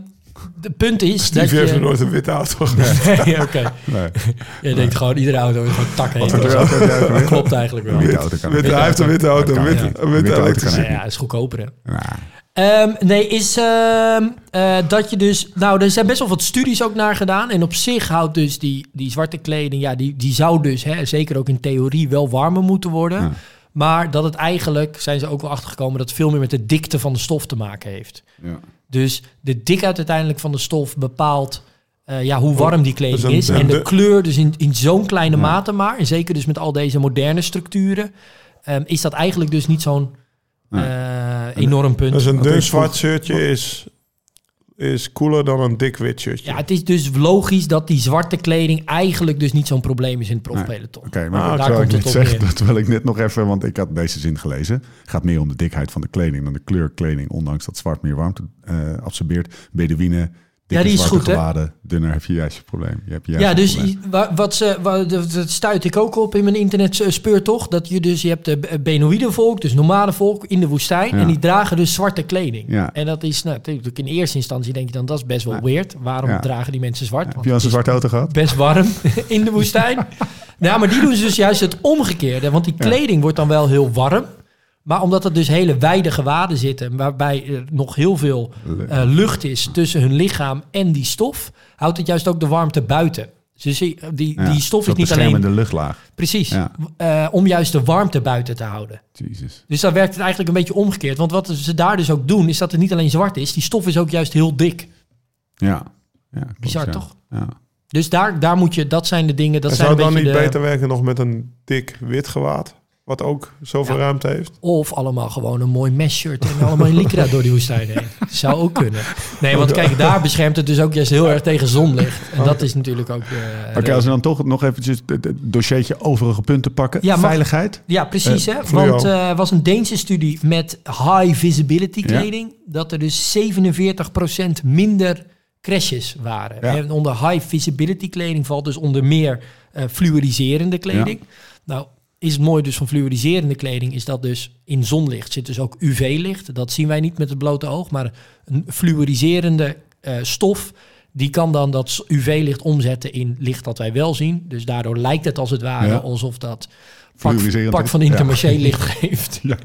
[SPEAKER 4] de punt is dat
[SPEAKER 3] Die heeft nog
[SPEAKER 4] je...
[SPEAKER 3] nooit een witte auto gereden.
[SPEAKER 4] Nee, oké.
[SPEAKER 1] Nee,
[SPEAKER 4] Je denkt gewoon, iedere auto is gewoon tak heen.
[SPEAKER 1] er ook-
[SPEAKER 4] Dat klopt eigenlijk wel.
[SPEAKER 1] Witte auto kan
[SPEAKER 3] Witte-
[SPEAKER 1] niet.
[SPEAKER 3] Hij heeft een witte auto,
[SPEAKER 1] Dat kan
[SPEAKER 3] een witte,
[SPEAKER 1] niet.
[SPEAKER 3] een
[SPEAKER 1] Een witte
[SPEAKER 3] witte
[SPEAKER 1] auto
[SPEAKER 3] elektrische.
[SPEAKER 1] kan
[SPEAKER 4] Ja, is goedkoper, hè?
[SPEAKER 1] Nou,
[SPEAKER 4] Ehm, nee, is ehm, eh, dat je dus... Nou, er zijn best wel wat studies ook naar gedaan. En op zich houdt dus die, die zwarte kleding... Ja, die, die zou dus hè, zeker ook in theorie wel warmer moeten worden.
[SPEAKER 1] Ja.
[SPEAKER 4] Maar dat het eigenlijk, zijn ze ook wel achtergekomen... dat het veel meer met de dikte van de stof te maken heeft.
[SPEAKER 1] Nou, ja.
[SPEAKER 4] Dus de dikheid uiteindelijk van de stof bepaalt... eh, ja, hoe warm die kleding
[SPEAKER 3] Dus een-
[SPEAKER 4] is. En de
[SPEAKER 3] de-
[SPEAKER 4] kleur dus in, in zo'n kleine mate maar... en zeker dus met al deze moderne structuren... ehm, is dat eigenlijk dus niet zo'n
[SPEAKER 1] Nee.
[SPEAKER 4] eh, enorm punt.
[SPEAKER 3] Dus een
[SPEAKER 1] Want ik
[SPEAKER 3] dun
[SPEAKER 1] vroeg-
[SPEAKER 3] zwart shirtje is, is cooler dan een dik wit shirtje.
[SPEAKER 4] Ja, het is dus logisch dat die zwarte kleding eigenlijk dus niet zo'n probleem is in het profpeloton.
[SPEAKER 1] Oké, maar
[SPEAKER 3] Ah,
[SPEAKER 4] daar
[SPEAKER 1] terwijl
[SPEAKER 4] komt
[SPEAKER 1] ik
[SPEAKER 4] het
[SPEAKER 1] dit
[SPEAKER 4] op
[SPEAKER 1] zeg,
[SPEAKER 4] neer.
[SPEAKER 1] terwijl ik net nog even, want ik had deze zin gelezen. Gaat meer om de dikheid van de kleding dan de kleur kleding, ondanks dat zwart meer warmte eh, absorbeert. Bedouinen, dikke
[SPEAKER 4] die is
[SPEAKER 1] zwarte
[SPEAKER 4] goed, hè?
[SPEAKER 1] gewaden, dunner heb je juist je probleem. Je hebt juist
[SPEAKER 4] Ja,
[SPEAKER 1] je
[SPEAKER 4] dus
[SPEAKER 1] probleem.
[SPEAKER 4] i- wa- wat ze, wa- dat dat stuit ik ook op in mijn internet eh, speurtocht. Dat je dus, je hebt de B- Benoïde volk, dus normale volk in de woestijn.
[SPEAKER 1] Ja.
[SPEAKER 4] En die dragen dus zwarte kleding.
[SPEAKER 1] Ja.
[SPEAKER 4] En dat is, nou, natuurlijk in eerste instantie denk je dan, dat is best wel
[SPEAKER 1] Ja.
[SPEAKER 4] weird. Waarom
[SPEAKER 1] Ja.
[SPEAKER 4] dragen die mensen zwart?
[SPEAKER 1] Heb
[SPEAKER 4] Want
[SPEAKER 1] je al eens een
[SPEAKER 4] het is
[SPEAKER 1] zwarte auto gehad?
[SPEAKER 4] best warm in de woestijn. nou, maar die doen dus juist het omgekeerde. Want die
[SPEAKER 1] Ja.
[SPEAKER 4] kleding wordt dan wel heel warm. Maar omdat er dus hele wijde gewaden zitten, waarbij er nog heel veel eh, lucht is tussen hun lichaam en die stof, houdt het juist ook de warmte buiten. Dus die, die,
[SPEAKER 1] Ja,
[SPEAKER 4] die stof is
[SPEAKER 1] zo'n
[SPEAKER 4] niet alleen.
[SPEAKER 1] beschermende luchtlaag.
[SPEAKER 4] Precies.
[SPEAKER 1] Ja.
[SPEAKER 4] eh, om juist de warmte buiten te houden.
[SPEAKER 1] Jezus.
[SPEAKER 4] Dus dan werkt het eigenlijk een beetje omgekeerd. Want wat ze daar dus ook doen, is dat het niet alleen zwart is. Die stof is ook juist heel dik.
[SPEAKER 1] Ja. ja klopt,
[SPEAKER 4] Bizar,
[SPEAKER 1] ja.
[SPEAKER 4] toch?
[SPEAKER 1] Ja.
[SPEAKER 4] Dus daar, daar moet je, dat zijn de dingen. Dat
[SPEAKER 3] en
[SPEAKER 4] zijn
[SPEAKER 3] zou
[SPEAKER 4] een
[SPEAKER 3] het dan
[SPEAKER 4] beetje
[SPEAKER 3] niet
[SPEAKER 4] de-
[SPEAKER 3] beter werken nog met een dik wit gewaad? Wat ook zoveel
[SPEAKER 4] Ja.
[SPEAKER 3] ruimte heeft.
[SPEAKER 4] Of allemaal gewoon een mooi mesh-shirt en allemaal in lycra door die woestijn heen. Zou ook kunnen. Nee, want kijk, daar beschermt het dus ook juist heel erg tegen zonlicht. En dat is natuurlijk ook... eh, de-
[SPEAKER 1] Oké, als we dan toch nog eventjes het het dossiertje overige punten pakken.
[SPEAKER 4] Ja, mag-
[SPEAKER 1] Veiligheid.
[SPEAKER 4] Ja, precies. hè?
[SPEAKER 3] fluo.
[SPEAKER 4] Want eh, er was een Deense studie met high visibility kleding... dat er dus 47% minder crashes waren.
[SPEAKER 1] Ja.
[SPEAKER 4] En onder high visibility kleding valt dus onder meer eh, fluoriserende kleding. Nou, is het mooi dus van fluoriserende kleding... is dat dus in zonlicht zit dus ook UV-licht. Dat zien wij niet met het blote oog, maar een fluoriserende eh, stof... Die kan dan dat UV-licht omzetten in licht dat wij wel zien. Dus daardoor lijkt het als het ware
[SPEAKER 1] Ja.
[SPEAKER 4] alsof dat pak,
[SPEAKER 1] Fluoriserend
[SPEAKER 4] pak
[SPEAKER 1] is.
[SPEAKER 4] van Intermarché licht geeft.
[SPEAKER 1] Ja,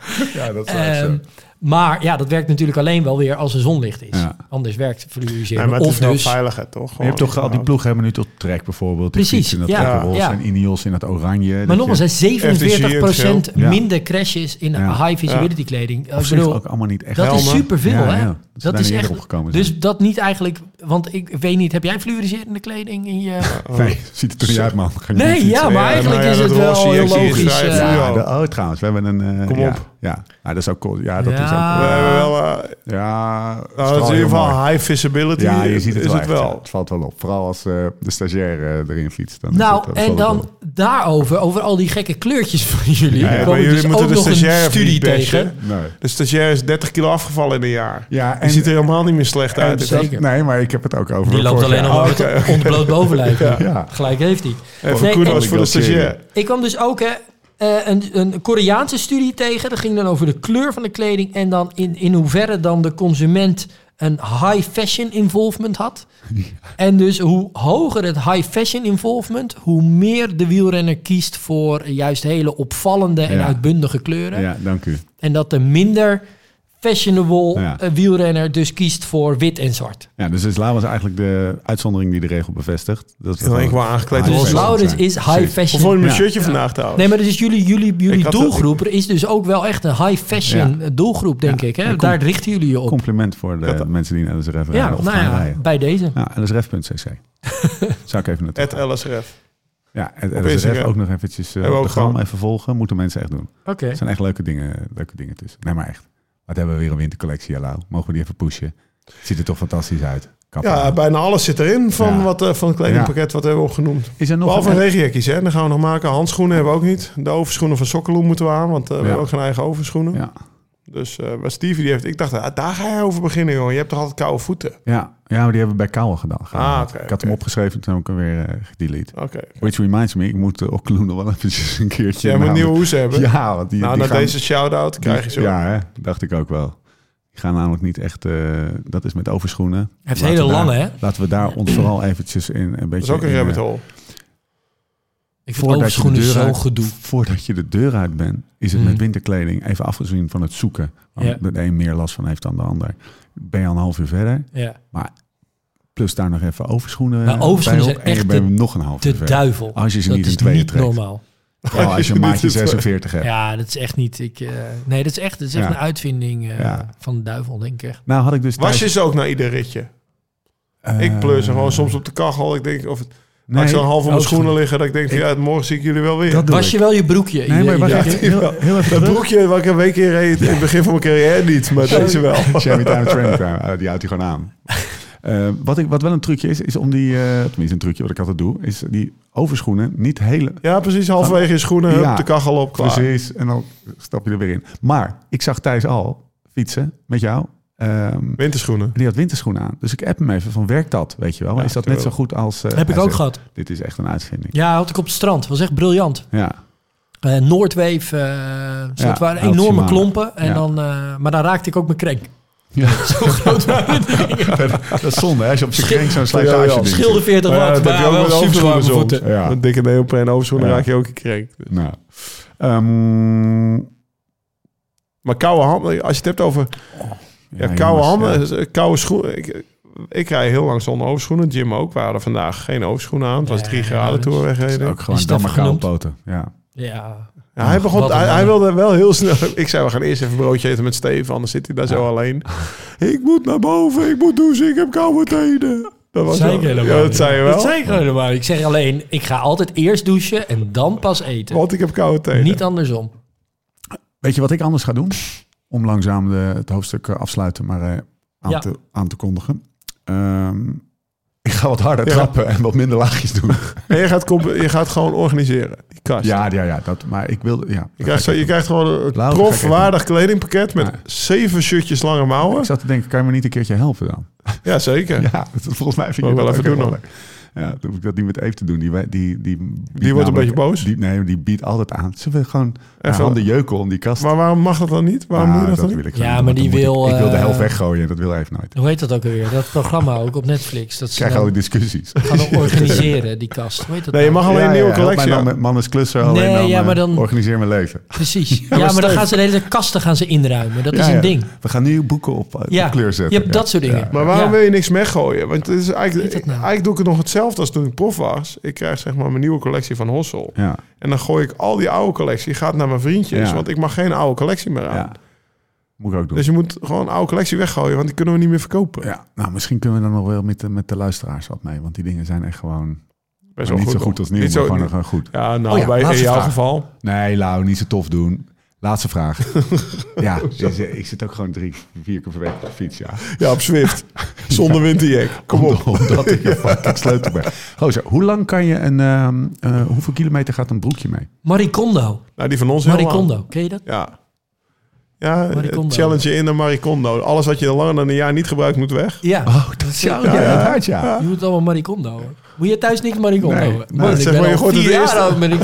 [SPEAKER 1] ja dat is
[SPEAKER 4] Ehm, maar ja, dat werkt natuurlijk alleen wel weer als er zonlicht is.
[SPEAKER 1] Ja.
[SPEAKER 4] Anders werkt fluoriseren.
[SPEAKER 3] Nee, maar het
[SPEAKER 4] of
[SPEAKER 3] is nou wel
[SPEAKER 4] dus,
[SPEAKER 3] veiliger, toch?
[SPEAKER 1] Je hebt
[SPEAKER 3] Gewoon
[SPEAKER 1] toch al die
[SPEAKER 3] überhaupt.
[SPEAKER 1] ploegen hebben nu tot Trek bijvoorbeeld. Die
[SPEAKER 4] Precies,
[SPEAKER 1] fietsen in dat
[SPEAKER 4] ja.
[SPEAKER 1] ja, roze
[SPEAKER 4] Ja.
[SPEAKER 1] en Ineos in dat oranje.
[SPEAKER 4] maar
[SPEAKER 1] Dat
[SPEAKER 4] nogmaals,
[SPEAKER 1] je-
[SPEAKER 4] hè, 47%
[SPEAKER 3] FDG
[SPEAKER 1] Ja.
[SPEAKER 4] minder crashes in
[SPEAKER 1] Ja.
[SPEAKER 4] high visibility kleding. Ik
[SPEAKER 1] op zich
[SPEAKER 4] bedoel,
[SPEAKER 1] ook allemaal niet echt.
[SPEAKER 4] dat is
[SPEAKER 3] helmen.
[SPEAKER 4] superveel,
[SPEAKER 1] Ja,
[SPEAKER 4] hè?
[SPEAKER 1] ja. Dat ze
[SPEAKER 4] Dat
[SPEAKER 1] daar
[SPEAKER 4] is
[SPEAKER 1] niet
[SPEAKER 4] echt.
[SPEAKER 1] eerder opgekomen zijn.
[SPEAKER 4] dus dat niet eigenlijk. Want ik weet niet, heb jij fluoriserende kleding in je.
[SPEAKER 1] Nee, ziet er toch niet uit, man. Ga je
[SPEAKER 4] Oh. Nee,
[SPEAKER 1] niet fietsen.
[SPEAKER 4] ja, maar
[SPEAKER 3] Ja,
[SPEAKER 4] eigenlijk
[SPEAKER 3] nou ja, dat
[SPEAKER 4] is het wel
[SPEAKER 3] roze
[SPEAKER 4] heel
[SPEAKER 3] jekje is
[SPEAKER 4] logisch.
[SPEAKER 3] vrij
[SPEAKER 4] eh,
[SPEAKER 1] Ja,
[SPEAKER 3] Ja.
[SPEAKER 1] de, oh, trouwens, we hebben een... eh,
[SPEAKER 3] Kom
[SPEAKER 1] ja,
[SPEAKER 3] op.
[SPEAKER 1] Ja, nou, dat is ook cool. Ja, dat is
[SPEAKER 4] Ja. Ah,
[SPEAKER 1] ook
[SPEAKER 3] We
[SPEAKER 1] cool.
[SPEAKER 3] hebben wel, eh,
[SPEAKER 1] Ja,
[SPEAKER 3] nou, het is in ieder geval high visibility.
[SPEAKER 1] Ja, je ziet het
[SPEAKER 3] is
[SPEAKER 1] wel.
[SPEAKER 3] het
[SPEAKER 1] echt, ja.
[SPEAKER 3] wel.
[SPEAKER 1] het valt wel op. Vooral als eh, de stagiair eh, erin fietst. Dan is het-
[SPEAKER 4] Nou,
[SPEAKER 1] dat
[SPEAKER 4] en
[SPEAKER 1] valt
[SPEAKER 4] dan
[SPEAKER 1] het wel.
[SPEAKER 4] daarover, over al die gekke kleurtjes van jullie.
[SPEAKER 1] Ja,
[SPEAKER 4] Ja,
[SPEAKER 1] ja.
[SPEAKER 4] kwam
[SPEAKER 3] Maar
[SPEAKER 4] ik
[SPEAKER 3] jullie
[SPEAKER 4] dus
[SPEAKER 3] moeten
[SPEAKER 4] ook
[SPEAKER 3] de
[SPEAKER 4] nog een
[SPEAKER 3] stagiair even
[SPEAKER 4] studie
[SPEAKER 3] niet bashen.
[SPEAKER 4] tegen.
[SPEAKER 1] Nee.
[SPEAKER 3] De stagiair is 30 kilo afgevallen in een jaar.
[SPEAKER 1] Ja,
[SPEAKER 3] Die
[SPEAKER 1] en-
[SPEAKER 3] ziet er helemaal niet meer slecht
[SPEAKER 1] en
[SPEAKER 3] uit.
[SPEAKER 1] dat-
[SPEAKER 4] zeker.
[SPEAKER 1] nee, maar ik heb het ook over.
[SPEAKER 4] Die loopt
[SPEAKER 1] vorig
[SPEAKER 4] alleen
[SPEAKER 1] jaar.
[SPEAKER 4] nog maar met
[SPEAKER 3] oké,
[SPEAKER 4] een ontbloot bovenlijf.
[SPEAKER 1] Oh, Ja.
[SPEAKER 4] Gelijk heeft hij.
[SPEAKER 3] Even
[SPEAKER 4] Nee,
[SPEAKER 3] kudos
[SPEAKER 4] en-
[SPEAKER 3] voor de stagiair.
[SPEAKER 4] Ik kwam dus ook hè, eh, een, een Koreaanse studie tegen. Dat ging dan over de kleur van de kleding en dan in, in hoeverre dan de consument een high fashion involvement had. En dus hoe hoger het high fashion involvement, hoe meer de wielrenner kiest voor juist hele opvallende en
[SPEAKER 1] Ja.
[SPEAKER 4] uitbundige kleuren.
[SPEAKER 1] Ja, dank u.
[SPEAKER 4] En dat de minder fashionable
[SPEAKER 1] Ja.
[SPEAKER 4] eh, wielrenner dus kiest voor wit en zwart.
[SPEAKER 1] Ja, dus Islam is eigenlijk de uitzondering die de regel bevestigt. Dat is
[SPEAKER 3] Ja, ik wou aangekleed
[SPEAKER 1] High
[SPEAKER 3] worden.
[SPEAKER 4] Dus
[SPEAKER 1] fashion
[SPEAKER 4] Laurens
[SPEAKER 1] zijn.
[SPEAKER 4] is high
[SPEAKER 1] Precies.
[SPEAKER 3] Hoe
[SPEAKER 4] fashion.
[SPEAKER 3] vond je mijn
[SPEAKER 1] Ja.
[SPEAKER 3] shirtje vandaag trouwens?
[SPEAKER 4] Nee, maar dus jullie, jullie,
[SPEAKER 3] Ik
[SPEAKER 4] jullie
[SPEAKER 3] had
[SPEAKER 4] doelgroep is dus ook wel echt een high fashion doelgroep, denk
[SPEAKER 1] Ja,
[SPEAKER 4] ik. Hè?
[SPEAKER 1] en kom-
[SPEAKER 4] Daar richten jullie je op.
[SPEAKER 1] Compliment voor de
[SPEAKER 3] Dat-
[SPEAKER 1] mensen die naar de ref
[SPEAKER 4] ja,
[SPEAKER 1] rijden of
[SPEAKER 4] nou
[SPEAKER 1] gaan
[SPEAKER 4] ja,
[SPEAKER 1] rijden.
[SPEAKER 4] bij deze.
[SPEAKER 1] Ja, lsref.cc. Zou ik even naartoe
[SPEAKER 3] Het
[SPEAKER 1] gaan.
[SPEAKER 3] LSRF.
[SPEAKER 1] Ja, en
[SPEAKER 3] op
[SPEAKER 1] lsrf
[SPEAKER 3] Instagram.
[SPEAKER 1] ook nog eventjes eh,
[SPEAKER 3] Hebben we
[SPEAKER 1] op de
[SPEAKER 3] ook gewoon.
[SPEAKER 1] gram even volgen. Moeten mensen echt doen.
[SPEAKER 4] Oké.
[SPEAKER 1] Er zijn echt leuke dingen, eh, leuke dingen tussen. Nee, maar echt. Wat hebben we weer een wintercollectie, Lau? Mogen we die even pushen? Ziet er toch fantastisch uit. Kap
[SPEAKER 3] Ja,
[SPEAKER 1] aan.
[SPEAKER 3] bijna alles zit erin van,
[SPEAKER 1] Ja.
[SPEAKER 3] wat, eh, van het kledingpakket wat we hebben opgenoemd.
[SPEAKER 1] is er nog
[SPEAKER 3] Behalve
[SPEAKER 1] een...
[SPEAKER 3] regenjekkies, hè. Dan gaan we nog maken. Handschoenen hebben we ook niet. De overschoenen van Sokkeloen moeten we aan, want eh, we
[SPEAKER 1] Ja.
[SPEAKER 3] hebben ook geen eigen overschoenen.
[SPEAKER 1] Ja,
[SPEAKER 3] Dus eh maar Stevie die heeft... Ik dacht, ah, daar ga jij over beginnen, jongen. Je hebt toch altijd koude voeten?
[SPEAKER 1] ja, ja, maar die hebben we bij Kouwen gedaan.
[SPEAKER 3] Ah, oké,
[SPEAKER 1] ik had
[SPEAKER 3] oké.
[SPEAKER 1] hem opgeschreven, toen heb ik hem weer eh, gedelete.
[SPEAKER 3] Oké.
[SPEAKER 1] Which reminds me, ik moet de Okloen nog wel eventjes een keertje...
[SPEAKER 3] Jij moet
[SPEAKER 1] namen-
[SPEAKER 3] nieuwe hoes hebben.
[SPEAKER 1] Ja, want die,
[SPEAKER 3] nou,
[SPEAKER 1] die
[SPEAKER 3] na
[SPEAKER 1] gaan-
[SPEAKER 3] deze shout-out krijg je zo.
[SPEAKER 1] Ja, hè? dacht ik ook wel. Die gaan namelijk niet echt... eh, dat is met overschoenen.
[SPEAKER 4] Hij heeft
[SPEAKER 1] Laten
[SPEAKER 4] hele
[SPEAKER 1] we daar-
[SPEAKER 4] lange, hè?
[SPEAKER 1] Laten we daar ons vooral eventjes in een beetje...
[SPEAKER 3] Dat is ook een
[SPEAKER 1] in, eh,
[SPEAKER 3] rabbit hole.
[SPEAKER 4] Ik vind
[SPEAKER 1] Voordat je, de
[SPEAKER 4] overschoenen
[SPEAKER 1] deur
[SPEAKER 4] zo'n
[SPEAKER 1] uit,
[SPEAKER 4] gedoe.
[SPEAKER 1] voordat je de deur uit bent, is het
[SPEAKER 4] Mm.
[SPEAKER 1] met winterkleding, even afgezien van het zoeken, waar
[SPEAKER 4] Ja.
[SPEAKER 1] de een meer last van heeft dan de ander, ben je al een half uur verder.
[SPEAKER 4] Ja.
[SPEAKER 1] Plus daar nog even overschoenen
[SPEAKER 4] Nou,
[SPEAKER 1] eh,
[SPEAKER 4] overschoenen
[SPEAKER 1] bij op,
[SPEAKER 4] zijn
[SPEAKER 1] en je
[SPEAKER 4] echt
[SPEAKER 1] bent
[SPEAKER 4] de-
[SPEAKER 1] nog een half uur
[SPEAKER 4] De
[SPEAKER 1] verder.
[SPEAKER 4] duivel.
[SPEAKER 1] Als je ze
[SPEAKER 4] dat
[SPEAKER 1] niet in
[SPEAKER 4] is
[SPEAKER 1] tweeën
[SPEAKER 4] niet
[SPEAKER 1] trekt.
[SPEAKER 4] normaal.
[SPEAKER 1] Terwijl als je een maatje
[SPEAKER 3] Dit is waar.
[SPEAKER 1] 46 hebt.
[SPEAKER 4] Ja, dat is echt niet. Ik, eh, nee, dat is echt, dat is echt
[SPEAKER 1] Ja.
[SPEAKER 4] een uitvinding eh,
[SPEAKER 1] Ja.
[SPEAKER 4] van de duivel, denk ik echt.
[SPEAKER 1] Nou had ik dus
[SPEAKER 3] Was
[SPEAKER 1] thuis-
[SPEAKER 3] je ze ook naar ieder ritje?
[SPEAKER 1] eh,
[SPEAKER 3] ik plus en gewoon soms op de kachel. Ik denk, of het,
[SPEAKER 1] nee,
[SPEAKER 3] ik zal half op mijn
[SPEAKER 4] oh,
[SPEAKER 3] schoenen
[SPEAKER 4] sorry.
[SPEAKER 3] liggen. Dat ik denk, van, ja, morgen zie ik jullie wel weer.
[SPEAKER 1] Dat
[SPEAKER 3] Dat,
[SPEAKER 1] doe
[SPEAKER 4] Was
[SPEAKER 1] ik.
[SPEAKER 4] je wel je broekje?
[SPEAKER 1] Nee, maar
[SPEAKER 4] Iedereen
[SPEAKER 1] wacht
[SPEAKER 4] denkt,
[SPEAKER 1] even, heel, heel even terug.
[SPEAKER 3] broekje wat ik een week in reed in het begin van mijn carrière niet, maar deze wel.
[SPEAKER 1] Shammy Time Training Time, eh, die houdt hij gewoon aan. Eh, wat, ik, wat wel een trucje is, is om die, eh, tenminste een trucje wat ik altijd doe, is die overschoenen niet hele,
[SPEAKER 3] Ja, precies. Halverwege je schoenen, hup,
[SPEAKER 1] Ja.
[SPEAKER 3] de kachel op, klaar.
[SPEAKER 1] Precies, en dan stap je er weer in. Maar ik zag Thijs al fietsen met jou. Ehm,
[SPEAKER 3] Winterschoenen.
[SPEAKER 1] die had winterschoenen aan. Dus ik app hem even van werkt dat, weet je wel?
[SPEAKER 3] Ja,
[SPEAKER 1] is dat net
[SPEAKER 3] tuurlijk.
[SPEAKER 1] zo goed als... eh,
[SPEAKER 4] Heb ik
[SPEAKER 1] hij
[SPEAKER 4] ook
[SPEAKER 1] zegt,
[SPEAKER 4] gehad.
[SPEAKER 1] Dit is echt een uitvinding.
[SPEAKER 4] Ja, had ik op het strand. Was echt briljant.
[SPEAKER 1] Ja,
[SPEAKER 4] Eh, Noordweef, eh dus
[SPEAKER 1] Ja,
[SPEAKER 4] dat waren
[SPEAKER 1] had
[SPEAKER 4] enorme
[SPEAKER 1] Shimano.
[SPEAKER 4] klompen. En
[SPEAKER 1] Ja.
[SPEAKER 4] dan, eh, maar dan raakte ik ook mijn krenk.
[SPEAKER 1] Ja.
[SPEAKER 4] Zo groot waren de dingen.
[SPEAKER 1] dat is zonde hè, als je op zijn kring zo'n
[SPEAKER 3] Ja, ja.
[SPEAKER 1] slijtage ding
[SPEAKER 4] Scheelde
[SPEAKER 1] ziet.
[SPEAKER 4] 40
[SPEAKER 3] Ja,
[SPEAKER 4] watt,
[SPEAKER 3] dat heb
[SPEAKER 4] maar
[SPEAKER 3] je ook
[SPEAKER 4] wel
[SPEAKER 3] met
[SPEAKER 4] super warme
[SPEAKER 3] overschoenen
[SPEAKER 4] voeten.
[SPEAKER 1] Ja.
[SPEAKER 3] Met dikke neopreen overschoenen
[SPEAKER 1] Ja.
[SPEAKER 3] raak je ook een krenk. Dus.
[SPEAKER 1] Nou. Ehm,
[SPEAKER 3] Maar koude handen, als je het hebt over ja, koude
[SPEAKER 1] jongens, ja.
[SPEAKER 3] handen, eh, koude schoenen. Ik, ik rij heel lang zonder overschoenen. Jim ook. We hadden vandaag geen overschoenen aan. Het was
[SPEAKER 4] Ja,
[SPEAKER 3] drie
[SPEAKER 4] ja,
[SPEAKER 3] graden
[SPEAKER 4] dat
[SPEAKER 3] toen we
[SPEAKER 1] Dat is
[SPEAKER 3] wegreden.
[SPEAKER 1] Ook gewoon
[SPEAKER 4] Is
[SPEAKER 1] dan
[SPEAKER 4] dat
[SPEAKER 1] maar koude
[SPEAKER 4] genoemd?
[SPEAKER 1] poten. Ja.
[SPEAKER 4] Ja.
[SPEAKER 3] Ja, hij, begon,
[SPEAKER 4] Wat een
[SPEAKER 3] hij, hij
[SPEAKER 4] man.
[SPEAKER 3] wilde wel heel snel. Ik zei, we gaan eerst even broodje eten met Steven, anders zit hij daar zo alleen. Ik moet naar boven, ik moet douchen, ik heb koude tenen. Dat was
[SPEAKER 4] Zei ik
[SPEAKER 3] wel-
[SPEAKER 4] helemaal
[SPEAKER 3] ja, dat
[SPEAKER 4] niet.
[SPEAKER 3] zei je wel.
[SPEAKER 4] Dat zei ik gewoon helemaal. niet. Ik zeg alleen, ik ga altijd eerst douchen en dan pas eten.
[SPEAKER 3] Want ik heb koude tenen.
[SPEAKER 4] Niet andersom.
[SPEAKER 1] Weet je wat ik anders ga doen? Om langzaam de, het hoofdstuk eh, afsluiten, maar eh, aan,
[SPEAKER 4] Ja.
[SPEAKER 1] te, aan te kondigen. Ehm, ik ga wat harder
[SPEAKER 3] Ja.
[SPEAKER 1] trappen en wat minder laagjes doen.
[SPEAKER 3] En je gaat, comp- je gaat gewoon organiseren, die kast.
[SPEAKER 1] ja, ja, ja. Dat, maar ik wil... Ja,
[SPEAKER 3] Je krijgt, zo- je krijgt gewoon
[SPEAKER 1] Blauw,
[SPEAKER 3] een
[SPEAKER 1] dat ga ik
[SPEAKER 3] profwaardig kledingpakket met
[SPEAKER 1] Ja.
[SPEAKER 3] zeven shirtjes lange
[SPEAKER 1] ik
[SPEAKER 3] mouwen.
[SPEAKER 1] zat te denken, kan je me niet een keertje helpen dan?
[SPEAKER 3] Ja, zeker.
[SPEAKER 1] Ja, dat, volgens mij vind je
[SPEAKER 3] Moet ik wel
[SPEAKER 1] dat
[SPEAKER 3] even
[SPEAKER 1] ook
[SPEAKER 3] doen
[SPEAKER 1] leuk. Ja, dan hoef ik dat niet met Eve te doen. Die, wij- die, die, biedt
[SPEAKER 3] een
[SPEAKER 1] namelijk-
[SPEAKER 3] beetje boos.
[SPEAKER 1] Die, nee, die biedt altijd aan. Ze wil gewoon haar
[SPEAKER 3] Even-
[SPEAKER 1] handen jeuken om die kast.
[SPEAKER 3] Maar waarom mag dat dan niet? Waarom
[SPEAKER 1] Ah,
[SPEAKER 4] Nou,
[SPEAKER 3] moet je dat,
[SPEAKER 1] dat
[SPEAKER 3] dan
[SPEAKER 1] wil
[SPEAKER 3] niet?
[SPEAKER 1] ik
[SPEAKER 4] Ja,
[SPEAKER 1] gewoon doen,
[SPEAKER 4] maar
[SPEAKER 1] want
[SPEAKER 4] die
[SPEAKER 1] dan moet Ik,
[SPEAKER 4] wil,
[SPEAKER 1] ik wil de
[SPEAKER 4] eh,
[SPEAKER 1] helft weggooien, dat wil Eve nooit. Ik
[SPEAKER 4] Hoe heet dat ook alweer? Dat programma ook op Netflix. Dat ze
[SPEAKER 1] krijg al die
[SPEAKER 4] dan
[SPEAKER 1] discussies.
[SPEAKER 4] gaan organiseren, die kast. Hoe heet dat
[SPEAKER 3] Nee, je
[SPEAKER 4] nou?
[SPEAKER 3] mag alleen een nieuwe
[SPEAKER 1] help mij
[SPEAKER 3] collectie.
[SPEAKER 1] dan
[SPEAKER 3] aan.
[SPEAKER 1] met Mannes Klusser, alleen
[SPEAKER 4] Nee,
[SPEAKER 1] dan,
[SPEAKER 4] ja,
[SPEAKER 1] eh,
[SPEAKER 4] maar dan-
[SPEAKER 1] organiseer mijn leven.
[SPEAKER 4] Precies. Ja, maar dan
[SPEAKER 3] Steven-
[SPEAKER 4] gaan ze de hele kasten gaan ze inruimen. Dat
[SPEAKER 1] Ja,
[SPEAKER 4] is een
[SPEAKER 1] ja.
[SPEAKER 4] ding.
[SPEAKER 1] We gaan nu boeken op, eh,
[SPEAKER 4] Ja.
[SPEAKER 1] op kleur zetten.
[SPEAKER 4] Je hebt dat soort dingen.
[SPEAKER 3] Maar waarom
[SPEAKER 4] Ja.
[SPEAKER 3] wil je niks weggooien? Want het is eigenlijk,
[SPEAKER 4] Weet dat nou?
[SPEAKER 3] eigenlijk doe ik het nog hetzelfde als toen ik prof was. Ik krijg zeg maar mijn nieuwe collectie van Hossel.
[SPEAKER 1] Ja,
[SPEAKER 3] En dan gooi ik al die oude collectie, gaat naar mijn vriendjes.
[SPEAKER 1] Ja.
[SPEAKER 3] Want ik mag geen oude collectie meer
[SPEAKER 1] ja.
[SPEAKER 3] aan.
[SPEAKER 1] Moet ik ook doen.
[SPEAKER 3] Dus je moet gewoon oude collectie weggooien, want die kunnen we niet meer verkopen.
[SPEAKER 1] ja, nou, misschien kunnen we dan nog wel met de, met de luisteraars wat mee. Want die dingen zijn echt gewoon
[SPEAKER 3] Best
[SPEAKER 1] niet zo goed
[SPEAKER 3] hoor.
[SPEAKER 1] als nieuw,
[SPEAKER 3] Niet
[SPEAKER 1] maar
[SPEAKER 3] zo-
[SPEAKER 1] gewoon,
[SPEAKER 3] niet-
[SPEAKER 1] gewoon goed.
[SPEAKER 3] Ja, nou,
[SPEAKER 1] Oh ja,
[SPEAKER 3] bij, in
[SPEAKER 1] laatste
[SPEAKER 3] jouw
[SPEAKER 1] vraag.
[SPEAKER 3] geval.
[SPEAKER 1] Nee, Lau, niet zo tof doen. Laatste vraag. ja, ik, zit- ik zit ook gewoon drie, vier keer per week op de fiets, ja.
[SPEAKER 3] Ja, op Zwift. Zonder winterjack. Kom op.
[SPEAKER 1] Omdat ik een fucking sleutel ben. Gozer, hoe lang kan je een... ehm, eh, hoeveel kilometer gaat een broekje mee?
[SPEAKER 4] Marie Kondo.
[SPEAKER 3] Nou, die van ons
[SPEAKER 4] Marie
[SPEAKER 3] helemaal.
[SPEAKER 4] Kondo, ken je dat?
[SPEAKER 3] Ja. Ja,
[SPEAKER 4] Maricondo.
[SPEAKER 3] eh, challenge je in naar Maricondo. Alles wat je langer dan een jaar niet gebruikt, moet weg.
[SPEAKER 4] Ja.
[SPEAKER 1] dat is
[SPEAKER 4] zo,
[SPEAKER 1] Ja,
[SPEAKER 4] ja.
[SPEAKER 1] dat hard, ja.
[SPEAKER 4] Je moet allemaal Marie Kondo. hoor. Moet je thuis niks Marie Kondo?
[SPEAKER 1] Nee,
[SPEAKER 4] hoor?
[SPEAKER 1] nee.
[SPEAKER 4] Man, ik
[SPEAKER 3] Zeg
[SPEAKER 4] ben
[SPEAKER 3] maar, je
[SPEAKER 4] al
[SPEAKER 3] gooit het
[SPEAKER 4] vier
[SPEAKER 3] eerst.
[SPEAKER 4] jaar oud ben ik.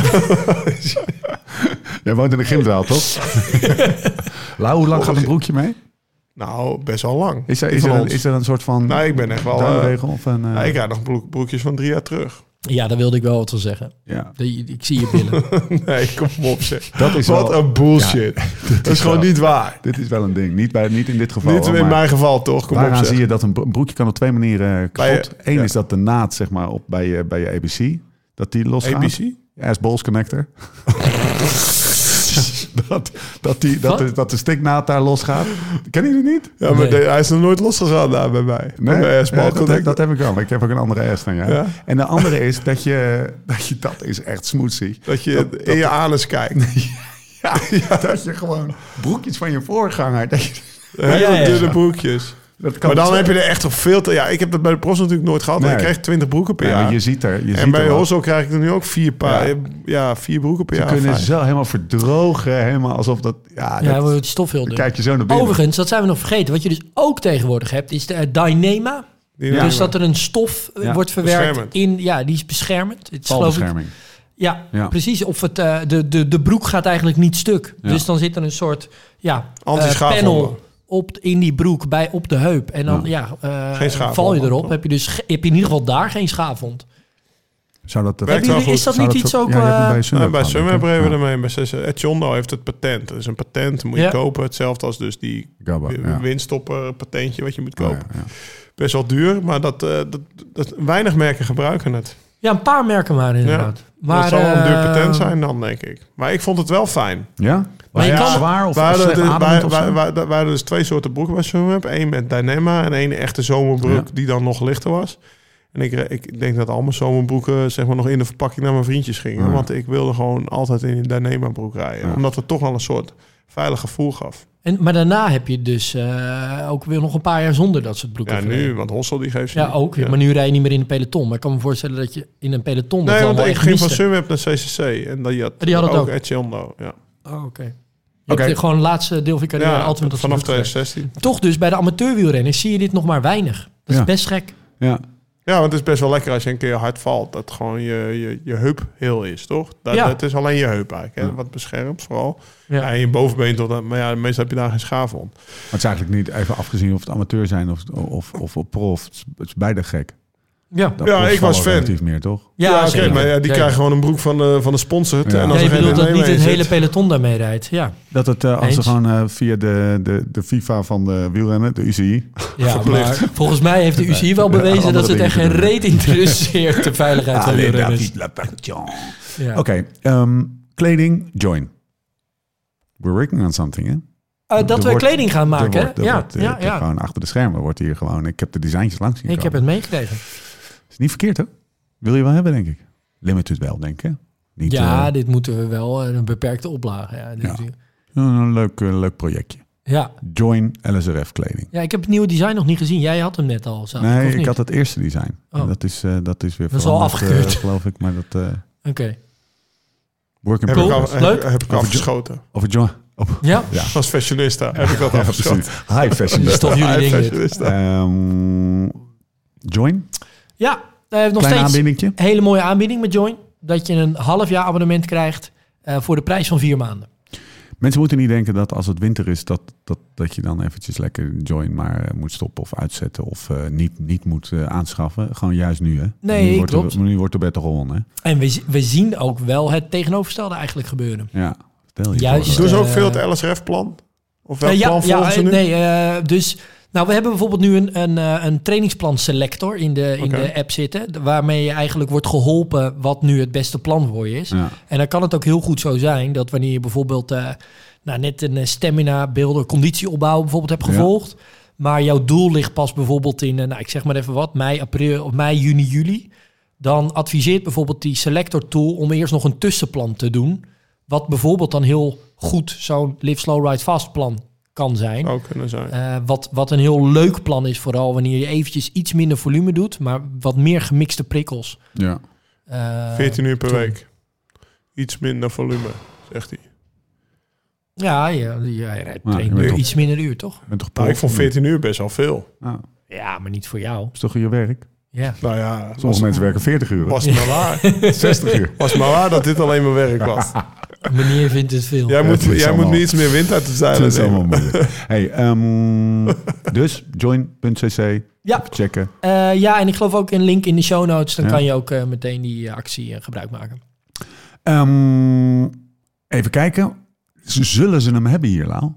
[SPEAKER 1] Jij woont in de gymzaal, toch? Lau, hoe lang gaat een broekje mee?
[SPEAKER 3] Nou, best wel lang.
[SPEAKER 1] Is er,
[SPEAKER 3] Die
[SPEAKER 1] is
[SPEAKER 3] Oh, van
[SPEAKER 1] er, een,
[SPEAKER 3] ons.
[SPEAKER 1] is er een soort van
[SPEAKER 3] Nou, ik ben echt wel... eh,
[SPEAKER 1] duimregel? Of een, eh,
[SPEAKER 3] nou, ik rijd nog broek- broekjes van drie jaar terug.
[SPEAKER 4] Ja, daar wilde ik wel wat van zeggen.
[SPEAKER 1] ja.
[SPEAKER 4] Die- Ik zie je billen.
[SPEAKER 3] Nee, kom op zeg.
[SPEAKER 1] Dat is
[SPEAKER 3] Wat
[SPEAKER 1] wel-
[SPEAKER 3] een bullshit. dat is gewoon
[SPEAKER 1] wel-
[SPEAKER 3] niet waar.
[SPEAKER 1] Dit is wel een ding. Niet, bij, niet in dit geval.
[SPEAKER 3] Niet
[SPEAKER 1] hoor,
[SPEAKER 3] in
[SPEAKER 1] maar
[SPEAKER 3] mijn geval toch, kom op
[SPEAKER 1] Daaraan
[SPEAKER 3] zeg.
[SPEAKER 1] zie je dat een bro- een broekje kan op twee manieren eh,
[SPEAKER 3] Bij je-
[SPEAKER 1] kapot. Eén
[SPEAKER 3] ja.
[SPEAKER 1] is dat de naad zeg maar, op, bij, je, bij je ABC, dat die losgaat.
[SPEAKER 3] ABC?
[SPEAKER 1] Ja, is balls connector. dat, dat, die, dat, de,
[SPEAKER 4] Wat?
[SPEAKER 1] dat de stiknaad daar losgaat. Ken je die niet?
[SPEAKER 3] Ja, maar
[SPEAKER 4] Nee.
[SPEAKER 3] de- hij is nog nooit losgegaan daar bij mij. Bij mijn asbal
[SPEAKER 1] Ja, dat,
[SPEAKER 3] connector.
[SPEAKER 1] heb- dat heb ik wel. maar Ik heb ook een andere S dan jij.
[SPEAKER 3] eh, Ja?
[SPEAKER 1] En de andere is dat je... Dat, je, dat is echt smoothie.
[SPEAKER 3] Dat je in je anus kijkt.
[SPEAKER 1] Ja, dat je gewoon broekjes van je voorganger... Dat je,
[SPEAKER 3] Hele
[SPEAKER 4] Ja, ja, ja.
[SPEAKER 3] dunne broekjes.
[SPEAKER 1] dat kan
[SPEAKER 3] Maar dan
[SPEAKER 1] het-
[SPEAKER 3] heb je er echt nog veel te... Ja, ik heb dat bij de profs natuurlijk nooit gehad. want
[SPEAKER 1] Nee.
[SPEAKER 3] Ik kreeg 20 broeken per
[SPEAKER 1] Ja, maar
[SPEAKER 3] jaar.
[SPEAKER 1] je ziet er... Je ziet
[SPEAKER 3] en bij
[SPEAKER 1] er wel-
[SPEAKER 3] Hosso krijg ik er nu ook vier paar.
[SPEAKER 1] Ja.
[SPEAKER 3] Ja, vier broeken per
[SPEAKER 1] Ze
[SPEAKER 3] jaar.
[SPEAKER 1] kunnen
[SPEAKER 3] vijf.
[SPEAKER 1] zo helemaal verdrogen. Helemaal alsof dat... Ja,
[SPEAKER 4] Ja,
[SPEAKER 1] dat-
[SPEAKER 4] we het stof heel
[SPEAKER 1] dan
[SPEAKER 4] dun.
[SPEAKER 1] kijk je zo naar binnen.
[SPEAKER 4] Overigens, dat zijn we nog vergeten. Wat je dus ook tegenwoordig hebt, is de eh, Dyneema.
[SPEAKER 3] Die
[SPEAKER 1] Ja.
[SPEAKER 3] doen
[SPEAKER 4] dus
[SPEAKER 3] we.
[SPEAKER 4] dat er een stof eh,
[SPEAKER 1] Ja.
[SPEAKER 4] wordt verwerkt
[SPEAKER 3] Beschermend.
[SPEAKER 4] in... Ja, die is beschermend. Het is geloof ik,
[SPEAKER 1] Valbescherming.
[SPEAKER 4] ja,
[SPEAKER 1] Ja.
[SPEAKER 4] precies. Of het, eh, de, de, de broek gaat eigenlijk niet stuk.
[SPEAKER 1] Ja.
[SPEAKER 4] Dus dan zit er een soort ja, eh,
[SPEAKER 3] Anti-schaafwonder.
[SPEAKER 4] panel op, in die broek, bij, op de heup. En dan ja. eh,
[SPEAKER 3] Geen schaafwond,
[SPEAKER 4] val je erop.
[SPEAKER 3] toch?
[SPEAKER 4] Heb je, dus, ge- heb je in ieder geval daar geen schaafwond.
[SPEAKER 1] Zou dat...
[SPEAKER 3] Werkt
[SPEAKER 4] Hebben
[SPEAKER 3] wel
[SPEAKER 4] jullie- is
[SPEAKER 3] goed.
[SPEAKER 4] dat niet iets ook... eh,
[SPEAKER 3] Nou, bij Summer hebben we ermee. Bij Sessa- Ed Jondo heeft het patent. Dat is een patent, moet je
[SPEAKER 4] Ja.
[SPEAKER 3] kopen. Hetzelfde als dus die
[SPEAKER 1] Gabba, ja. Oh
[SPEAKER 3] windstopper patentje wat je moet
[SPEAKER 1] Ja,
[SPEAKER 3] kopen.
[SPEAKER 1] ja.
[SPEAKER 3] Best wel duur, maar dat, eh, dat, dat, weinig merken gebruiken het.
[SPEAKER 4] ja, een paar merken maar inderdaad. maar,
[SPEAKER 3] dat zal wel een duur
[SPEAKER 4] eh,
[SPEAKER 3] patent zijn dan, denk ik. Maar ik vond het wel fijn.
[SPEAKER 1] Ja?
[SPEAKER 4] Maar je
[SPEAKER 1] ja,
[SPEAKER 4] kan-
[SPEAKER 1] zwaar of
[SPEAKER 3] We hadden,
[SPEAKER 1] slecht
[SPEAKER 3] dus,
[SPEAKER 1] ademend of zo?
[SPEAKER 3] waren dus twee soorten broeken bij Sunweb. Eén met Dyneema en één echte zomerbroek
[SPEAKER 1] Ja.
[SPEAKER 3] die dan nog lichter was. En ik, re- ik denk dat al mijn zomerbroeken zeg maar, nog in de verpakking naar mijn vriendjes gingen.
[SPEAKER 1] Ja.
[SPEAKER 3] Want ik wilde gewoon altijd in een Dyneema broek rijden.
[SPEAKER 1] Ja.
[SPEAKER 3] Omdat het toch wel een soort veilig gevoel gaf.
[SPEAKER 4] En, maar daarna heb je dus eh, ook weer nog een paar jaar zonder dat soort broeken.
[SPEAKER 3] Ja, nu, want Hossel die geeft ze
[SPEAKER 4] Ja,
[SPEAKER 3] niet.
[SPEAKER 4] ook. Maar nu rij je niet meer in een peloton. Maar ik kan me voorstellen dat je in een peloton... dat
[SPEAKER 3] Nee,
[SPEAKER 4] wel
[SPEAKER 3] want
[SPEAKER 4] wel
[SPEAKER 3] ik
[SPEAKER 4] echt
[SPEAKER 3] ging van
[SPEAKER 4] miste.
[SPEAKER 3] Sunweb naar CCC. En die had,
[SPEAKER 4] Die had het ook.
[SPEAKER 3] Ed Childo, Ja.
[SPEAKER 4] Oh, oké. Je
[SPEAKER 1] Oké.
[SPEAKER 4] hebt gewoon het laatste deel van je carrière
[SPEAKER 3] Ja,
[SPEAKER 4] altijd met
[SPEAKER 3] vanaf
[SPEAKER 4] dat soort broeken
[SPEAKER 3] 2016.
[SPEAKER 4] gereden. Toch dus, bij de amateurwielrenners zie je dit nog maar weinig. Dat is
[SPEAKER 1] Ja.
[SPEAKER 4] best gek.
[SPEAKER 1] Ja.
[SPEAKER 3] Ja, want het is best wel lekker als je een keer hard valt. Dat gewoon je, je, je heup heel is, toch? Dat,
[SPEAKER 4] Ja.
[SPEAKER 3] Het is alleen je heup eigenlijk. Hè?
[SPEAKER 1] Ja.
[SPEAKER 3] Wat beschermt vooral.
[SPEAKER 4] Ja.
[SPEAKER 3] Ja. en je bovenbeen tot aan. Maar ja, meestal heb je daar geen schaafwond.
[SPEAKER 1] Maar het is eigenlijk niet, even afgezien of het amateur zijn of, of, of, of prof. Het is, het is beide gek.
[SPEAKER 4] Ja,
[SPEAKER 1] Dat
[SPEAKER 3] Ja,
[SPEAKER 1] profs
[SPEAKER 3] ik was
[SPEAKER 1] vallen
[SPEAKER 3] fan.
[SPEAKER 1] relatief meer, toch?
[SPEAKER 4] ja,
[SPEAKER 3] oké,
[SPEAKER 4] zeker.
[SPEAKER 3] maar ja, die
[SPEAKER 4] Ja,
[SPEAKER 3] krijgen
[SPEAKER 4] ja.
[SPEAKER 3] gewoon een broek van de, van de sponsor.
[SPEAKER 1] Ja.
[SPEAKER 3] En
[SPEAKER 1] als
[SPEAKER 4] Ja,
[SPEAKER 3] er
[SPEAKER 4] je
[SPEAKER 3] geen
[SPEAKER 4] bedoelt dat
[SPEAKER 3] NME
[SPEAKER 4] niet het
[SPEAKER 3] in
[SPEAKER 4] hele
[SPEAKER 3] zit.
[SPEAKER 4] peloton daarmee rijdt. Ja,
[SPEAKER 1] Dat het, eh, als ze
[SPEAKER 4] Eens.
[SPEAKER 1] gewoon eh, via de, de, de FIFA van de wielrennen, de E UCI...
[SPEAKER 4] ja maar
[SPEAKER 3] Verplicht.
[SPEAKER 4] volgens mij heeft de UCI wel
[SPEAKER 1] Nee,
[SPEAKER 4] bewezen...
[SPEAKER 1] andere
[SPEAKER 4] dat het echt geen
[SPEAKER 1] dingen te doen.
[SPEAKER 4] reet interesseert, de veiligheid van de
[SPEAKER 1] Allez,
[SPEAKER 4] renners.
[SPEAKER 1] David Lapertion.
[SPEAKER 4] Ja.
[SPEAKER 1] Oké, ehm, kleding, join. We're working on something, hè?
[SPEAKER 4] Eh, dat
[SPEAKER 1] Er
[SPEAKER 4] we
[SPEAKER 1] wordt-
[SPEAKER 4] kleding gaan
[SPEAKER 1] er
[SPEAKER 4] maken,
[SPEAKER 1] wordt-
[SPEAKER 4] hè?
[SPEAKER 1] er
[SPEAKER 4] Ja,
[SPEAKER 1] wordt, eh,
[SPEAKER 4] ja,
[SPEAKER 1] het is
[SPEAKER 4] ja.
[SPEAKER 1] Gewoon achter de schermen wordt hier gewoon... Ik heb de designs langs zien
[SPEAKER 4] Ik heb
[SPEAKER 1] komen.
[SPEAKER 4] het meegekregen.
[SPEAKER 1] Is niet verkeerd, hè? Wil je wel hebben, denk ik. Limited wel, denk ik, hè? Niet,
[SPEAKER 4] Ja,
[SPEAKER 1] eh,
[SPEAKER 4] dit moeten we wel. eh, Een beperkte oplage. Ja,
[SPEAKER 1] Ja.
[SPEAKER 4] dit- ja.
[SPEAKER 1] een leuk, eh, leuk projectje.
[SPEAKER 4] Ja.
[SPEAKER 1] Join LSRF kleding.
[SPEAKER 4] ik heb het nieuwe design nog niet gezien. Jij had hem net al. zag of
[SPEAKER 1] nee, ik
[SPEAKER 4] Nou, niet?
[SPEAKER 1] had het eerste design. En
[SPEAKER 4] Oh.
[SPEAKER 1] Dat, is, eh, dat is weer
[SPEAKER 4] Dat is al
[SPEAKER 1] veranderd, eh,
[SPEAKER 4] afgekeurd.
[SPEAKER 1] geloof ik. Maar dat... eh
[SPEAKER 4] Oké.
[SPEAKER 1] work in
[SPEAKER 3] Heb ik, al,
[SPEAKER 1] progress.
[SPEAKER 4] Cool. Leuk.
[SPEAKER 3] heb, heb ik
[SPEAKER 1] Over
[SPEAKER 3] afgeschoten.
[SPEAKER 1] Over Join... op-
[SPEAKER 4] Ja?
[SPEAKER 1] Ja.
[SPEAKER 3] Als fashionista heb ik dat
[SPEAKER 1] Ja,
[SPEAKER 3] afgeschoten.
[SPEAKER 1] precies. High
[SPEAKER 4] Dat is
[SPEAKER 1] fashion.
[SPEAKER 4] toch
[SPEAKER 3] Ah,
[SPEAKER 4] jullie ding dit.
[SPEAKER 3] fashionista.
[SPEAKER 1] Ehm, join.
[SPEAKER 4] Ja, hij heeft nog
[SPEAKER 1] Klein
[SPEAKER 4] steeds
[SPEAKER 1] aanbiedingje.
[SPEAKER 4] een hele mooie aanbieding met Join. Dat je een half jaar abonnement krijgt eh, voor de prijs van vier maanden.
[SPEAKER 1] Mensen moeten niet denken dat als het winter is, dat, dat, dat je dan eventjes lekker join maar eh, moet stoppen of uitzetten of eh, niet, niet moet eh, aanschaffen. Gewoon juist nu, hè?
[SPEAKER 4] Nee,
[SPEAKER 1] nu wordt
[SPEAKER 4] klopt.
[SPEAKER 1] Er, nu wordt er beter gewonnen,
[SPEAKER 4] En we, z- we zien ook wel het tegenovergestelde eigenlijk gebeuren.
[SPEAKER 1] hè? Ja, vertel je.
[SPEAKER 4] Juist.
[SPEAKER 1] voor,
[SPEAKER 3] Doen
[SPEAKER 1] eh,
[SPEAKER 3] ze ook
[SPEAKER 4] Eh,
[SPEAKER 3] veel het LSRF-plan? Of welk
[SPEAKER 4] Eh,
[SPEAKER 3] plan volgen ze
[SPEAKER 4] eh,
[SPEAKER 3] nu?
[SPEAKER 4] nee, eh, dus nou, we hebben bijvoorbeeld nu een, een, eh, een trainingsplan selector in de, in
[SPEAKER 3] Oké.
[SPEAKER 4] de app zitten. d- Waarmee je eigenlijk wordt geholpen wat nu het beste plan voor je is.
[SPEAKER 1] Ja.
[SPEAKER 4] En dan kan het ook heel goed zo zijn dat wanneer je bijvoorbeeld eh, nou, net een eh, stamina, beelden, conditieopbouw bijvoorbeeld hebt
[SPEAKER 1] Ja.
[SPEAKER 4] gevolgd. Maar jouw doel ligt pas bijvoorbeeld in, eh, nou, ik zeg maar even wat, mei, april, of mei, juni, juli. Dan adviseert bijvoorbeeld die selector tool om eerst nog een tussenplan te doen. Wat bijvoorbeeld dan heel goed zo'n Live Slow Ride Fast plan kan zijn.
[SPEAKER 3] Zou Oh, kunnen zijn.
[SPEAKER 4] Eh, wat, wat een heel leuk plan is, vooral wanneer je eventjes iets minder volume doet, maar wat meer gemixte prikkels.
[SPEAKER 1] Ja.
[SPEAKER 4] Eh,
[SPEAKER 3] 14 uur per
[SPEAKER 4] toen-
[SPEAKER 3] week. Iets minder volume, zegt hij.
[SPEAKER 4] Ja, ja, ja je rijdt
[SPEAKER 1] Ja,
[SPEAKER 4] één
[SPEAKER 1] je bent
[SPEAKER 4] uur,
[SPEAKER 1] toch-
[SPEAKER 4] iets minder uur, toch?
[SPEAKER 1] Ben toch
[SPEAKER 3] Nou, ik
[SPEAKER 1] prof?
[SPEAKER 3] vond 14 uur best wel veel.
[SPEAKER 1] Ja,
[SPEAKER 4] Ja, maar niet voor jou.
[SPEAKER 1] is toch je werk?
[SPEAKER 4] Ja.
[SPEAKER 3] Nou ja, was,
[SPEAKER 1] Sommige mensen werken 40 uur,
[SPEAKER 3] was het maar waar.
[SPEAKER 1] 60 uur.
[SPEAKER 3] Was het maar waar dat dit alleen mijn werk was.
[SPEAKER 4] Meneer vindt het veel.
[SPEAKER 3] Jij moet,
[SPEAKER 1] het is
[SPEAKER 3] jij moet
[SPEAKER 1] allemaal-
[SPEAKER 3] me iets meer wind uit de zeilen
[SPEAKER 1] Dat is
[SPEAKER 3] nemen.
[SPEAKER 1] allemaal moeilijk. Hey, ehm, dus join.cc,
[SPEAKER 4] Ja.
[SPEAKER 1] even checken.
[SPEAKER 4] Eh, ja, en ik geloof ook een link in de show notes. Dan
[SPEAKER 1] Ja.
[SPEAKER 4] kan je ook eh, meteen die eh, actie eh, gebruik maken.
[SPEAKER 1] Ehm, even kijken. Z- Zullen ze hem hebben hier, Lau?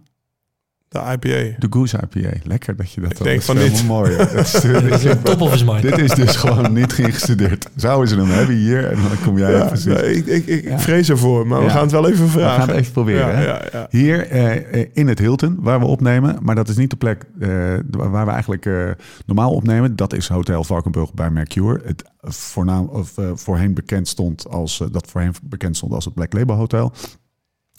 [SPEAKER 3] De IPA.
[SPEAKER 1] De Goose IPA. Lekker dat je dat...
[SPEAKER 3] denk
[SPEAKER 1] dat
[SPEAKER 3] van
[SPEAKER 1] is
[SPEAKER 3] niet.
[SPEAKER 1] helemaal mooi. hè. Dat is,
[SPEAKER 4] Dat is een top of his mind.
[SPEAKER 1] dit is dus gewoon niet geïngestudeerd. Zouden ze hem hebben hier en dan kom jij
[SPEAKER 3] Ja,
[SPEAKER 1] even zitten.
[SPEAKER 3] nee, ik, ik, ik, ik
[SPEAKER 1] Ja.
[SPEAKER 3] vrees ervoor, maar we
[SPEAKER 1] Ja.
[SPEAKER 3] gaan het wel even
[SPEAKER 1] We
[SPEAKER 3] vragen.
[SPEAKER 1] gaan het even proberen.
[SPEAKER 3] Ja,
[SPEAKER 1] hè?
[SPEAKER 3] ja, ja.
[SPEAKER 1] Hier eh, eh, in het Hilton, waar we opnemen. Maar dat is niet de plek eh, waar we eigenlijk eh, normaal opnemen. Dat is Hotel Valkenburg bij Mercure. Het voornaam, of, eh, voorheen bekend stond als, eh, dat voorheen bekend stond als het Black Label Hotel.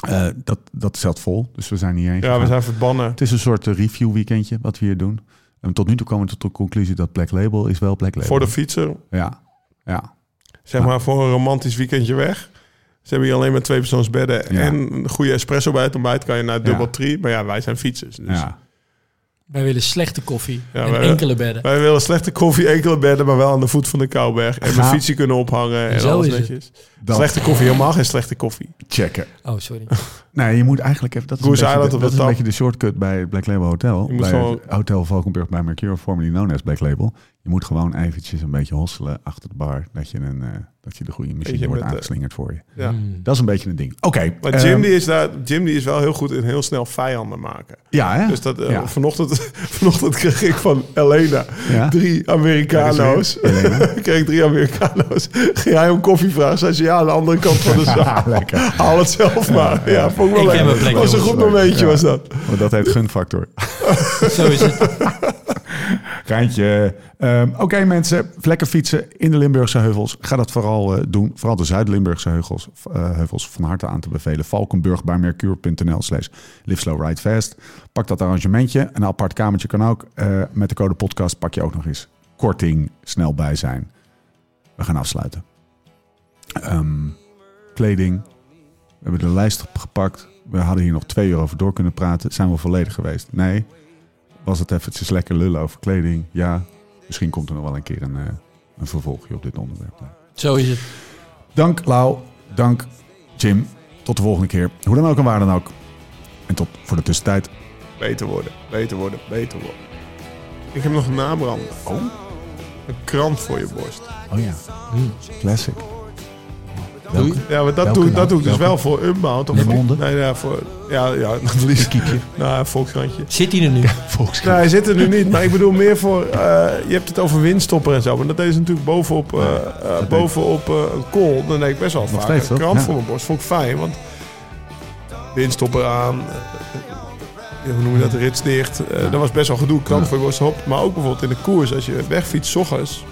[SPEAKER 1] Eh, dat, dat zat vol, dus we zijn hierheen
[SPEAKER 3] Ja,
[SPEAKER 1] gegaan.
[SPEAKER 3] we zijn verbannen.
[SPEAKER 1] Het is een soort eh, review weekendje wat we hier doen. En tot nu toe komen we tot de conclusie dat Black Label is wel Black Label.
[SPEAKER 3] Voor de fietser,
[SPEAKER 1] Ja, ja.
[SPEAKER 3] zeg maar voor een romantisch weekendje weg. Ze hebben hier alleen maar twee persoonsbedden
[SPEAKER 1] Ja.
[SPEAKER 3] en een goede espresso bij het ontbijt kan je naar dubbel
[SPEAKER 1] Ja.
[SPEAKER 3] drie. Maar ja, wij zijn fietsers. Dus
[SPEAKER 1] ja.
[SPEAKER 4] Wij willen slechte koffie
[SPEAKER 3] Ja,
[SPEAKER 4] en
[SPEAKER 3] wij-
[SPEAKER 4] enkele bedden.
[SPEAKER 3] Wij willen slechte koffie, enkele bedden, maar wel aan de voet van de Kouwberg. En mijn
[SPEAKER 1] Ga-
[SPEAKER 3] fietsje kunnen ophangen en
[SPEAKER 4] Zo
[SPEAKER 3] alles
[SPEAKER 4] is het.
[SPEAKER 3] netjes.
[SPEAKER 1] Dat
[SPEAKER 3] Slechte koffie, helemaal geen slechte koffie.
[SPEAKER 1] checken.
[SPEAKER 4] Oh, sorry.
[SPEAKER 1] Nee, je moet eigenlijk even... Dat is, een
[SPEAKER 3] Goose
[SPEAKER 1] beetje,
[SPEAKER 3] Island
[SPEAKER 1] de, dat
[SPEAKER 3] op de
[SPEAKER 1] is een
[SPEAKER 3] tap.
[SPEAKER 1] beetje de shortcut bij het Black Label Hotel.
[SPEAKER 3] Je moet
[SPEAKER 1] bij
[SPEAKER 3] gewoon-
[SPEAKER 1] het Hotel Valkenburg bij Mercure, formerly known as Black Label. Je moet gewoon eventjes een beetje hosselen achter de bar. Dat je, een, eh, dat je de goede machine
[SPEAKER 3] Beetje
[SPEAKER 1] wordt
[SPEAKER 3] met de-
[SPEAKER 1] aangeslingerd voor je.
[SPEAKER 3] Ja.
[SPEAKER 4] Hmm.
[SPEAKER 1] Dat is een beetje een ding. Oké.
[SPEAKER 3] Maar Jim,
[SPEAKER 1] ehm,
[SPEAKER 3] die is daar, Jim die is wel heel goed in heel snel vijanden maken.
[SPEAKER 1] Ja, hè?
[SPEAKER 3] Dus dat, eh,
[SPEAKER 1] Ja.
[SPEAKER 3] vanochtend, vanochtend kreeg ik van Elena
[SPEAKER 1] Ja.
[SPEAKER 3] drie Americano's.
[SPEAKER 1] Kijk eens weer, Elena.
[SPEAKER 3] Ik kreeg drie Americano's. Ging hij om koffie vragen? Zei ze ja, aan de andere kant van de zaal.
[SPEAKER 1] Lekker.
[SPEAKER 3] Haal het zelf maar. Ja, vond ik wel
[SPEAKER 4] Ik
[SPEAKER 3] lekker.
[SPEAKER 4] ken mijn plek,
[SPEAKER 3] was een
[SPEAKER 4] jongens.
[SPEAKER 3] goed momentje,
[SPEAKER 1] Ja.
[SPEAKER 3] was dat.
[SPEAKER 1] Want dat heet gunfactor.
[SPEAKER 4] Zo is het.
[SPEAKER 1] Geintje. Ehm, Oké mensen, vlekken fietsen in de Limburgse heuvels. Ga dat vooral eh, doen. Vooral de Zuid-Limburgse heuvels, eh, heuvels van harte aan te bevelen. Valkenburg bij mercure.nl slash live slow ride fast. Pak dat arrangementje. Een apart kamertje kan ook. Eh, met de code podcast pak je ook nog eens korting snel bij zijn. We gaan afsluiten. Ehm, kleding. We hebben de lijst gepakt. We hadden hier nog twee uur over door kunnen praten. Zijn we volledig geweest? Nee was het eventjes lekker lullen over kleding. Ja, misschien komt er nog wel een keer een, eh, een vervolgje op dit onderwerp.
[SPEAKER 4] Zo is het.
[SPEAKER 1] Dank Lau, dank Jim. Tot de volgende keer. Hoe dan ook en waar dan ook. En tot voor de tussentijd.
[SPEAKER 3] Beter worden, beter worden, beter worden. Ik heb nog een nabrand.
[SPEAKER 1] Oh,
[SPEAKER 3] Een kramp voor je borst.
[SPEAKER 1] oh ja.
[SPEAKER 3] Mm,
[SPEAKER 1] Classic.
[SPEAKER 4] Doei.
[SPEAKER 3] Ja, maar dat
[SPEAKER 1] Welke
[SPEAKER 3] doe, ik-
[SPEAKER 1] nou?
[SPEAKER 3] dat doe ik dus
[SPEAKER 1] Welke?
[SPEAKER 3] wel voor Unbound. Of
[SPEAKER 1] Met honden?
[SPEAKER 3] Nee, ja, voor... Ja, ja, het liefst. Kiekje. Nou, volkskrantje.
[SPEAKER 4] Zit hij er nu?
[SPEAKER 3] Nou, hij zit er nu niet, maar ik bedoel meer voor... eh, je hebt het over windstopper en zo, maar dat deed ze natuurlijk bovenop, eh, eh, bovenop eh, een kool. Dan deed ik best wel vaak
[SPEAKER 1] steeds,
[SPEAKER 3] een
[SPEAKER 1] toch?
[SPEAKER 3] kramp
[SPEAKER 1] Ja.
[SPEAKER 3] voor mijn borst. Vond ik fijn, want windstopper aan, eh, eh, hoe noem je dat, rits dicht. Eh, Dat was best wel gedoe, kramp voor je borst, hop. Maar ook bijvoorbeeld in de koers, als je wegfietst, s ochtends.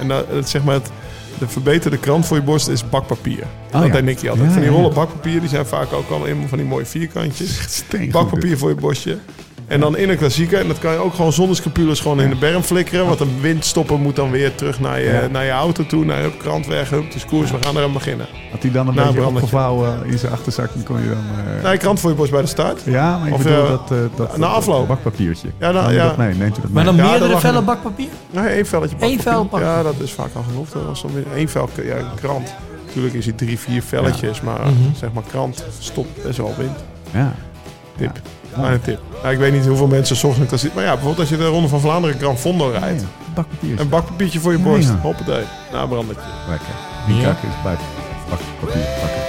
[SPEAKER 3] En dat, dat zeg maar het, de verbeterde kramp voor je borst is bakpapier. dat
[SPEAKER 1] Oh, ja.
[SPEAKER 3] deed Nicky altijd.
[SPEAKER 1] Ja,
[SPEAKER 3] van die
[SPEAKER 1] ja, ja.
[SPEAKER 3] rollen bakpapier, die zijn vaak ook al in van die mooie vierkantjes.
[SPEAKER 1] Steen.
[SPEAKER 3] Bakpapier voor je borstje. En dan in een klassieker. En dat kan je ook gewoon zonder scapules gewoon in de berm flikkeren. Want een windstopper moet dan weer terug naar je,
[SPEAKER 1] Ja.
[SPEAKER 3] naar je auto toe. Naar hup, krant weg, hup, het is koers, we gaan eraan beginnen.
[SPEAKER 1] Had hij dan een
[SPEAKER 3] Nou,
[SPEAKER 1] beetje
[SPEAKER 3] brandertje.
[SPEAKER 1] opgevouwen eh, in zijn achterzak? Dan kon je dan... eh,
[SPEAKER 3] Nee, krant voor je borst bij de start.
[SPEAKER 1] ja, maar ik
[SPEAKER 3] of,
[SPEAKER 1] bedoel
[SPEAKER 3] eh,
[SPEAKER 1] dat, eh, dat, dat...
[SPEAKER 3] na afloop.
[SPEAKER 1] Bakpapiertje.
[SPEAKER 3] Ja, nou,
[SPEAKER 1] Nam je
[SPEAKER 3] ja.
[SPEAKER 1] Dat mee? Neemt u dat mee?
[SPEAKER 4] Maar dan
[SPEAKER 3] Ja, dat
[SPEAKER 4] meerdere
[SPEAKER 3] lag
[SPEAKER 4] vellen
[SPEAKER 3] er.
[SPEAKER 4] bakpapier?
[SPEAKER 3] Nee, één velletje
[SPEAKER 4] Eén vel pakken.
[SPEAKER 3] Ja, dat is vaak al genoeg. Dat was dan weer één vel, ja, een krant. Natuurlijk is hij drie, vier velletjes. Maar eh,
[SPEAKER 1] Mhm.
[SPEAKER 3] zeg maar krant stopt best wel wind.
[SPEAKER 1] Ja.
[SPEAKER 3] Tip. Maar een tip. Nou, ik weet niet hoeveel mensen 's ochtends dat zien. Maar ja, bijvoorbeeld als je de Ronde van Vlaanderen Gran Fondo rijdt.
[SPEAKER 1] Bakpapiertje.
[SPEAKER 3] Een bakpapiertje voor je
[SPEAKER 1] Ja,
[SPEAKER 3] borst. Nou,
[SPEAKER 1] ja.
[SPEAKER 3] Hoppatee. Nabrandertje.
[SPEAKER 1] Lekker. Die kak is bij bakpapier. Bakken.